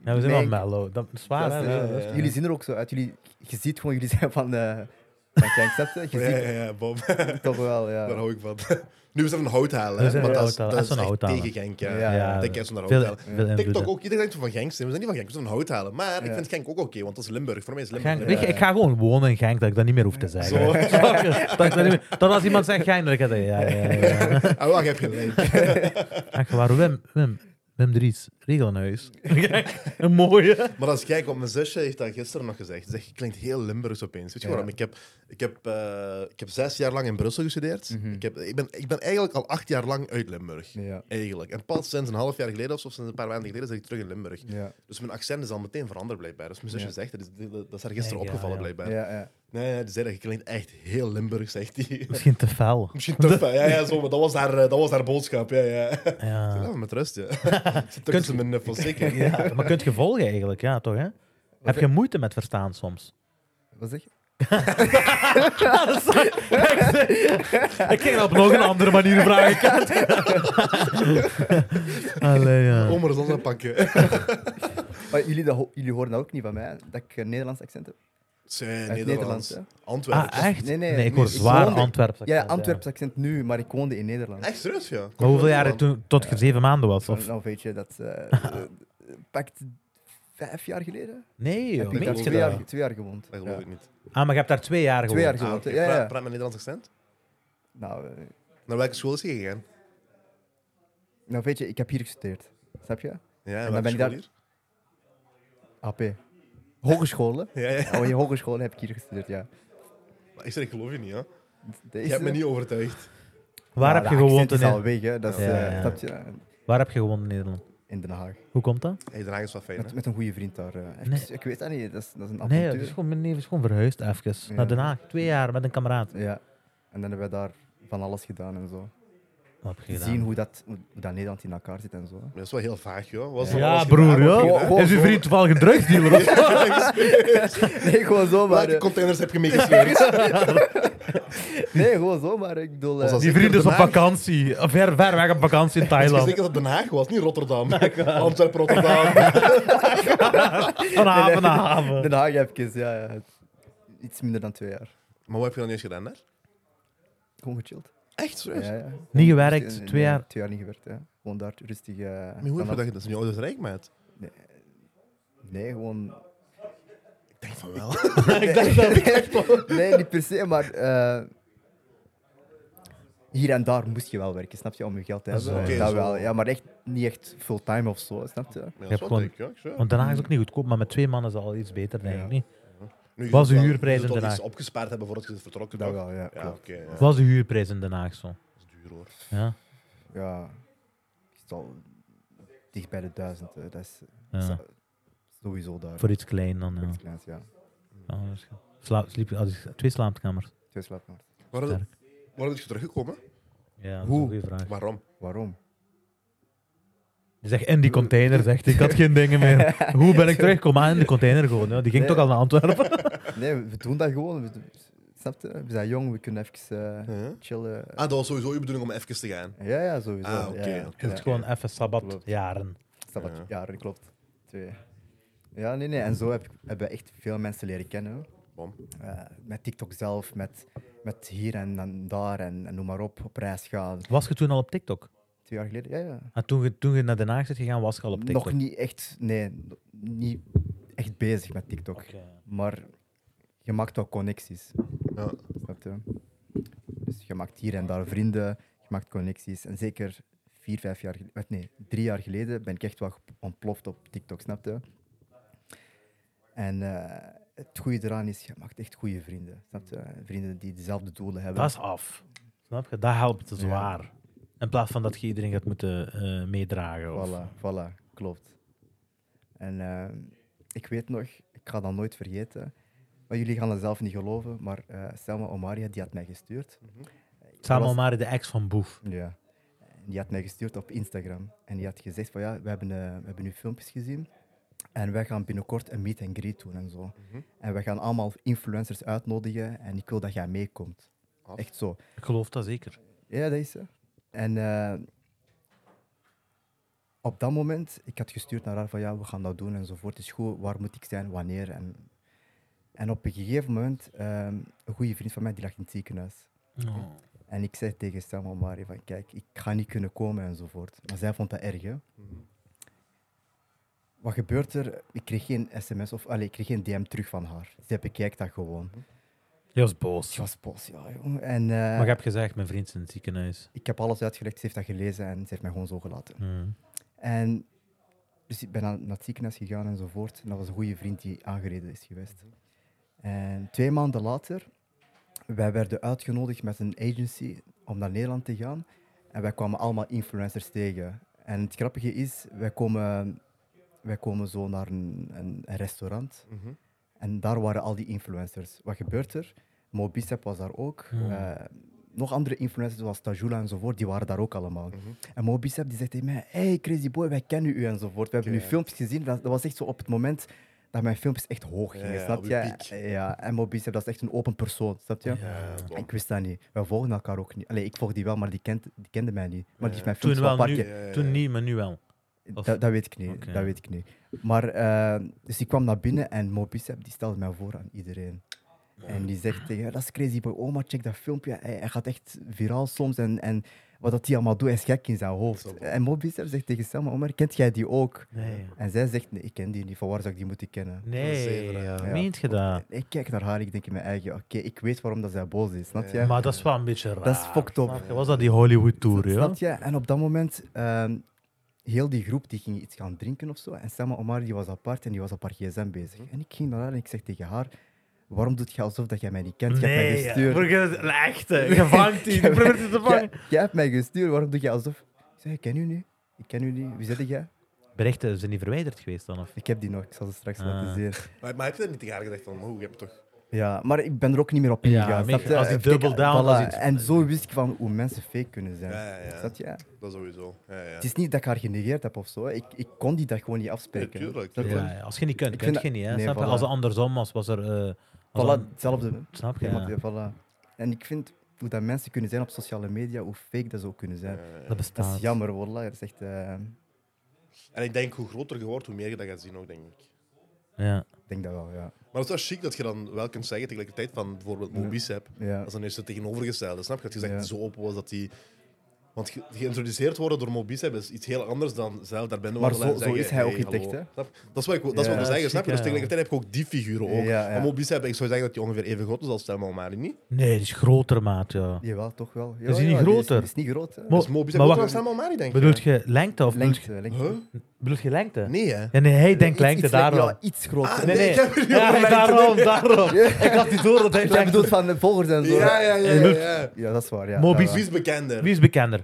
Speaker 1: Ja, we zijn wel
Speaker 3: Nee,
Speaker 1: mellow. Dat is waar,
Speaker 3: Gasten,
Speaker 1: hè?
Speaker 2: ja, ja, ja.
Speaker 3: Jullie zien er ook zo uit. Jullie, je ziet gewoon, jullie zijn van. eh van gang, snap je? Je
Speaker 2: Ja,
Speaker 3: ziet
Speaker 2: ja, ja, Bob.
Speaker 3: het toch wel, ja.
Speaker 2: Daar hou ik van. Nu is er een hout halen.
Speaker 1: Nu
Speaker 2: hè,
Speaker 1: zijn we
Speaker 2: want dat
Speaker 1: hout
Speaker 2: is,
Speaker 1: halen.
Speaker 2: dat
Speaker 1: Echt
Speaker 2: is
Speaker 1: zo'n
Speaker 2: echt
Speaker 1: hout halen.
Speaker 2: tegen Genk. Ja.
Speaker 3: Ja, ja.
Speaker 2: Denk jij zo'n hout
Speaker 1: Veel-
Speaker 2: halen.
Speaker 1: veel invloeden.
Speaker 2: TikTok ook. Iedereen denkt van Genk. zijn. We zijn niet van Genk, we zijn van hout halen. Maar ik
Speaker 3: Ja.
Speaker 2: vind Genk ook oké, want dat is Limburg. Voor mij is Limburg.
Speaker 1: Genk- weet je, ik ga gewoon wonen in Genk, dat ik dat niet meer hoef te zeggen.
Speaker 2: eh, Zo.
Speaker 1: Snap je? dat ik dat niet meer- dat als iemand zegt Genk, dan ga ik zeggen, ja, ja, ja. ja.
Speaker 2: Ah, wacht, heb je gelijk.
Speaker 1: Echt waar, Wim, Wim, Wim Dries, regel een huis. Kijk, een mooie.
Speaker 2: Maar als ik kijk, want mijn zusje heeft dat gisteren nog gezegd. Ze zegt, je klinkt heel Limburgs opeens. Weet je waarom? Ik heb, ik, heb, eh, ik heb zes jaar lang in Brussel gestudeerd. ik, heb, ik, ben, ik ben eigenlijk al acht jaar lang uit Limburg.
Speaker 3: Ja.
Speaker 2: Eigenlijk. En pas sinds een half jaar geleden of zo, sinds een paar maanden geleden, zit ik terug in Limburg.
Speaker 3: Ja,
Speaker 2: Dus mijn accent is al meteen veranderd blijkbaar. Dus mijn zusje
Speaker 3: Ja.
Speaker 2: zegt, dat is, dat is haar gisteren
Speaker 1: Ja, ja,
Speaker 2: opgevallen
Speaker 1: ja.
Speaker 2: blijkbaar.
Speaker 3: ja, ja.
Speaker 2: Nee, nee, die zei dat je klinkt echt heel Limburg, zegt hij.
Speaker 1: Misschien te fel.
Speaker 2: Misschien te fijn. Ja, ja, zo, maar dat was haar, eh, dat was haar boodschap. Ja, ja.
Speaker 1: Ja.
Speaker 2: Ja, met rust, ja. Zit toch tussen mijn eh, nuffels, zeker.
Speaker 1: Ja, maar kunt je volgen eigenlijk, ja, toch? Hè? Heb je moeite met verstaan soms?
Speaker 3: Wat zeg je?
Speaker 5: Ik ging dat op nog een andere manier vragen.
Speaker 1: Allee, ja.
Speaker 2: Omer is ons aan het pakken.
Speaker 3: Maar jullie, dat ho- jullie horen dat ook niet van mij, dat ik een Nederlands accent heb.
Speaker 2: Zijn
Speaker 3: Uit Nederlands,
Speaker 2: Nederlands.
Speaker 3: hè?
Speaker 2: Antwerpen.
Speaker 1: Ah, echt?
Speaker 3: Nee, nee,
Speaker 1: ik
Speaker 3: nee,
Speaker 1: hoor
Speaker 3: ik
Speaker 1: zwaar
Speaker 3: woonde-
Speaker 1: Antwerps.
Speaker 3: Ja, Antwerps accent nu, maar ik woonde in Nederland.
Speaker 2: Echt serieus, ja.
Speaker 1: Maar hoeveel jaren toen, tot je zeven maanden was?
Speaker 3: Of...
Speaker 1: Of?
Speaker 3: Nou weet je, dat eh, eh, pakt vijf jaar geleden.
Speaker 1: Nee, joh.
Speaker 3: heb ik
Speaker 1: Weet
Speaker 3: daar
Speaker 1: je
Speaker 3: twee
Speaker 1: dat?
Speaker 3: jaar, twee jaar gewoond.
Speaker 2: Dat
Speaker 3: Ja.
Speaker 2: geloof ik niet.
Speaker 1: Ah, maar je hebt daar twee jaar
Speaker 3: Twee jaar
Speaker 1: gewoond.
Speaker 3: gewoond,
Speaker 2: Ah, oké.
Speaker 3: ja, ja.
Speaker 2: Praat, praat met Nederlands accent.
Speaker 3: Nou, eh,
Speaker 2: Naar welke school is je gegaan?
Speaker 3: nou weet je, ik heb hier gestudeerd. Snap je?
Speaker 2: Ja,
Speaker 3: dan
Speaker 2: welke
Speaker 3: ben ik
Speaker 2: school
Speaker 3: daar-
Speaker 2: hier?
Speaker 3: AP. Hogescholen.
Speaker 2: Ja, ja.
Speaker 3: Oh, je hogescholen heb ik hier gestudeerd, ja.
Speaker 2: Maar Ik zeg, ik geloof je niet, hè.
Speaker 3: Dat is,
Speaker 2: Je hebt me
Speaker 3: eh,
Speaker 2: niet overtuigd.
Speaker 1: Waar,
Speaker 3: nou,
Speaker 1: heb je
Speaker 3: dat
Speaker 1: gewoond
Speaker 3: accent
Speaker 1: in,
Speaker 3: is al weg, hè. Dat is,
Speaker 1: Ja,
Speaker 3: eh,
Speaker 1: ja.
Speaker 3: snap je?
Speaker 1: waar heb je gewoond in Nederland?
Speaker 3: In Den Haag.
Speaker 1: Hoe komt dat?
Speaker 2: Hey, Den Haag is wel fijn, hè.
Speaker 3: Met, met een goede vriend daar. eh. Ik,
Speaker 1: Nee.
Speaker 3: ik weet dat niet, dat is, dat is een
Speaker 1: Nee,
Speaker 3: avontuur.
Speaker 1: het is gewoon, mijn neef is gewoon verhuisd even
Speaker 3: Ja.
Speaker 1: naar Den Haag. Twee jaar met een kameraad.
Speaker 3: Ja. En dan hebben we daar van alles gedaan en zo.
Speaker 1: Wat heb je
Speaker 3: Zien
Speaker 1: gedaan?
Speaker 3: hoe dat, hoe dat Nederland in elkaar zit en zo.
Speaker 2: Maar Dat is wel heel vaag, joh. Was
Speaker 1: Ja, broer, joh.
Speaker 3: Gewoon
Speaker 5: Is uw
Speaker 3: zo-
Speaker 5: vriend toevallig een drugsdealer? of-
Speaker 3: Nee, gewoon zo, maar...
Speaker 2: Welke
Speaker 3: eh,
Speaker 2: containers heb je meegesleurd?
Speaker 3: Nee, gewoon zo, maar ik bedoel... eh,
Speaker 2: Was dat
Speaker 5: Die
Speaker 2: zeker
Speaker 5: vriend is
Speaker 2: Den
Speaker 5: op
Speaker 2: Haag?
Speaker 5: vakantie. Ver, ver weg op vakantie in
Speaker 2: Ik wist
Speaker 5: Thailand.
Speaker 2: zeker dat het Den Haag was, niet Rotterdam.
Speaker 1: Oh
Speaker 2: Antwerpen, Rotterdam.
Speaker 5: Een haven, een haven.
Speaker 3: Den Haag heb ik eens, ja, ja. Iets minder dan twee jaar.
Speaker 2: Maar wat heb je dan eens gedaan daar?
Speaker 3: Gewoon gechilled.
Speaker 2: Echt, serieus?
Speaker 3: Ja, ja.
Speaker 1: Niet gewerkt,
Speaker 3: Nee,
Speaker 1: twee jaar.
Speaker 3: Twee jaar niet gewerkt, ja. Gewoon daar rustig... eh,
Speaker 2: Maar hoe heb je
Speaker 3: vanaf-
Speaker 2: dat gedaan? Dat is niet ouders rijk, maat.
Speaker 3: Nee, gewoon...
Speaker 2: Ik denk van wel.
Speaker 3: Nee, niet per se, maar... eh, hier en daar moest je wel werken, snap je, om je geld te hebben.
Speaker 1: zo.
Speaker 2: Oké,
Speaker 3: dat
Speaker 2: zo.
Speaker 3: wel, ja, maar echt niet echt fulltime of zo, snap je?
Speaker 2: Ja,
Speaker 1: hebt gewoon-
Speaker 2: dat gewoon... ik, ja. ik zweer.
Speaker 1: Want Den Haag is ook niet goedkoop, maar met twee mannen is al iets beter, denk ik.
Speaker 3: Ja.
Speaker 1: Niet?
Speaker 2: Nu, je
Speaker 1: was
Speaker 2: zult
Speaker 1: de
Speaker 2: wel-
Speaker 1: huurprijs
Speaker 2: je
Speaker 1: in
Speaker 2: zult wel
Speaker 1: Den
Speaker 2: iets
Speaker 1: Haag?
Speaker 2: opgespaard hebben voordat je bent vertrokken,
Speaker 3: Dat
Speaker 2: toch?
Speaker 3: wel, ja,
Speaker 2: Ja,
Speaker 3: klopt.
Speaker 2: oké. ja.
Speaker 1: Wat was de huurprijs in Den Haag zo?
Speaker 2: Dat is duur, hoor.
Speaker 1: Ja.
Speaker 3: Ja, ik zal dicht bij de duizend. hè. Dat is
Speaker 1: ja.
Speaker 3: zo- sowieso daar.
Speaker 1: Voor iets klein dan.
Speaker 3: Voor
Speaker 1: Ja.
Speaker 3: iets kleins, ja.
Speaker 1: Ja, dat is goed. Sla- sliep je al die- twee slaapkamers.
Speaker 3: Twee slaapkamers.
Speaker 2: Waarom,
Speaker 1: Sterk.
Speaker 2: waarom is je teruggekomen?
Speaker 1: Ja, dat is
Speaker 3: Hoe?
Speaker 1: een goede vraag.
Speaker 2: Waarom?
Speaker 3: Waarom?
Speaker 1: Die zegt in die container, zegt hij. Ik had geen dingen meer. Hoe ben ik teruggekomen? Ah, in de container gewoon. Ja. Die ging
Speaker 3: Nee.
Speaker 1: toch al naar Antwerpen.
Speaker 3: Nee, we doen dat gewoon. We, doen- snap je? We zijn jong, we kunnen even eh,
Speaker 2: Ja.
Speaker 3: chillen.
Speaker 2: Ah, dat was sowieso je bedoeling om even te gaan.
Speaker 3: Ja, ja, sowieso.
Speaker 2: Ah, oké,
Speaker 3: Ja, ja.
Speaker 2: oké.
Speaker 1: Je hebt gewoon even sabbat
Speaker 3: Klopt.
Speaker 1: jaren.
Speaker 3: Sabbat-
Speaker 2: Ja.
Speaker 3: ja, dat klopt. Twee. Ja, nee, nee. En zo heb, ik- hebben we echt veel mensen leren kennen.
Speaker 2: Bom.
Speaker 3: Eh, met TikTok zelf, met, met hier en dan daar en, en noem maar op, op reis gaan.
Speaker 1: Was je toen al op TikTok?
Speaker 3: Twee jaar geleden, ja, ja.
Speaker 1: En toen je, toen je naar Den Haag zit gegaan, was je al op TikTok?
Speaker 3: Nog niet echt, nee, nog niet echt bezig met TikTok.
Speaker 1: Oké.
Speaker 3: Maar je maakt wel connecties.
Speaker 2: Ja.
Speaker 3: Snap je? Dus je maakt hier en daar vrienden, je maakt connecties. En zeker vier, vijf jaar geleden, nee, drie jaar geleden ben ik echt wel gep- ontploft op TikTok, snap je? En eh, het goede eraan is, je maakt echt goede vrienden. Snap je? Vrienden die dezelfde doelen hebben.
Speaker 1: Dat is af. Snap je? Dat helpt zwaar. In plaats van dat je iedereen gaat moeten eh, meedragen. Of...
Speaker 3: Voilà, voilà, klopt. En ehm, ik weet nog, ik ga dat nooit vergeten. Maar jullie gaan dat zelf niet geloven, maar eh, Selma Omaria die had mij gestuurd.
Speaker 1: Samen
Speaker 3: was-
Speaker 1: maar de ex van Boef.
Speaker 3: Ja. En Die had mij gestuurd op Instagram. En die had gezegd van ja, we hebben, eh, we hebben nu filmpjes gezien. En wij gaan binnenkort een meet and greet doen en zo.
Speaker 2: Mhm.
Speaker 3: En we gaan allemaal influencers uitnodigen. En ik wil dat jij meekomt.
Speaker 2: Af.
Speaker 3: Echt zo.
Speaker 1: Ik geloof dat zeker.
Speaker 3: Ja, dat is ze. En eh, op dat moment, ik had gestuurd naar haar van ja, we gaan dat doen enzovoort. Het is goed, waar moet ik zijn, wanneer? En, en op een gegeven moment, ehm, een goede vriend van mij die lag in het ziekenhuis. En ik zei tegen Selma Mari van kijk, ik ga niet kunnen komen enzovoort. Maar zij vond dat erg. Hè?
Speaker 2: Mhm.
Speaker 3: Wat gebeurt er? Ik kreeg geen sms of allee, ik kreeg geen DM terug van haar. Zij bekijkt dat gewoon.
Speaker 1: Je was boos.
Speaker 3: Ik was boos, ja jongen. En, eh,
Speaker 1: Maar ik heb gezegd, mijn vriend is in het ziekenhuis.
Speaker 3: ik heb alles uitgelegd, ze heeft dat gelezen en ze heeft mij gewoon zo gelaten.
Speaker 1: Hm.
Speaker 3: En dus ik ben naar, naar het ziekenhuis gegaan enzovoort. En dat was een goede vriend die aangereden is geweest. En twee maanden later, wij werden uitgenodigd met een agency om naar Nederland te gaan. En wij kwamen allemaal influencers tegen. En het grappige is, wij komen, wij komen zo naar een, een, een restaurant.
Speaker 2: Mhm.
Speaker 3: En daar waren al die influencers. Wat gebeurt er? Mo Bicep was daar ook.
Speaker 1: Hmm.
Speaker 3: Eh, nog andere influencers zoals Tajula enzovoort, die waren daar ook allemaal.
Speaker 1: Mhm.
Speaker 3: En Mo Bicep die zegt tegen mij, hey Crazy Boy, wij kennen u enzovoort. We hebben uw filmpjes gezien. Dat, dat was echt zo op het moment dat mijn filmpjes echt hoog gingen,
Speaker 2: Ja, ja, op
Speaker 3: snap
Speaker 2: je
Speaker 3: je?
Speaker 2: piek.
Speaker 3: Ja, en Mobicep, dat is echt een open persoon, snap je?
Speaker 2: Ja,
Speaker 3: Ik wist dat niet. We volgen elkaar ook niet. Allee, ik volg die wel, maar die, kent, die kende mij niet. Maar die heeft mijn
Speaker 1: Toen
Speaker 3: filmpjes wel
Speaker 1: wel,
Speaker 3: een paar
Speaker 1: nu,
Speaker 3: keer-
Speaker 2: ja, ja.
Speaker 1: toen niet, maar nu wel. Of-
Speaker 3: Dat, dat weet ik niet,
Speaker 1: Oké.
Speaker 3: dat weet ik niet. Maar, eh, dus ik kwam naar binnen en Mobicep die stelde mij voor aan iedereen. En die zegt tegen haar, dat is crazy boy, oma, check dat filmpje. Hij, hij gaat echt viraal soms en, en wat dat hij allemaal doet, hij is gek in zijn hoofd. En Mobicep zegt tegen Selma, Omar, kent jij die ook?
Speaker 1: Nee.
Speaker 3: En zij zegt, nee, ik ken die niet, van waar zou ik die moeten kennen?
Speaker 1: Nee,
Speaker 2: Zeven, ja.
Speaker 1: ja. meent je dat?
Speaker 3: Ik kijk naar haar, ik denk in mijn eigen, oké, ik weet waarom dat zij boos is, snap je?
Speaker 1: Maar dat is wel een beetje raar.
Speaker 3: Dat is fucked up.
Speaker 1: snap je? Was dat die Hollywood tour, ja?
Speaker 3: Snap je? En op dat moment, ehm, heel die groep die ging iets gaan drinken of zo. En Selma Omar die was apart en die was op haar gsm bezig.
Speaker 1: Mhm.
Speaker 3: En ik ging naar haar en ik zeg tegen haar, waarom doet je alsof dat jij mij niet kent? Je hebt mij
Speaker 1: Nee, ja.
Speaker 3: gestuurd.
Speaker 5: Echt,
Speaker 1: eh,
Speaker 5: hè. je vangt die. Je probeert die te vangen.
Speaker 3: Jij, jij hebt mij gestuurd, waarom doe je alsof... Ik zeg, ik ken u niet. Ik ken u niet. Wie zit jij?
Speaker 1: Berichten zijn niet verwijderd geweest dan? Of?
Speaker 3: Ik heb die nog, ik zal ze straks
Speaker 1: Ah.
Speaker 3: laten zien.
Speaker 2: Maar, maar heb je dat niet tegen haar gedacht van, hoe, je hebt toch...
Speaker 3: Ja, maar ik ben er ook niet meer op ingegaan.
Speaker 1: Ja,
Speaker 3: snap
Speaker 1: maar
Speaker 3: je?
Speaker 1: als die
Speaker 3: Kijk,
Speaker 1: double down,
Speaker 3: voilà.
Speaker 1: als iets-
Speaker 3: En zo wist ik van hoe mensen fake kunnen zijn.
Speaker 2: Ja, ja, ja.
Speaker 3: Snap je?
Speaker 2: Dat sowieso. Ja, ja.
Speaker 3: Het is niet dat ik haar genegeerd heb of zo. Ik, ik kon die dat gewoon niet afspreken.
Speaker 2: Nee, tuurlijk.
Speaker 3: Snap je?
Speaker 1: Ja, ja, als je niet kunt,
Speaker 3: Ik
Speaker 1: kun
Speaker 3: vind
Speaker 1: je
Speaker 3: dat-
Speaker 1: niet. Hè?
Speaker 3: nee,
Speaker 1: snap je?
Speaker 3: voilà.
Speaker 1: Als het andersom was, was er... eh, als
Speaker 3: Voilà,
Speaker 1: een-
Speaker 3: hetzelfde.
Speaker 1: Snap je?
Speaker 3: Ja.
Speaker 1: Ja.
Speaker 3: maar, ja, voilà. En ik vind hoe dat mensen kunnen zijn op sociale media, hoe fake dat ze ook kunnen zijn.
Speaker 1: Dat
Speaker 3: Dat
Speaker 1: bestaat.
Speaker 3: is jammer, voilà. Dat is echt, eh,
Speaker 2: En ik denk, hoe groter je wordt, hoe meer je dat gaat zien ook, denk ik.
Speaker 1: Ja.
Speaker 3: ik denk dat wel, ja.
Speaker 2: Maar het is wel chic dat je dan wel kunt zeggen tegelijkertijd van bijvoorbeeld Mobicep,
Speaker 3: ja.
Speaker 2: dat is dan eerst het tegenovergestelde, snap je? Dat je zegt
Speaker 3: Ja.
Speaker 2: zo open was dat die... Want ge- geïntroduceerd worden door Mobicep is iets heel anders dan zelf daar ben
Speaker 3: Maar zo- zo is hij ook niet echt, hè?
Speaker 2: Dat is wat ik, wil- dat is
Speaker 3: Ja.
Speaker 2: wat ik wil zeggen,
Speaker 1: Chic,
Speaker 2: snap je?
Speaker 1: ja.
Speaker 2: Dus tegelijkertijd heb je ook die figuren ook.
Speaker 3: Ja, ja.
Speaker 2: Maar Mobicep, ik zou zeggen dat hij ongeveer even groot is als Selma Omari, niet?
Speaker 1: Nee, die is groter maat, ja.
Speaker 3: Jawel, toch wel. Ja,
Speaker 1: Is die niet
Speaker 3: ja,
Speaker 1: groter?
Speaker 3: Die is niet groot, hè.
Speaker 1: Mo-
Speaker 2: Is Mobicep
Speaker 1: maar
Speaker 2: groter dan
Speaker 1: wacht,
Speaker 2: Selma Omari, denk ik?
Speaker 1: Bedoelt je lengte of bedoelt
Speaker 3: Lengte,
Speaker 1: je,
Speaker 3: lengte.
Speaker 2: Huh?
Speaker 1: bedoelt je lengte?
Speaker 2: Nee, hè?
Speaker 1: Ja, nee, hij denkt
Speaker 3: Iets-
Speaker 1: lengte
Speaker 3: iets
Speaker 1: daarom.
Speaker 3: Ja, iets groter.
Speaker 2: Ah,
Speaker 1: Nee,
Speaker 2: Nee,
Speaker 1: nee.
Speaker 2: ik heb het niet
Speaker 1: Ja,
Speaker 2: over lengte,
Speaker 1: daarom,
Speaker 2: nee.
Speaker 1: daarom. Ik had niet door dat hij
Speaker 3: Jij
Speaker 1: lengte...
Speaker 3: bedoelt van de volgers en zo.
Speaker 2: Ja, ja, ja. ja,
Speaker 1: bedoelt-
Speaker 2: ja.
Speaker 3: Ja, dat is waar, ja.
Speaker 1: Mobi's-
Speaker 2: Wie is bekender,
Speaker 1: Wie is bekender?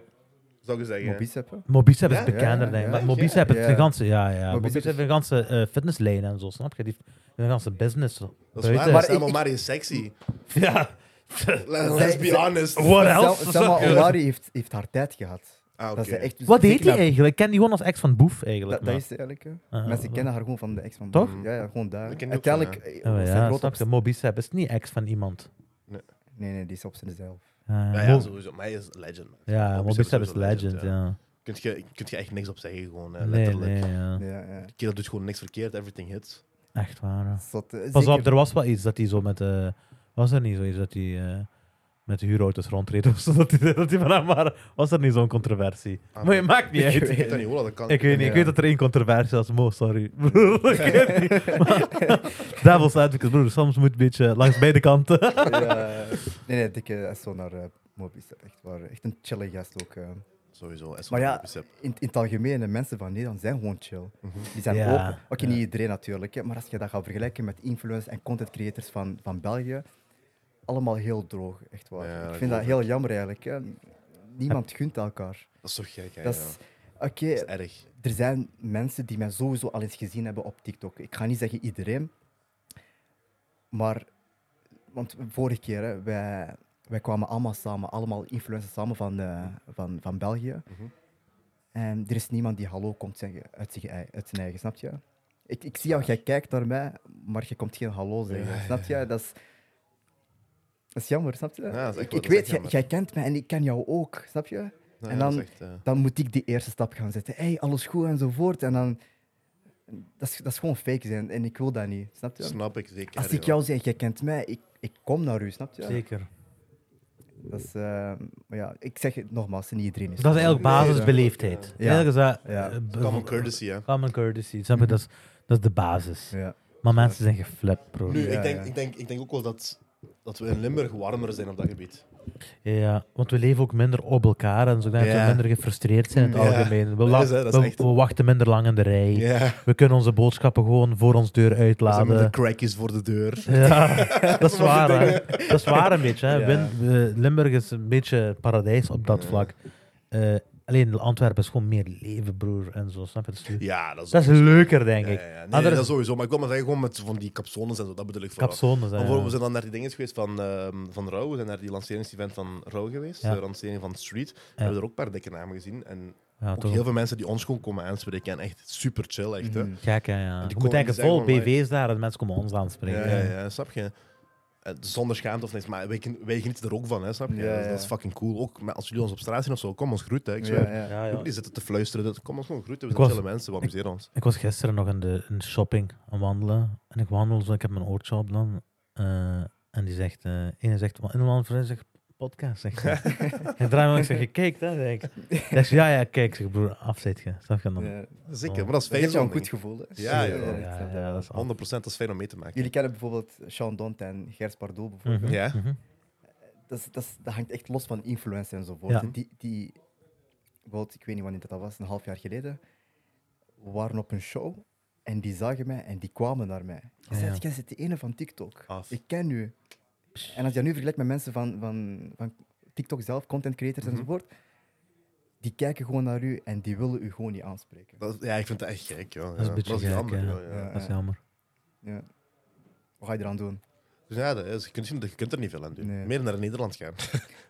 Speaker 2: zou je zeggen?
Speaker 3: Mobicep, hè.
Speaker 1: Mobicep
Speaker 2: Ja,
Speaker 1: is bekender,
Speaker 3: ja,
Speaker 1: denk ik.
Speaker 3: ja,
Speaker 1: Maar
Speaker 2: ja.
Speaker 1: Mobicep heeft
Speaker 3: Ja.
Speaker 1: een ganse... Ja, ja.
Speaker 3: Mobicep
Speaker 1: Mobicep
Speaker 3: is-
Speaker 1: heeft een ganse eh, fitnesslijn en zo, snap je? Die heeft een ganse business.
Speaker 2: Dat is waar,
Speaker 1: buiten.
Speaker 2: maar
Speaker 3: Maar
Speaker 2: Selma
Speaker 3: ik- ik-
Speaker 2: Omari is sexy.
Speaker 1: Ja.
Speaker 2: Let- Let's be honest.
Speaker 1: What
Speaker 3: Sel-
Speaker 1: else?
Speaker 3: Selma Omari heeft, heeft haar tijd gehad.
Speaker 2: Ah,
Speaker 3: Dat
Speaker 2: oké.
Speaker 3: ze echt, dus
Speaker 1: Wat deed
Speaker 3: zeker
Speaker 1: hij
Speaker 3: dat-
Speaker 1: eigenlijk? Ik ken die gewoon als ex van Boef, eigenlijk.
Speaker 3: Dat, dat
Speaker 1: maar-
Speaker 3: is het eigenlijk. hè.
Speaker 1: Ah,
Speaker 3: Mensen
Speaker 1: ah,
Speaker 3: kennen haar gewoon van de ex van
Speaker 1: Toch?
Speaker 3: Bob. Ja, ja, gewoon daar.
Speaker 2: Dat ken ik ook
Speaker 3: Uiteindelijk... eh,
Speaker 1: Oh,
Speaker 3: zijn
Speaker 1: ja,
Speaker 3: groot
Speaker 1: snap
Speaker 3: op-
Speaker 1: je? Mobicep is niet ex van iemand.
Speaker 3: Nee, nee, die is op zichzelf.
Speaker 1: Ah, Ja,
Speaker 2: Ja,
Speaker 1: ja,
Speaker 2: ja, sowieso. Mij is legend. man.
Speaker 1: ja Mobicep is
Speaker 2: sowieso
Speaker 1: legend, ja.
Speaker 2: Kun je, kunt je echt niks op zeggen, gewoon. Hè,
Speaker 1: Nee,
Speaker 2: letterlijk.
Speaker 1: nee, ja.
Speaker 3: Ja, ja.
Speaker 1: Ah.
Speaker 2: Kerel doet gewoon niks verkeerd, everything hits.
Speaker 1: Echt waar, ja.
Speaker 3: Zot, eh,
Speaker 1: Pas op,
Speaker 3: zeker.
Speaker 1: er was wel iets dat hij zo met... eh, was er niet zoiets dat hij eh, met de huurauto's rondreed of zo? Dat hij, dat hij van hem waren? Was er niet zo'n controversie?
Speaker 2: Ah,
Speaker 1: maar je
Speaker 2: nee.
Speaker 1: maakt niet uit.
Speaker 2: Ik weet dat niet, hoor, dat kan.
Speaker 1: Ik weet niet, ik
Speaker 3: Ja.
Speaker 1: weet dat er één controversie was. Mo, sorry. Broer, ik weet niet. Devils advocate, broer. Soms moet een beetje langs beide kanten.
Speaker 3: Ja. eh, Nee, nee, dikke eh, zo naar eh Mobicep. Echt waar. Echt een chille gast ook. eh.
Speaker 2: Sowieso. SO
Speaker 3: Maar ja,
Speaker 2: Bicep.
Speaker 3: in, in het algemeen, de mensen van Nederland zijn gewoon chill.
Speaker 2: Mhm.
Speaker 3: Die zijn
Speaker 1: Ja,
Speaker 3: open. Oké,
Speaker 1: ja.
Speaker 3: niet iedereen natuurlijk. Hè, maar als je dat gaat vergelijken met influencers en content creators van, van België, allemaal heel droog. Echt waar.
Speaker 2: Ja,
Speaker 3: ik
Speaker 2: dat
Speaker 3: vind dat
Speaker 2: geloof
Speaker 3: heel jammer eigenlijk. Hè. Niemand gunt elkaar.
Speaker 2: Dat is toch gek, hè?
Speaker 3: Dat
Speaker 2: ja.
Speaker 3: is...
Speaker 2: Dat
Speaker 3: Oké,
Speaker 2: is erg.
Speaker 3: er zijn mensen die mij sowieso al eens gezien hebben op TikTok. Ik ga niet zeggen iedereen, maar want vorige keer, hè, wij, wij kwamen allemaal samen, allemaal influencers samen van, eh, van, van België.
Speaker 2: Mhm.
Speaker 3: En er is niemand die hallo komt zeggen uit zijn, ei- uit zijn eigen, snap je? Ik, ik zie
Speaker 2: Ah.
Speaker 3: jou, jij kijkt naar mij, maar je komt geen hallo zeggen, snap je? Dat is, dat is jammer, snap je?
Speaker 2: dat is echt
Speaker 3: ik
Speaker 2: wel- dat
Speaker 3: ik
Speaker 2: is
Speaker 3: weet,
Speaker 2: echt
Speaker 3: jij,
Speaker 2: jammer.
Speaker 3: jij kent mij en ik ken jou ook, snap je?
Speaker 2: Nou,
Speaker 3: en
Speaker 2: ja, dat
Speaker 3: dan,
Speaker 2: is echt, eh,
Speaker 3: dan moet ik die eerste stap gaan zetten. Hé, hey, alles goed enzovoort. En dan. Dat is, dat is gewoon fake zijn en ik wil dat niet, snap je?
Speaker 2: Snap ik zeker.
Speaker 3: Als ik
Speaker 2: ja.
Speaker 3: jou zeg, jij kent mij, ik, ik kom naar u, snap je?
Speaker 1: Zeker.
Speaker 3: Dat is, eh, maar ja, ik zeg het nogmaals, niet iedereen is.
Speaker 1: Dat is eigenlijk
Speaker 2: Nee, dat-
Speaker 1: basisbeleefdheid.
Speaker 3: Ja.
Speaker 1: Eigenlijk is dat...
Speaker 3: Ja.
Speaker 1: eh, be-
Speaker 2: Common courtesy, hè?
Speaker 1: Common courtesy, snap je? Dat is, dat is de basis.
Speaker 3: Ja.
Speaker 1: Maar mensen zijn geflipt, bro.
Speaker 2: Nu,
Speaker 3: Ja,
Speaker 2: ik, denk,
Speaker 3: ja.
Speaker 2: ik, denk, ik denk ook wel dat, dat we in Limburg warmer zijn op dat gebied.
Speaker 1: Ja, want we leven ook minder op elkaar en zo ik denk dat
Speaker 2: Ja.
Speaker 1: we minder gefrustreerd zijn in het
Speaker 2: Ja.
Speaker 1: algemeen. We,
Speaker 2: Dat
Speaker 1: la-
Speaker 2: is, hè, dat is
Speaker 1: we,
Speaker 2: echt-
Speaker 1: we wachten minder lang in de rij.
Speaker 2: Ja.
Speaker 1: We kunnen onze boodschappen gewoon voor ons deur
Speaker 2: We zijn met de
Speaker 1: uitladen.
Speaker 2: crackies voor de deur.
Speaker 1: Ja, dat is waar. hè. Dat is waar een beetje. Hè.
Speaker 3: Ja.
Speaker 1: Win- eh, Limburg is een beetje paradijs op dat vlak. Eh, Alleen Antwerpen is gewoon meer leven, broer. En zo, snap je? Dat is, leuk.
Speaker 2: Ja, dat is,
Speaker 1: dat is leuker, denk ik.
Speaker 2: Ja, ja, ja. Nee,
Speaker 1: Andere
Speaker 2: dat is sowieso. Maar ik wil maar zeggen, gewoon met van die capsones en zo, dat bedoel ik vooral.
Speaker 1: kapsones, hè,
Speaker 2: Want Bijvoorbeeld, we
Speaker 1: ja.
Speaker 2: zijn dan naar die dingen geweest van, ehm van Rauw. We zijn naar die lanceringsevent van Rauw geweest.
Speaker 1: Ja.
Speaker 2: De lancering van Street. We hebben er ook een paar dikke namen gezien. En
Speaker 1: Ja,
Speaker 2: ook
Speaker 1: toch.
Speaker 2: heel veel mensen die ons gewoon komen aanspreken. En echt super chill, echt.
Speaker 3: Mhm.
Speaker 2: Hè?
Speaker 1: Gek, hè, ja. Je moet
Speaker 2: die komen- die
Speaker 1: eigenlijk
Speaker 2: zijn
Speaker 1: vol
Speaker 2: gewoon
Speaker 1: BV's daar en mensen komen ons aanspreken.
Speaker 2: Ja,
Speaker 1: Ja,
Speaker 2: ja, ja, snap je? Eh, Zonder schaamte of niks, maar wij, gen- wij genieten er ook van, hè, snap je?
Speaker 3: Ja,
Speaker 2: Dat is-
Speaker 3: ja.
Speaker 2: Dat is fucking cool. Ook maar als jullie ons op straat zien of zo, kom ons groeten. hè, Ik zweer.
Speaker 3: Ja, ja.
Speaker 1: ja, ja.
Speaker 2: Jullie zitten te fluisteren, dat- kom ons gewoon groeten. We
Speaker 1: Ik
Speaker 2: zijn
Speaker 1: was-
Speaker 2: chille mensen, we amuseren ons.
Speaker 1: Ik was gisteren nog in de, in de shopping aan wandelen. En ik wandel zo, ik heb mijn oortje op dan. eh, en die zegt, eh ene zegt, in een man vriend zegt, podcast, zegt hij. Ik draai me om, ik zeg, je kijkt, hè, zeg ik. Hij zegt, ja, ja, kijk, zeg broer, afzet je. Snap je En dan?
Speaker 3: Ja.
Speaker 1: Oh.
Speaker 2: Zeker, maar dat is
Speaker 3: Dat
Speaker 2: fijn.
Speaker 3: geeft jou een
Speaker 2: zo'n
Speaker 3: goed gevoel. Hè?
Speaker 2: Ja, ja,
Speaker 1: ja,
Speaker 2: ja.
Speaker 1: ja, ja, dat is al.
Speaker 2: 100% dat is fijn om mee te maken.
Speaker 3: Jullie kennen bijvoorbeeld Sean Dont en Gers Pardoel. Bijvoorbeeld.
Speaker 1: Mhm,
Speaker 2: Ja.
Speaker 1: mhm.
Speaker 3: Dat, is- dat, is- dat hangt echt los van influence enzovoort.
Speaker 1: Ja.
Speaker 3: En Die, die, bijvoorbeeld, ik weet niet wanneer dat was, een half jaar geleden, we waren op een show en die zagen mij en die kwamen naar mij. Ze
Speaker 1: ja.
Speaker 3: zeiden, jij zit de ene van TikTok.
Speaker 2: Af.
Speaker 3: Ik ken u. En als je dat nu vergelijkt met mensen van, van, van TikTok zelf, content creators enzovoort, die kijken gewoon naar u en die willen u gewoon niet aanspreken.
Speaker 2: Dat is- ja, ik vind dat echt gek, joh.
Speaker 1: Dat is een beetje gek,
Speaker 2: jammer,
Speaker 1: ja.
Speaker 2: joh, ja.
Speaker 1: Dat is jammer.
Speaker 3: Ja. Wat ga je eraan doen?
Speaker 2: Dus ja, dat is- je, kunt, je kunt er niet veel aan doen.
Speaker 3: Nee.
Speaker 2: Meer naar Nederland gaan.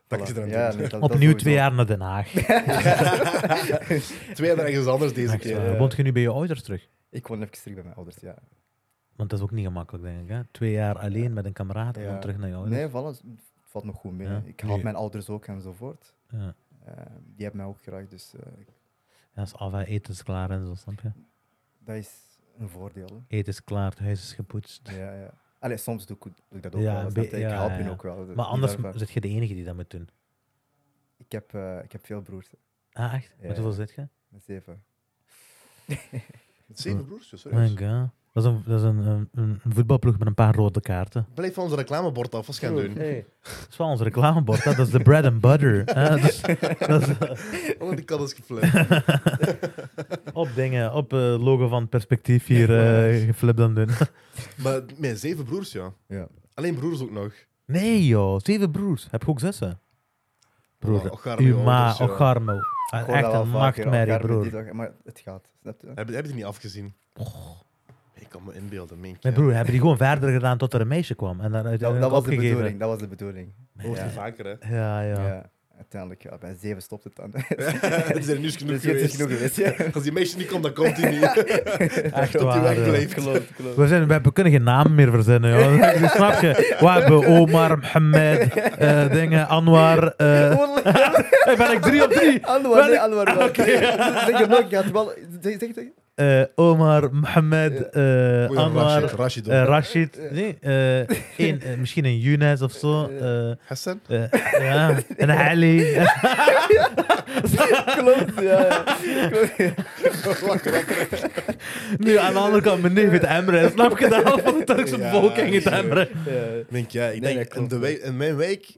Speaker 2: dat is
Speaker 3: Voilà.
Speaker 2: er aan
Speaker 3: Ja,
Speaker 2: doen.
Speaker 3: nee, dat- dat
Speaker 1: Opnieuw
Speaker 3: sowieso.
Speaker 1: twee jaar naar Den Haag.
Speaker 2: Twee jaar ergens anders deze
Speaker 1: Echt
Speaker 2: keer.
Speaker 1: waar. Woont je nu bij je ouders terug?
Speaker 3: Ik woon even terug bij mijn ouders, ja.
Speaker 1: Want dat is ook niet gemakkelijk, denk ik. Hè? Twee jaar alleen met een kameraad en
Speaker 3: Ja.
Speaker 1: dan terug naar je ouders.
Speaker 3: Nee, vallen, het valt nog goed mee.
Speaker 1: Oh, Ja.
Speaker 3: Ik haal
Speaker 1: Nee.
Speaker 3: mijn ouders ook enzovoort.
Speaker 1: Ja.
Speaker 3: Eh, die hebben mij ook graag, dus eh,
Speaker 1: Ja, is af, hè. eten is klaar en zo, snap je?
Speaker 3: dat is een voordeel. hè.
Speaker 1: Eten is klaar, het huis is gepoetst.
Speaker 3: Ja, ja. Allee, soms doe ik, doe ik dat ook
Speaker 1: Ja,
Speaker 3: wel.
Speaker 1: een
Speaker 3: snap
Speaker 1: be-
Speaker 3: je? ik
Speaker 1: ja,
Speaker 3: help
Speaker 1: ja,
Speaker 3: hen
Speaker 1: ja.
Speaker 3: ook wel. dus
Speaker 1: Maar
Speaker 3: niet
Speaker 1: anders
Speaker 3: daarvan.
Speaker 1: zit je de enige die dat moet doen.
Speaker 3: Ik heb, eh, ik heb veel broers,
Speaker 1: Ah, echt?
Speaker 3: Ja.
Speaker 1: Met hoeveel zit je?
Speaker 3: met zeven.
Speaker 2: Met Zeven broers, dus,
Speaker 1: Mijn
Speaker 2: sorry.
Speaker 1: Oh god. Dat is, een, dat is een, een, een voetbalploeg met een paar rode kaarten.
Speaker 2: Blijf van ons reclamebord af, wat gaan doen?
Speaker 1: Dat is wel ons reclamebord, hè. dat is de bread and butter. hè. Dus Dat is, dat is-
Speaker 2: Oh, die kat is geflipt.
Speaker 1: op dingen, op eh, logo van perspectief hier eh geflipt aan doen.
Speaker 2: maar mijn zeven broers, ja.
Speaker 3: Ja.
Speaker 2: Alleen broers ook nog.
Speaker 1: Nee joh, zeven broers. Heb je ook zussen?
Speaker 2: Ja,
Speaker 1: Broer,
Speaker 2: Ocharme,
Speaker 1: uw ma,
Speaker 2: Oh, ouders, ja.
Speaker 1: Ocharmo.
Speaker 3: eh, Ik
Speaker 1: Echt
Speaker 3: hoor dat wel
Speaker 1: een
Speaker 3: vaker, ja,
Speaker 1: machtmerrie,
Speaker 3: elkaar met die
Speaker 1: broer.
Speaker 3: dag- Maar het gaat, snap je?
Speaker 2: Heb, heb je die niet afgezien? Ik kan me inbeelden, mink.
Speaker 1: Mijn broer, hebben die gewoon verder gedaan tot er een meisje kwam. En dan
Speaker 3: Dat,
Speaker 1: uiteindelijk
Speaker 3: dat was de
Speaker 1: opgegeven.
Speaker 3: bedoeling, dat was de bedoeling.
Speaker 2: Hoort
Speaker 3: Ja.
Speaker 2: je vaker, hè?
Speaker 1: Ja, ja.
Speaker 3: Ja. uiteindelijk, ja, bij zeven stopt het dan.
Speaker 2: Het is er nu eens genoeg
Speaker 3: Dus het
Speaker 2: geweest.
Speaker 3: is genoeg geweest, ja.
Speaker 2: Als die meisje niet komt, dan komt hij niet.
Speaker 1: Echt
Speaker 2: Dat hij
Speaker 1: waar. ja.
Speaker 2: wegbleef.
Speaker 3: Klopt, klopt.
Speaker 1: We, zijn, we kunnen geen naam meer verzinnen, joh. Dus Snap je? We hebben Omar, Mohammed, eh, dingen, Anwar. eh. Hey, ben ik drie op drie?
Speaker 3: Anwar,
Speaker 1: Wel,
Speaker 3: nee,
Speaker 1: ik-
Speaker 3: Anwar. wel. Zeg het nog, je had wel... Zeg, zeg, zeg.
Speaker 1: Eh, Omar, Mohammed, eh,
Speaker 2: Goeie
Speaker 1: Anwar,
Speaker 2: Rashid, Rashid ook.
Speaker 1: eh, Rashid. Nee, eh, één, eh, misschien een Younes of zo. eh,
Speaker 2: Hassan?
Speaker 1: eh, ja, een Ali.
Speaker 3: Klopt, ja. ja.
Speaker 1: nu, aan de andere kant, mijn neef het Emre. Snap je? De helft van de Turkse
Speaker 2: Ja,
Speaker 1: bevolking het
Speaker 2: sure.
Speaker 1: Emre.
Speaker 3: ja.
Speaker 2: Mink, ja. Ik
Speaker 3: Nee,
Speaker 2: denk,
Speaker 3: dat klopt,
Speaker 2: in, de wijk, in mijn wijk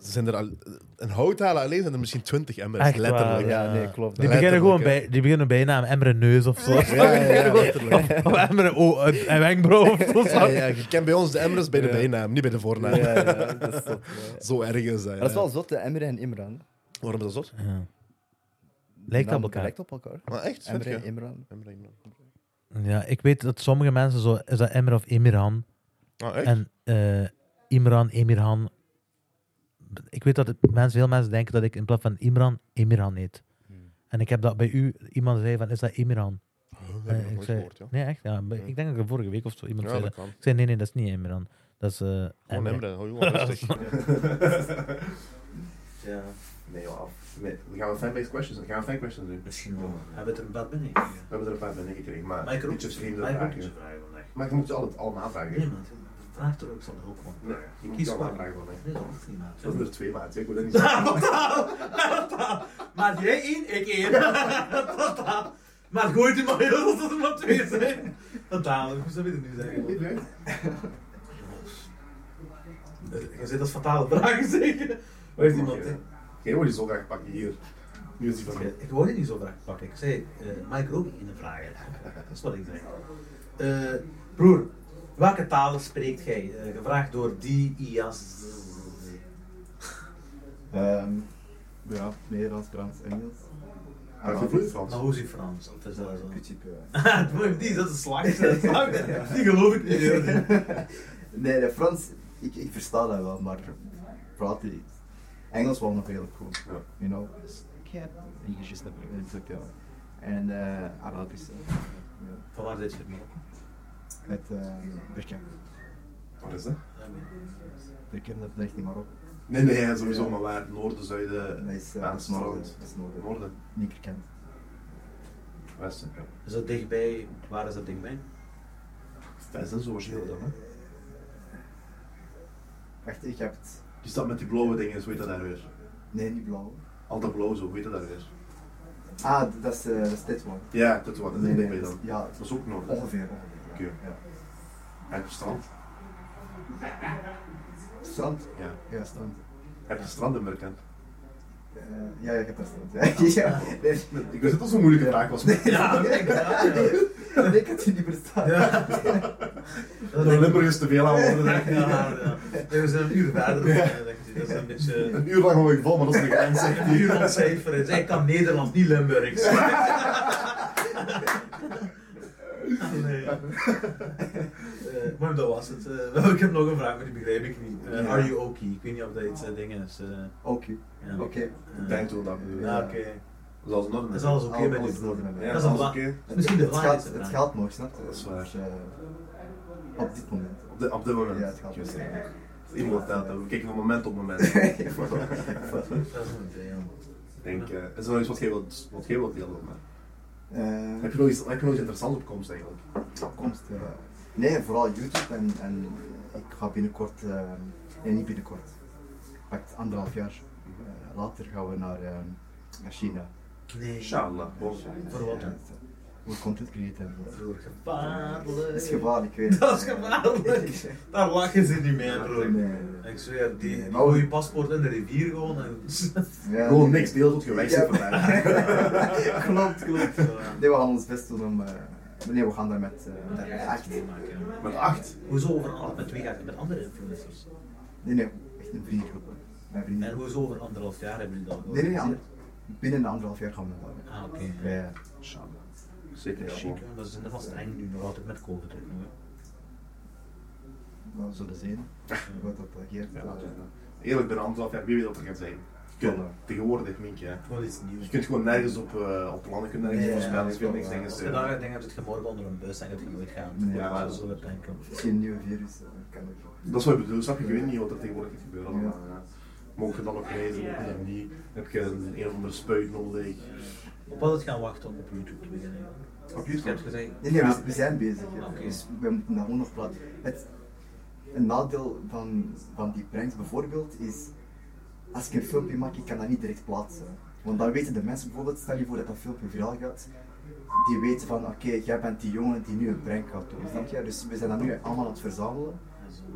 Speaker 2: zijn er al... Een houthalen alleen zijn er misschien twintig emmers,
Speaker 1: Echt waar,
Speaker 2: letterlijk.
Speaker 3: Ja, nee, klopt.
Speaker 1: Die
Speaker 2: Ja,
Speaker 1: beginnen gewoon
Speaker 2: letterlijk,
Speaker 1: bij, die beginnen bijnaam Emre Neus of zo.
Speaker 2: Ja, ja, ja, letterlijk.
Speaker 1: Of Emre O en Wenkbrauw of zo.
Speaker 2: Ja,
Speaker 1: snap je?
Speaker 2: ja, je kent bij ons de emmers bij de
Speaker 3: Ja.
Speaker 2: bijnaam, niet bij de
Speaker 3: Ja,
Speaker 2: voornaam.
Speaker 3: ja, dat is zot, ja.
Speaker 2: Zo erg is dat,
Speaker 3: Maar dat is
Speaker 2: ja.
Speaker 3: wel zot, hè, Emre en Imran.
Speaker 2: Waarom is dat zo?
Speaker 1: Ja.
Speaker 3: Die
Speaker 1: Lijkt op
Speaker 3: namen
Speaker 1: elkaar.
Speaker 3: Lijkt op elkaar.
Speaker 2: Maar echt, vind
Speaker 3: Emre
Speaker 2: je?
Speaker 3: en Imran.
Speaker 2: Emre, Imran.
Speaker 1: Ja, ik weet dat sommige mensen zo, is dat Emre of Emirhan?
Speaker 2: Ah, echt?
Speaker 1: En eh, Imran, Emirhan. Ik weet dat het- mensen, veel mensen denken dat ik in plaats van Imran, Emirhan heet.
Speaker 2: Hmm.
Speaker 1: En ik heb dat bij u, iemand zei van, is dat Emirhan?
Speaker 2: Dat heb
Speaker 1: eh,
Speaker 2: ik nog
Speaker 1: ik
Speaker 2: nooit
Speaker 1: zei-
Speaker 2: gehoord, ja.
Speaker 1: Nee, echt? Ja, maar ik denk dat ik vorige week of zo iemand
Speaker 2: Ja,
Speaker 1: zei
Speaker 2: dat
Speaker 1: dat.
Speaker 2: kan.
Speaker 1: Ik zei, nee, nee, dat is niet Emirhan. Dat is eh,
Speaker 2: Gewoon
Speaker 1: Emre.
Speaker 2: Emre, hou je gewoon rustig. Ja. Nee, joh, af. Nee, we gaan fanbase questions doen. Gaan we fan questions doen?
Speaker 6: Misschien wel. Hebben we het er een bad binnen?
Speaker 2: We hebben er een paar binnengekregen, maar,
Speaker 6: Maar
Speaker 2: maar
Speaker 6: ik er ook
Speaker 2: niet zo
Speaker 6: tussen
Speaker 2: vreemde
Speaker 6: vragen.
Speaker 2: vragen.
Speaker 6: vandaag.
Speaker 2: Maar je moet ze altijd allemaal
Speaker 6: Nee,
Speaker 2: vragen.
Speaker 6: maar het- vraag er ook van de hulp man.
Speaker 2: Nee, je moet
Speaker 6: Kies
Speaker 2: ze allemaal
Speaker 6: maar.
Speaker 2: vragen van mij.
Speaker 6: Nee, dat hoeft niet, Nou, maat.
Speaker 2: Dat zijn er twee maat, hè. ik wil dat niet zeggen.
Speaker 6: Nou, Maar jij één, ik één. maar gooi die maar heel dat er maar twee zijn. Dat dadelijk, hoe zou je dat nu zeggen? Je zit als fatale vragen zeker. Waar is iemand? hè?
Speaker 2: Jij wil die zo graag pakken hier. Nu is die van mij.
Speaker 6: Ik word niet zo vaak pakken. Ik zei, eh Mike ook in de vragen. Dat is wat ik zeg. Eh, broer, welke talen spreekt jij? Eh, gevraagd door die IAS.
Speaker 7: Ehm,
Speaker 3: Ja, Nederlands, Frans, Engels.
Speaker 2: Hij heeft gevloeid Frans.
Speaker 6: Maar hoe is je Frans? Of is Ah, Ah, dat zo?
Speaker 3: Petit peu.
Speaker 6: Het mooie niet, dat is een slag. Dat is een slag. Die geloof ik niet. joh.
Speaker 3: nee, de Frans, ik, ik versta dat wel, maar praat die niet. Engels wel nog redelijk goed.
Speaker 2: Ja.
Speaker 3: You know? Dus ik heb Engels is dat is oké. En eh, Arabisch. eh, ja.
Speaker 6: Van waar dit vermogen?
Speaker 3: Met eh Burkina.
Speaker 2: Wat is dat?
Speaker 3: Burkina, dat ligt niet maar op.
Speaker 2: Nee, nee, sowieso, maar waar? Noorden, zuiden,
Speaker 3: Dat is, eh, dat is
Speaker 2: westen,
Speaker 3: noorden.
Speaker 2: strand.
Speaker 3: Dat is noorden.
Speaker 2: Noorden,
Speaker 3: Niet gekend.
Speaker 2: westen. Ja.
Speaker 6: Is dat dichtbij? Waar is dat dichtbij?
Speaker 2: Dat is dat zo waarschijnlijk dan, hè?
Speaker 3: Wacht, ik heb het.
Speaker 2: Die stad met die blauwe dingen, hoe heet dat daar weer?
Speaker 3: Nee, niet blauw.
Speaker 2: Al dat blauw zo, hoe heet dat daar weer?
Speaker 3: Ah, d- dat is, eh, dat is dit one.
Speaker 2: Ja, dat is wat, dat is
Speaker 3: Nee,
Speaker 2: Oh, nee,
Speaker 3: nee,
Speaker 2: dan.
Speaker 3: ja,
Speaker 2: Dat is ook noorden.
Speaker 6: Oh.
Speaker 3: Ongeveer, ongeveer.
Speaker 2: Oké.
Speaker 3: Ja.
Speaker 2: Heb je strand?
Speaker 3: Strand?
Speaker 2: Ja.
Speaker 3: Ja, strand.
Speaker 2: Heb je strand in Merkent?
Speaker 3: Eh, ja, ik heb dat strand. Ja. ja. Nee,
Speaker 2: Ik wist dat dat zo'n moeilijke vraag was. maar-
Speaker 6: Ja, ik
Speaker 3: nee, ik had die niet bestaan.
Speaker 2: Door Limburg is te veel aan woorden.
Speaker 6: Ja, ja. Nee, we zijn een uur verder. eh, denk ik. Dat is een beetje...
Speaker 2: Een uur lang hou ik vol, maar dat is de grens. hè.
Speaker 6: Een uur ontcijferen. is. Ik kan Nederlands, niet Limburgs. Nee. Eh, maar dat was het. Eh, ik heb nog een vraag, maar die begrijp ik niet. Eh,
Speaker 3: Ja.
Speaker 6: Are you okay? Ik weet niet of dat iets eh, ding is. eh,
Speaker 3: Oké,
Speaker 6: ja.
Speaker 3: oké.
Speaker 2: Ik denk zo dat bedoel.
Speaker 6: Ja,
Speaker 2: Dat
Speaker 6: oké.
Speaker 2: is alles nog
Speaker 6: Dat is alles oké
Speaker 3: Al-
Speaker 6: bij
Speaker 3: alles
Speaker 6: dit
Speaker 3: in orde
Speaker 6: broer.
Speaker 3: met mij.
Speaker 2: Ja,
Speaker 6: Dat
Speaker 2: dat
Speaker 6: is
Speaker 2: is
Speaker 6: een
Speaker 2: oké.
Speaker 6: belang- dat is misschien de
Speaker 3: Het gaat,
Speaker 6: belangrijkste
Speaker 3: het
Speaker 6: vraag.
Speaker 3: gaat nog, snap je?
Speaker 2: Dat is waar.
Speaker 3: Dus, eh, op dit moment.
Speaker 2: Op, dit- op dit moment.
Speaker 3: Ja, het gaat nog.
Speaker 2: Iemand telt dat. We kijken van moment op moment.
Speaker 6: Dat is een deel.
Speaker 2: Ik denk, eh, is er nog iets wat jij wilt, wat jij wilt delen? Maar.
Speaker 3: Eh,
Speaker 2: Heb je nog iets, heb je nog iets interessants op komst eigenlijk?
Speaker 3: opkomst. eh, nee, vooral YouTube en, en ik ga binnenkort, eh, nee niet binnenkort, pakt anderhalf jaar eh, later gaan we naar, eh, naar China. Eh,
Speaker 6: Nee,
Speaker 2: Inshallah. Bon.
Speaker 6: voor wat?
Speaker 3: Ja, Hoe content creëren hebben.
Speaker 6: Broer, gevaarlijk.
Speaker 3: Dat is gevaarlijk, ik weet het.
Speaker 6: Dat is gevaarlijk. Daar lachen ze niet mee,
Speaker 3: Nee,
Speaker 6: broer.
Speaker 3: nee, nee.
Speaker 6: Ik zweer, die, die
Speaker 3: maar-
Speaker 6: gooien je paspoort in de rivier gewoon en...
Speaker 3: Ja,
Speaker 2: Gewoon
Speaker 3: nee.
Speaker 2: niks deel tot je weg
Speaker 3: Ja.
Speaker 2: zit vandaag.
Speaker 3: klopt, klopt.
Speaker 6: Zo, ja.
Speaker 3: Nee, we gaan ons best doen om. eh, nee, we gaan daar met, eh, met acht. Nee,
Speaker 6: Meemaken.
Speaker 2: Met acht.
Speaker 6: Hoezo over een- met twee gaat met andere influencers?
Speaker 3: nee, echt een vriendengroep. hè. Mijn
Speaker 6: En
Speaker 3: vrienden.
Speaker 6: hoezo over anderhalf jaar hebben jullie dat
Speaker 3: Nee, nee, nee, ander-
Speaker 6: georganiseerd?
Speaker 3: binnen de anderhalf jaar gaan we naar daar.
Speaker 6: Ah, oké.
Speaker 3: Ja, ja.
Speaker 2: Inshallah. Zeker.
Speaker 6: Chic, hè. dat is net vast eng nu, nog altijd met COVID ook nog. hè.
Speaker 3: Nou, we zullen zien wat dat reageert.
Speaker 2: Ja,
Speaker 3: eh,
Speaker 2: dat is wel. Eerlijk, binnen anderhalf jaar, wie weet wat er gaat zijn. Kun,
Speaker 3: Voilà.
Speaker 2: tegenwoordig, Minkje. hè.
Speaker 6: Gewoon iets nieuws.
Speaker 2: Je kunt gewoon nergens op, eh, op plannen, je kunt nergens
Speaker 6: Ja,
Speaker 2: op
Speaker 6: dat
Speaker 2: voorspellen,
Speaker 3: is
Speaker 2: je kunt
Speaker 3: wel
Speaker 2: niks
Speaker 3: waar.
Speaker 2: dingen
Speaker 6: Als je
Speaker 2: sturen.
Speaker 6: daar gaat denken, zit je morgen onder een bus en dat je nooit gaat.
Speaker 3: Nee,
Speaker 2: ja.
Speaker 6: Ja, zo het denken.
Speaker 3: Misschien nieuwe virus, eh, kan ook.
Speaker 2: Dat is wat ik bedoel, snap je? Je weet niet wat er tegenwoordig gaat gebeuren.
Speaker 3: Ja.
Speaker 2: allemaal, ja. Mocht je dan nog reizen, mocht je dan niet? Heb je een, een of andere spuit nodig?
Speaker 6: Op wat het gaan wachten om op YouTube te beginnen.
Speaker 2: Op
Speaker 6: Ik heb
Speaker 2: YouTube?
Speaker 6: gezegd,
Speaker 3: Nee, nee, we, we zijn bezig. hè.
Speaker 6: Oké.
Speaker 3: Dus we moeten daar gewoon nog plat. Het, een nadeel van, van die pranks bijvoorbeeld is, als ik een filmpje maak, ik kan dat niet direct plaatsen. Want dan weten de mensen bijvoorbeeld, stel je voor dat dat filmpje viraal gaat, die weten van, oké, jij bent die jongen die nu een prank gaat doen, snap je? Dus we zijn dat nu allemaal aan het verzamelen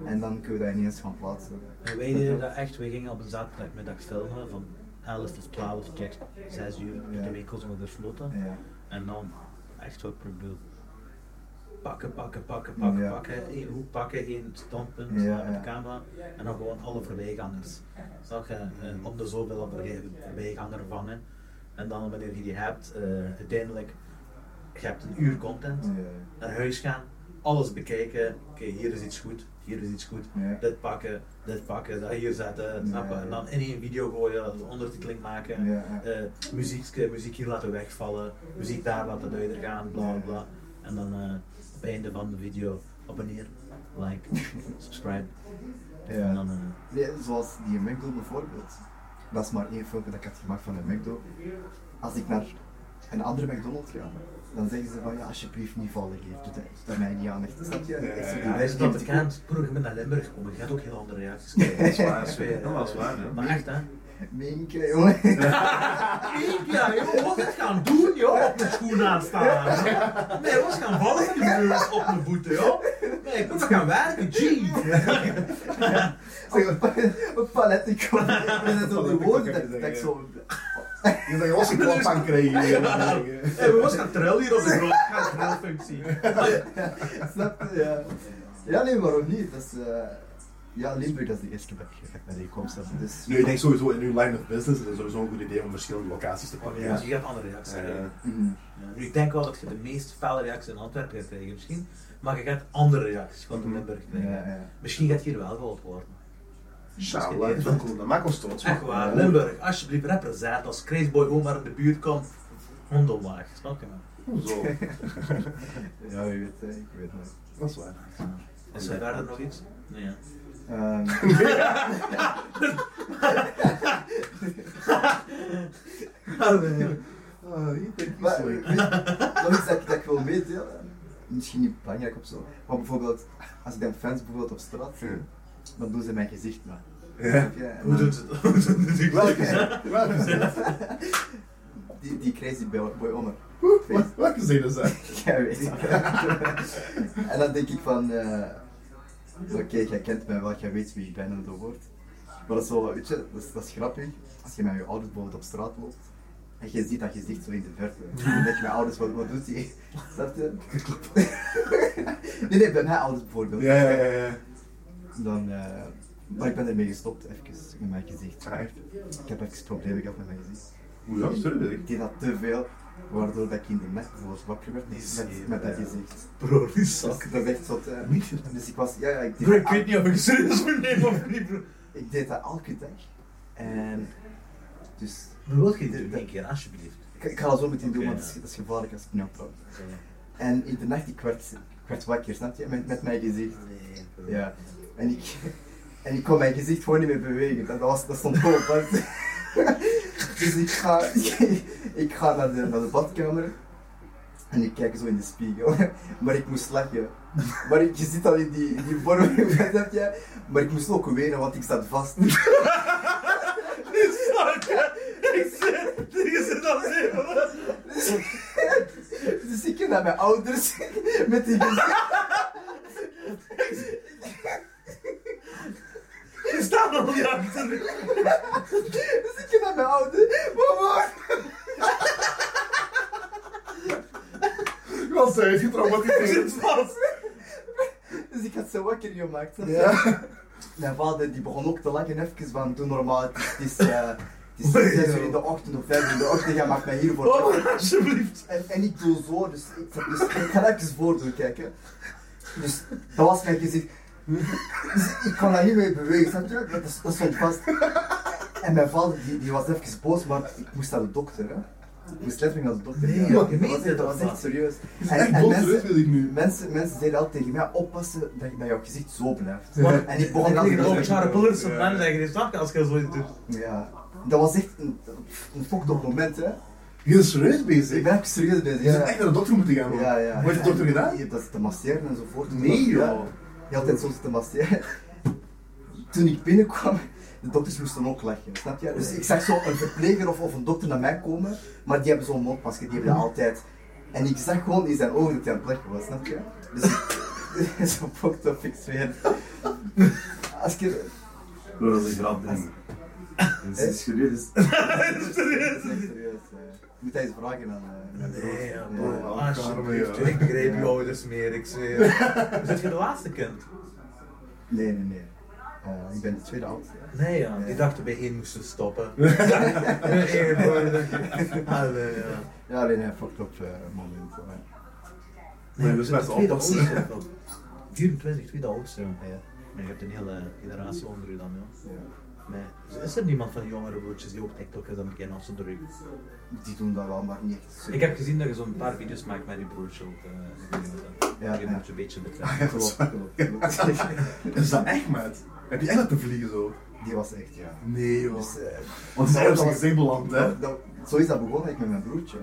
Speaker 3: en dan kunnen we dat ineens gaan plaatsen.
Speaker 6: En wij deden dat echt, wij gingen op een zaterdagmiddag filmen van 11 of 12 tot 6 uur.
Speaker 3: Ja.
Speaker 6: De winkels worden gesloten.
Speaker 3: Ja.
Speaker 6: En dan echt wat probeer. Pakken, pakken, pakken, pakken,
Speaker 3: Ja.
Speaker 6: pakken. Eh, Eén hoek pakken, één standpunt eh,
Speaker 3: Ja,
Speaker 6: met
Speaker 3: ja.
Speaker 6: de camera. En dan gewoon alle voorbijgangers. Zag je, eh, om de zoveel een voorbij- voorbijganger vangen. En dan wanneer je die hebt, eh, uiteindelijk, je hebt een uur content.
Speaker 3: Ja.
Speaker 6: Naar huis gaan, alles bekijken. Oké, hier is iets goed, hier is iets goed.
Speaker 3: Ja.
Speaker 6: Dit pakken, dit pakken, dat hier zetten.
Speaker 3: Ja,
Speaker 6: snap je?
Speaker 3: ja.
Speaker 6: En dan in één video gooien, ondertiteling maken
Speaker 3: Ja, ja.
Speaker 6: eh muziek, muziek hier laten wegvallen, muziek daar laten duider gaan, bla bla bla. En dan eh, op het einde van de video abonneer, like, subscribe.
Speaker 3: Ja.
Speaker 6: En dan, eh,
Speaker 3: Nee, zoals die McDo bijvoorbeeld. Dat is maar één filmpje dat ik had gemaakt van de McDo. Als ik naar een andere McDonald's ga, dan zeggen ze van ja, alsjeblieft niet vallen geef. Doe dat, dat mij niet aan. Echt, snap je? Echt zo die
Speaker 6: ja, is
Speaker 3: wijze
Speaker 6: dat
Speaker 3: die-
Speaker 6: bekend? Broer, ik ben naar Limburg gekomen, je gaat ook heel andere reacties krijgen.
Speaker 2: Dat is waar, dat is waar, dat is waar, hè.
Speaker 6: Maar echt hè?
Speaker 3: Minke, jongen.
Speaker 6: Ik ja, joh, wat is het gaan doen joh? Op mijn schoen aanstaan. Nee, wat is het gaan vallen in de muur op mijn voeten joh? Nee, ik moet nog gaan werken, jeez.
Speaker 3: Zeg, een pa- een palet, ik kom. Dat zijn zo die woorden dat, dat ik zo...
Speaker 2: Je zegt, "Oh, als ik wel een pan krijg. hier.
Speaker 6: Hey, we was gaan trillen hier op de grond, ik ga een trilfunctie.
Speaker 3: Snap je? Ja. Ja, nee, waarom niet? Dat is... eh, Ja, Limburg, dat is de eerste keer dat ik- dat ik naar hier kom. snap je? Dus
Speaker 2: Nu, ik denk sowieso in uw line of business is het sowieso een goed idee om verschillende locaties te Eh, pakken.
Speaker 6: Ja. Dus je gaat andere reacties
Speaker 2: Ja.
Speaker 6: krijgen.
Speaker 3: mhm.
Speaker 6: Ja, nu, ik denk wel dat je de meest felle reacties in Antwerpen gaat krijgen, misschien. Maar je gaat andere reacties gewoon in Limburg krijgen.
Speaker 3: Mhm. Ja, ja.
Speaker 6: Misschien gaat je hier wel geholpen worden.
Speaker 2: Inshallah, dat is wel cool. Dat maakt ons trots. man.
Speaker 6: Echt waar,
Speaker 2: Ja.
Speaker 6: Limburg, alsjeblieft, represent. Als Crazeboy Omar in de buurt komt, hondelwaag. Snap je me?
Speaker 2: Zo,
Speaker 3: Oh. ja, je weet, eh, ik weet het.
Speaker 2: dat is waar.
Speaker 6: Is er verder nog iets? Nee. hè?
Speaker 3: Ehm,
Speaker 2: Ah, hier, thank you,
Speaker 3: Maar,
Speaker 2: sorry.
Speaker 3: weet- nog iets dat ik, dat ik wil meedelen, misschien niet belangrijk of zo, maar bijvoorbeeld, als ik dan fans bijvoorbeeld op straat zie, dan doen ze mijn gezicht na.
Speaker 2: Ja.
Speaker 3: Ja, en
Speaker 6: Hoe
Speaker 3: dan-
Speaker 6: doet het? Hoe doet het?
Speaker 2: Welke? Welke?
Speaker 3: die, die crazy boy, boy Omer.
Speaker 2: Wat- Welke zin is dat?
Speaker 3: Jij weet het. En dan denk ik van, eh, oké, jij kent mij wel, jij weet wie ik ben en zo wordt. Maar dat is wel, weet je, dat is, dat is grappig. Als je met je ouders bijvoorbeeld op straat loopt, en je ziet dat gezicht zo in de verte. Dan denk je, mijn ouders, wat, wat doet hij? Snap je? nee, nee, bij mijn ouders bijvoorbeeld.
Speaker 2: Ja, ja, ja, ja.
Speaker 3: Dan, eh, maar ik ben ermee gestopt, even, met mijn gezicht.
Speaker 2: Ah, echt?
Speaker 3: Ik heb even problemen gehad met mijn gezicht.
Speaker 2: Hoe dat? Sorry, weet ik.
Speaker 3: Ik deed dat te veel, waardoor dat ik in de nacht bijvoorbeeld wakker werd
Speaker 6: Die
Speaker 3: met,
Speaker 6: zeven,
Speaker 3: met dat
Speaker 6: ja.
Speaker 3: gezicht.
Speaker 6: Bro, die
Speaker 3: Dat,
Speaker 6: zak.
Speaker 3: dat is echt zot. hè. Dus ik was, ja, ja, ik deed,
Speaker 6: Bro,
Speaker 3: dat,
Speaker 6: ik weet niet of ik serieus moet nemen of niet, bro.
Speaker 3: al- ik deed dat elke dag. En dus,
Speaker 6: Maar wil je dit doen? Eén keer, alsjeblieft.
Speaker 3: ik, ik ga dat zo meteen doen,
Speaker 6: Oké,
Speaker 3: want dat is, dat is gevaarlijk als ik nu praat.
Speaker 6: Oké.
Speaker 3: En in de nacht, ik werd, ik werd wakker, snap je, met, met mijn gezicht.
Speaker 6: Nee, bro.
Speaker 3: Ja. En ik, en ik kon mijn gezicht gewoon niet meer bewegen, dat, was, dat stond gewoon vast. dus ik ga, ik ga naar, de, naar de badkamer. En ik kijk zo in de spiegel. Maar ik moest lachen. Maar ik, je zit al in die, in die vorm, snap je? Maar ik moest ook wenen, want ik zat vast.
Speaker 6: Die zak, hè. Ik zit, die zit al zeven.
Speaker 3: Dus ik ging naar mijn ouders met die gezicht.
Speaker 6: Die staan al niet achter.
Speaker 3: Dus ik ging naar mijn ouders. Mama!
Speaker 2: Ik was eh,
Speaker 6: Ik zit
Speaker 2: uitgetraumatiseerd.
Speaker 6: vast.
Speaker 3: Dus ik had ze wakker gemaakt. snap je?
Speaker 2: Ja.
Speaker 3: Mijn vader die begon ook te lachen, even van doe normaal, het is- het is, eh, het is
Speaker 6: Oei,
Speaker 3: zes
Speaker 6: joh.
Speaker 3: uur in de ochtend of vijf uur in de ochtend, jij maakt mij hiervoor.
Speaker 6: Oh, alsjeblieft.
Speaker 3: En, en ik doe zo, dus ik, dus ik ga even voor doen kijken. Dus dat was mijn gezicht. Dus ik kon daar niet mee bewegen, snap je? Dat, is- dat stond vast. En mijn vader die, die was even boos, maar ik moest naar de dokter. Hè. Ik moest letterlijk naar de dokter.
Speaker 6: Nee,
Speaker 3: ja.
Speaker 6: joh,
Speaker 3: dat, was
Speaker 6: meen
Speaker 3: echt,
Speaker 6: je
Speaker 3: dat was
Speaker 6: dat,
Speaker 3: echt serieus.
Speaker 2: Echt boos, weet ik nu.
Speaker 3: Mensen, mensen zeiden altijd tegen mij, oppassen dat, dat jouw gezicht zo blijft.
Speaker 2: Ja.
Speaker 3: En ik begon
Speaker 6: Ik
Speaker 3: dat
Speaker 6: lig
Speaker 3: te
Speaker 6: er over
Speaker 3: doen.
Speaker 6: Charles Bullers en dan zeggen die zak als je zoiets doet.
Speaker 3: Ja, dat was echt een, een fucked up moment, hè.
Speaker 2: Je bent serieus
Speaker 3: Ik
Speaker 2: bezig.
Speaker 3: ben echt serieus bezig.
Speaker 2: Je zou
Speaker 3: Ja,
Speaker 2: echt naar de dokter moeten gaan, man.
Speaker 3: ja. ja.
Speaker 2: Wat heeft de dokter gedaan?
Speaker 3: Je hebt dat te masseren enzovoort.
Speaker 2: Nee,
Speaker 3: Ja.
Speaker 2: joh.
Speaker 3: Je had altijd soms te masseren. Toen ik binnenkwam, de dokters moesten ook lachen, snap je? Dus ik zag zo een verpleger of, of een dokter naar mij komen, maar die hebben zo'n mondmasker, die hebben dat
Speaker 2: Mm-hmm.
Speaker 3: altijd. En ik zag gewoon in zijn ogen dat hij aan het lachen was, snap je? Dus ik... zo fucked up, ik zweer. Als ik...
Speaker 2: Bro, dat is een grap, ding.
Speaker 3: Dat is
Speaker 2: serieus.
Speaker 3: Dat is echt serieus, hè. Moet hij eens vragen aan... eh, aan de dokter.
Speaker 6: Nee,
Speaker 3: Ja.
Speaker 6: bro,
Speaker 2: Ja.
Speaker 6: alsjeblieft.
Speaker 2: Ja.
Speaker 6: Ik begrijp je ouders meer, ik zweer. Is dat je de laatste kind?
Speaker 3: Nee, nee, nee. Eh, ik ben de tweede oudste.
Speaker 6: Nee, ja. Die dachten bij één moesten stoppen. Bij één broer dacht je. Allee, ja.
Speaker 3: Ja, alleen hij fucked up eh, moment. maar
Speaker 2: Nee, dus
Speaker 6: de
Speaker 2: mensen
Speaker 6: tweede
Speaker 2: oppassen.
Speaker 6: oudste. bro. 24, tweede oudste. ja.
Speaker 3: ja,
Speaker 6: Maar je hebt een hele generatie onder je dan, joh.
Speaker 3: ja.
Speaker 6: Nee. Is er niemand van die jongere broertjes die ook TikTok is dan een keer afzondering?
Speaker 3: Die doen dat wel, maar niet echt super.
Speaker 6: Ik heb gezien dat je zo'n paar video's maakt met die broertje op eh
Speaker 3: Ja,
Speaker 6: Je
Speaker 3: ja.
Speaker 6: moet je een beetje betrekken. Eh,
Speaker 3: Klopt, klopt, klopt.
Speaker 2: Is dat echt, maat? Heb je echt dat te vliegen zo?
Speaker 3: Die was echt, ja.
Speaker 2: Nee, joh.
Speaker 3: Dus, eh,
Speaker 2: Want ze zijn op zijn gezicht beland, hè?
Speaker 3: dat- dat- zo is dat begonnen ik met mijn broertje.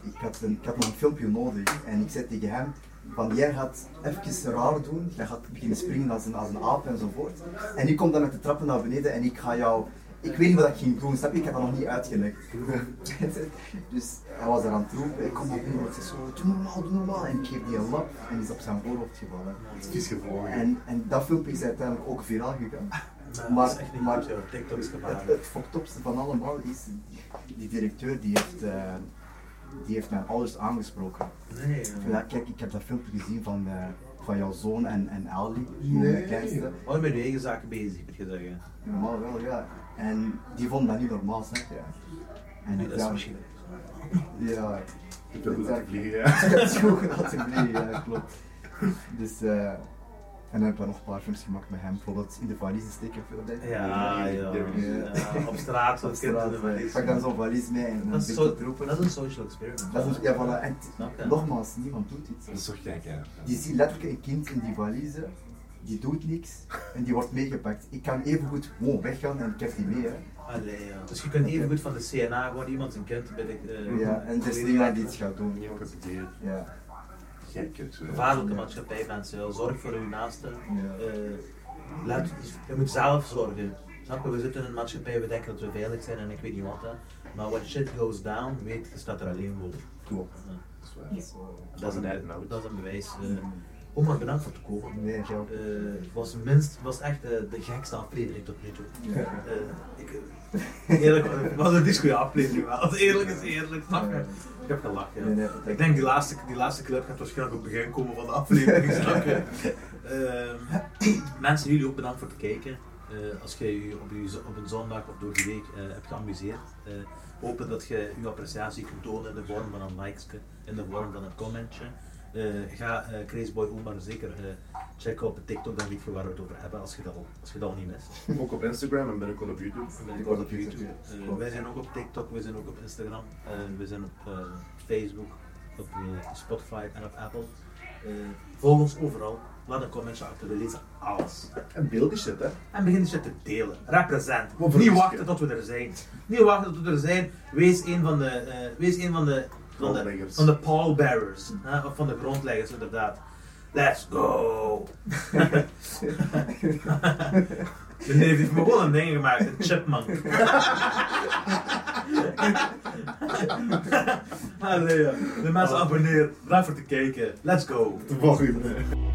Speaker 3: Ik had, een, ik had nog een filmpje nodig en ik zei tegen hem van jij gaat even raar doen, jij gaat beginnen springen als een, als een aap enzovoort. En ik kom dan met de trappen naar beneden en ik ga jou... Ik weet niet wat ik ging doen, snap je? Ik had dat nog niet uitgelegd. dus hij was eraan het roepen, ik kom op en ik zeg zo, doe normaal, doe normaal. En ik geef die een lap en die is op zijn voorhoofd gevallen.
Speaker 2: Vies gevlogen.
Speaker 3: En, en dat filmpje is uiteindelijk ook viraal gegaan.
Speaker 6: Maar, dat is echt niet goed, joh. TikTok is
Speaker 3: Het,
Speaker 6: gevaarlijk.
Speaker 3: het fucked upste van allemaal is die directeur die heeft eh, die heeft mijn ouders aangesproken.
Speaker 6: Nee, ja.
Speaker 3: Van, Ja, kijk, ik heb dat filmpje gezien van, eh, van jouw zoon en, en Ali, mijn kleinste.
Speaker 6: Al met je eigen zaken bezig, moet je zeggen.
Speaker 3: Normaal wel, ja. En die vonden dat niet normaal, snap je? En
Speaker 6: Nee, dat is
Speaker 3: ja,
Speaker 6: misschien.
Speaker 3: Ja,
Speaker 2: Ik wil goed laten vliegen, ja.
Speaker 3: ik heb het goed laten vliegen, ja, klopt. Dus, eh, en dan heb ik nog een paar films gemaakt met hem, bijvoorbeeld in de valise steken film. denk ik.
Speaker 6: Ja, ja. ja. Op straat,
Speaker 3: Op
Speaker 6: wat kinderen
Speaker 3: straat,
Speaker 6: de
Speaker 3: eh, Ik
Speaker 6: valies.
Speaker 3: pak dan zo'n valies mee en dan
Speaker 6: Dat is,
Speaker 3: ben ik
Speaker 6: zo-
Speaker 3: dat roepen.
Speaker 6: dat is een social experiment.
Speaker 3: Dat is, ja, voilà. En t-
Speaker 6: Snap je?
Speaker 3: nogmaals, niemand doet iets.
Speaker 2: Dat is toch gek, ja.
Speaker 3: Je ziet letterlijk een kind in die valise, die doet niks en die wordt meegepakt. Ik kan evengoed gewoon weggaan en ik heb die mee. Hè.
Speaker 6: Allee, ja. Dus je kunt even goed van de CNA gewoon iemand zijn kind bij de... eh,
Speaker 3: Ja, en er is niemand die iets gaat doen.
Speaker 2: Niemand heeft idee.
Speaker 3: Ja,
Speaker 2: Gek, het zo.
Speaker 6: Gevaarlijke maatschappij, mensen. Zorg voor uw naasten.
Speaker 3: Ja.
Speaker 6: Eh, laat, je moet zelf zorgen. Snap je? We zitten in een maatschappij, we denken dat we veilig zijn en ik weet niet wat. Hè. Maar when shit goes down, weet je staat er alleen voor.
Speaker 3: klopt.
Speaker 2: Dat is waar.
Speaker 6: Dat is
Speaker 2: Net
Speaker 6: een,
Speaker 2: nou.
Speaker 6: dat is een
Speaker 3: Euh.
Speaker 6: bewijs. eh. Omar, bedankt voor het komen.
Speaker 3: Nee, ja.
Speaker 6: Het was, minst, was echt eh, de gekste aflevering tot nu toe.
Speaker 3: Ja.
Speaker 6: Eh, ik, eh, eerlijk, het was een disco aflevering wel. Als eerlijk is eerlijk, snap je? Ik heb gelachen. ja.
Speaker 3: Nee, nee, dat-
Speaker 6: ik denk die laatste, die laatste clip gaat waarschijnlijk op het begin komen van de aflevering, snap je? Ehm, mensen, jullie ook bedankt voor het kijken. Eh, als je je op, je op een zondag of door de week eh, hebt geamuseerd, eh, hopen dat je je appreciatie kunt tonen in de vorm van een likesje, in de vorm van een commentje. Eh, ga eh Crazeboy Omar zeker eh, checken op TikTok, dan weet je waar we het over hebben als je dat al, als je dat al niet mist.
Speaker 2: Ook op Instagram en binnenkort op YouTube.
Speaker 6: Binnenkort op YouTube. Eh, wij zijn ook op TikTok, we zijn ook op Instagram, eh, we zijn op eh, Facebook, op eh, Spotify en op Apple. Eh, volg ons overal, laat een commentje achter, we lezen alles.
Speaker 2: En beeldjes shit, hè.
Speaker 6: En begin die shit te delen. Represent.
Speaker 2: Wat
Speaker 6: Niet
Speaker 2: voor
Speaker 6: wachten
Speaker 2: is-
Speaker 6: tot we er zijn. Niet wachten tot we er zijn. Wees een van de, eh, wees een van de, van de,
Speaker 2: Grondleggers.
Speaker 6: van de pallbearers. hè, Of van de grondleggers, inderdaad. Let's go! De neef heeft me gewoon een ding gemaakt, een chipmunk. Oh. Allee, ja. de mensen abonneer. Bedankt voor het kijken. Let's go!
Speaker 2: Volgende.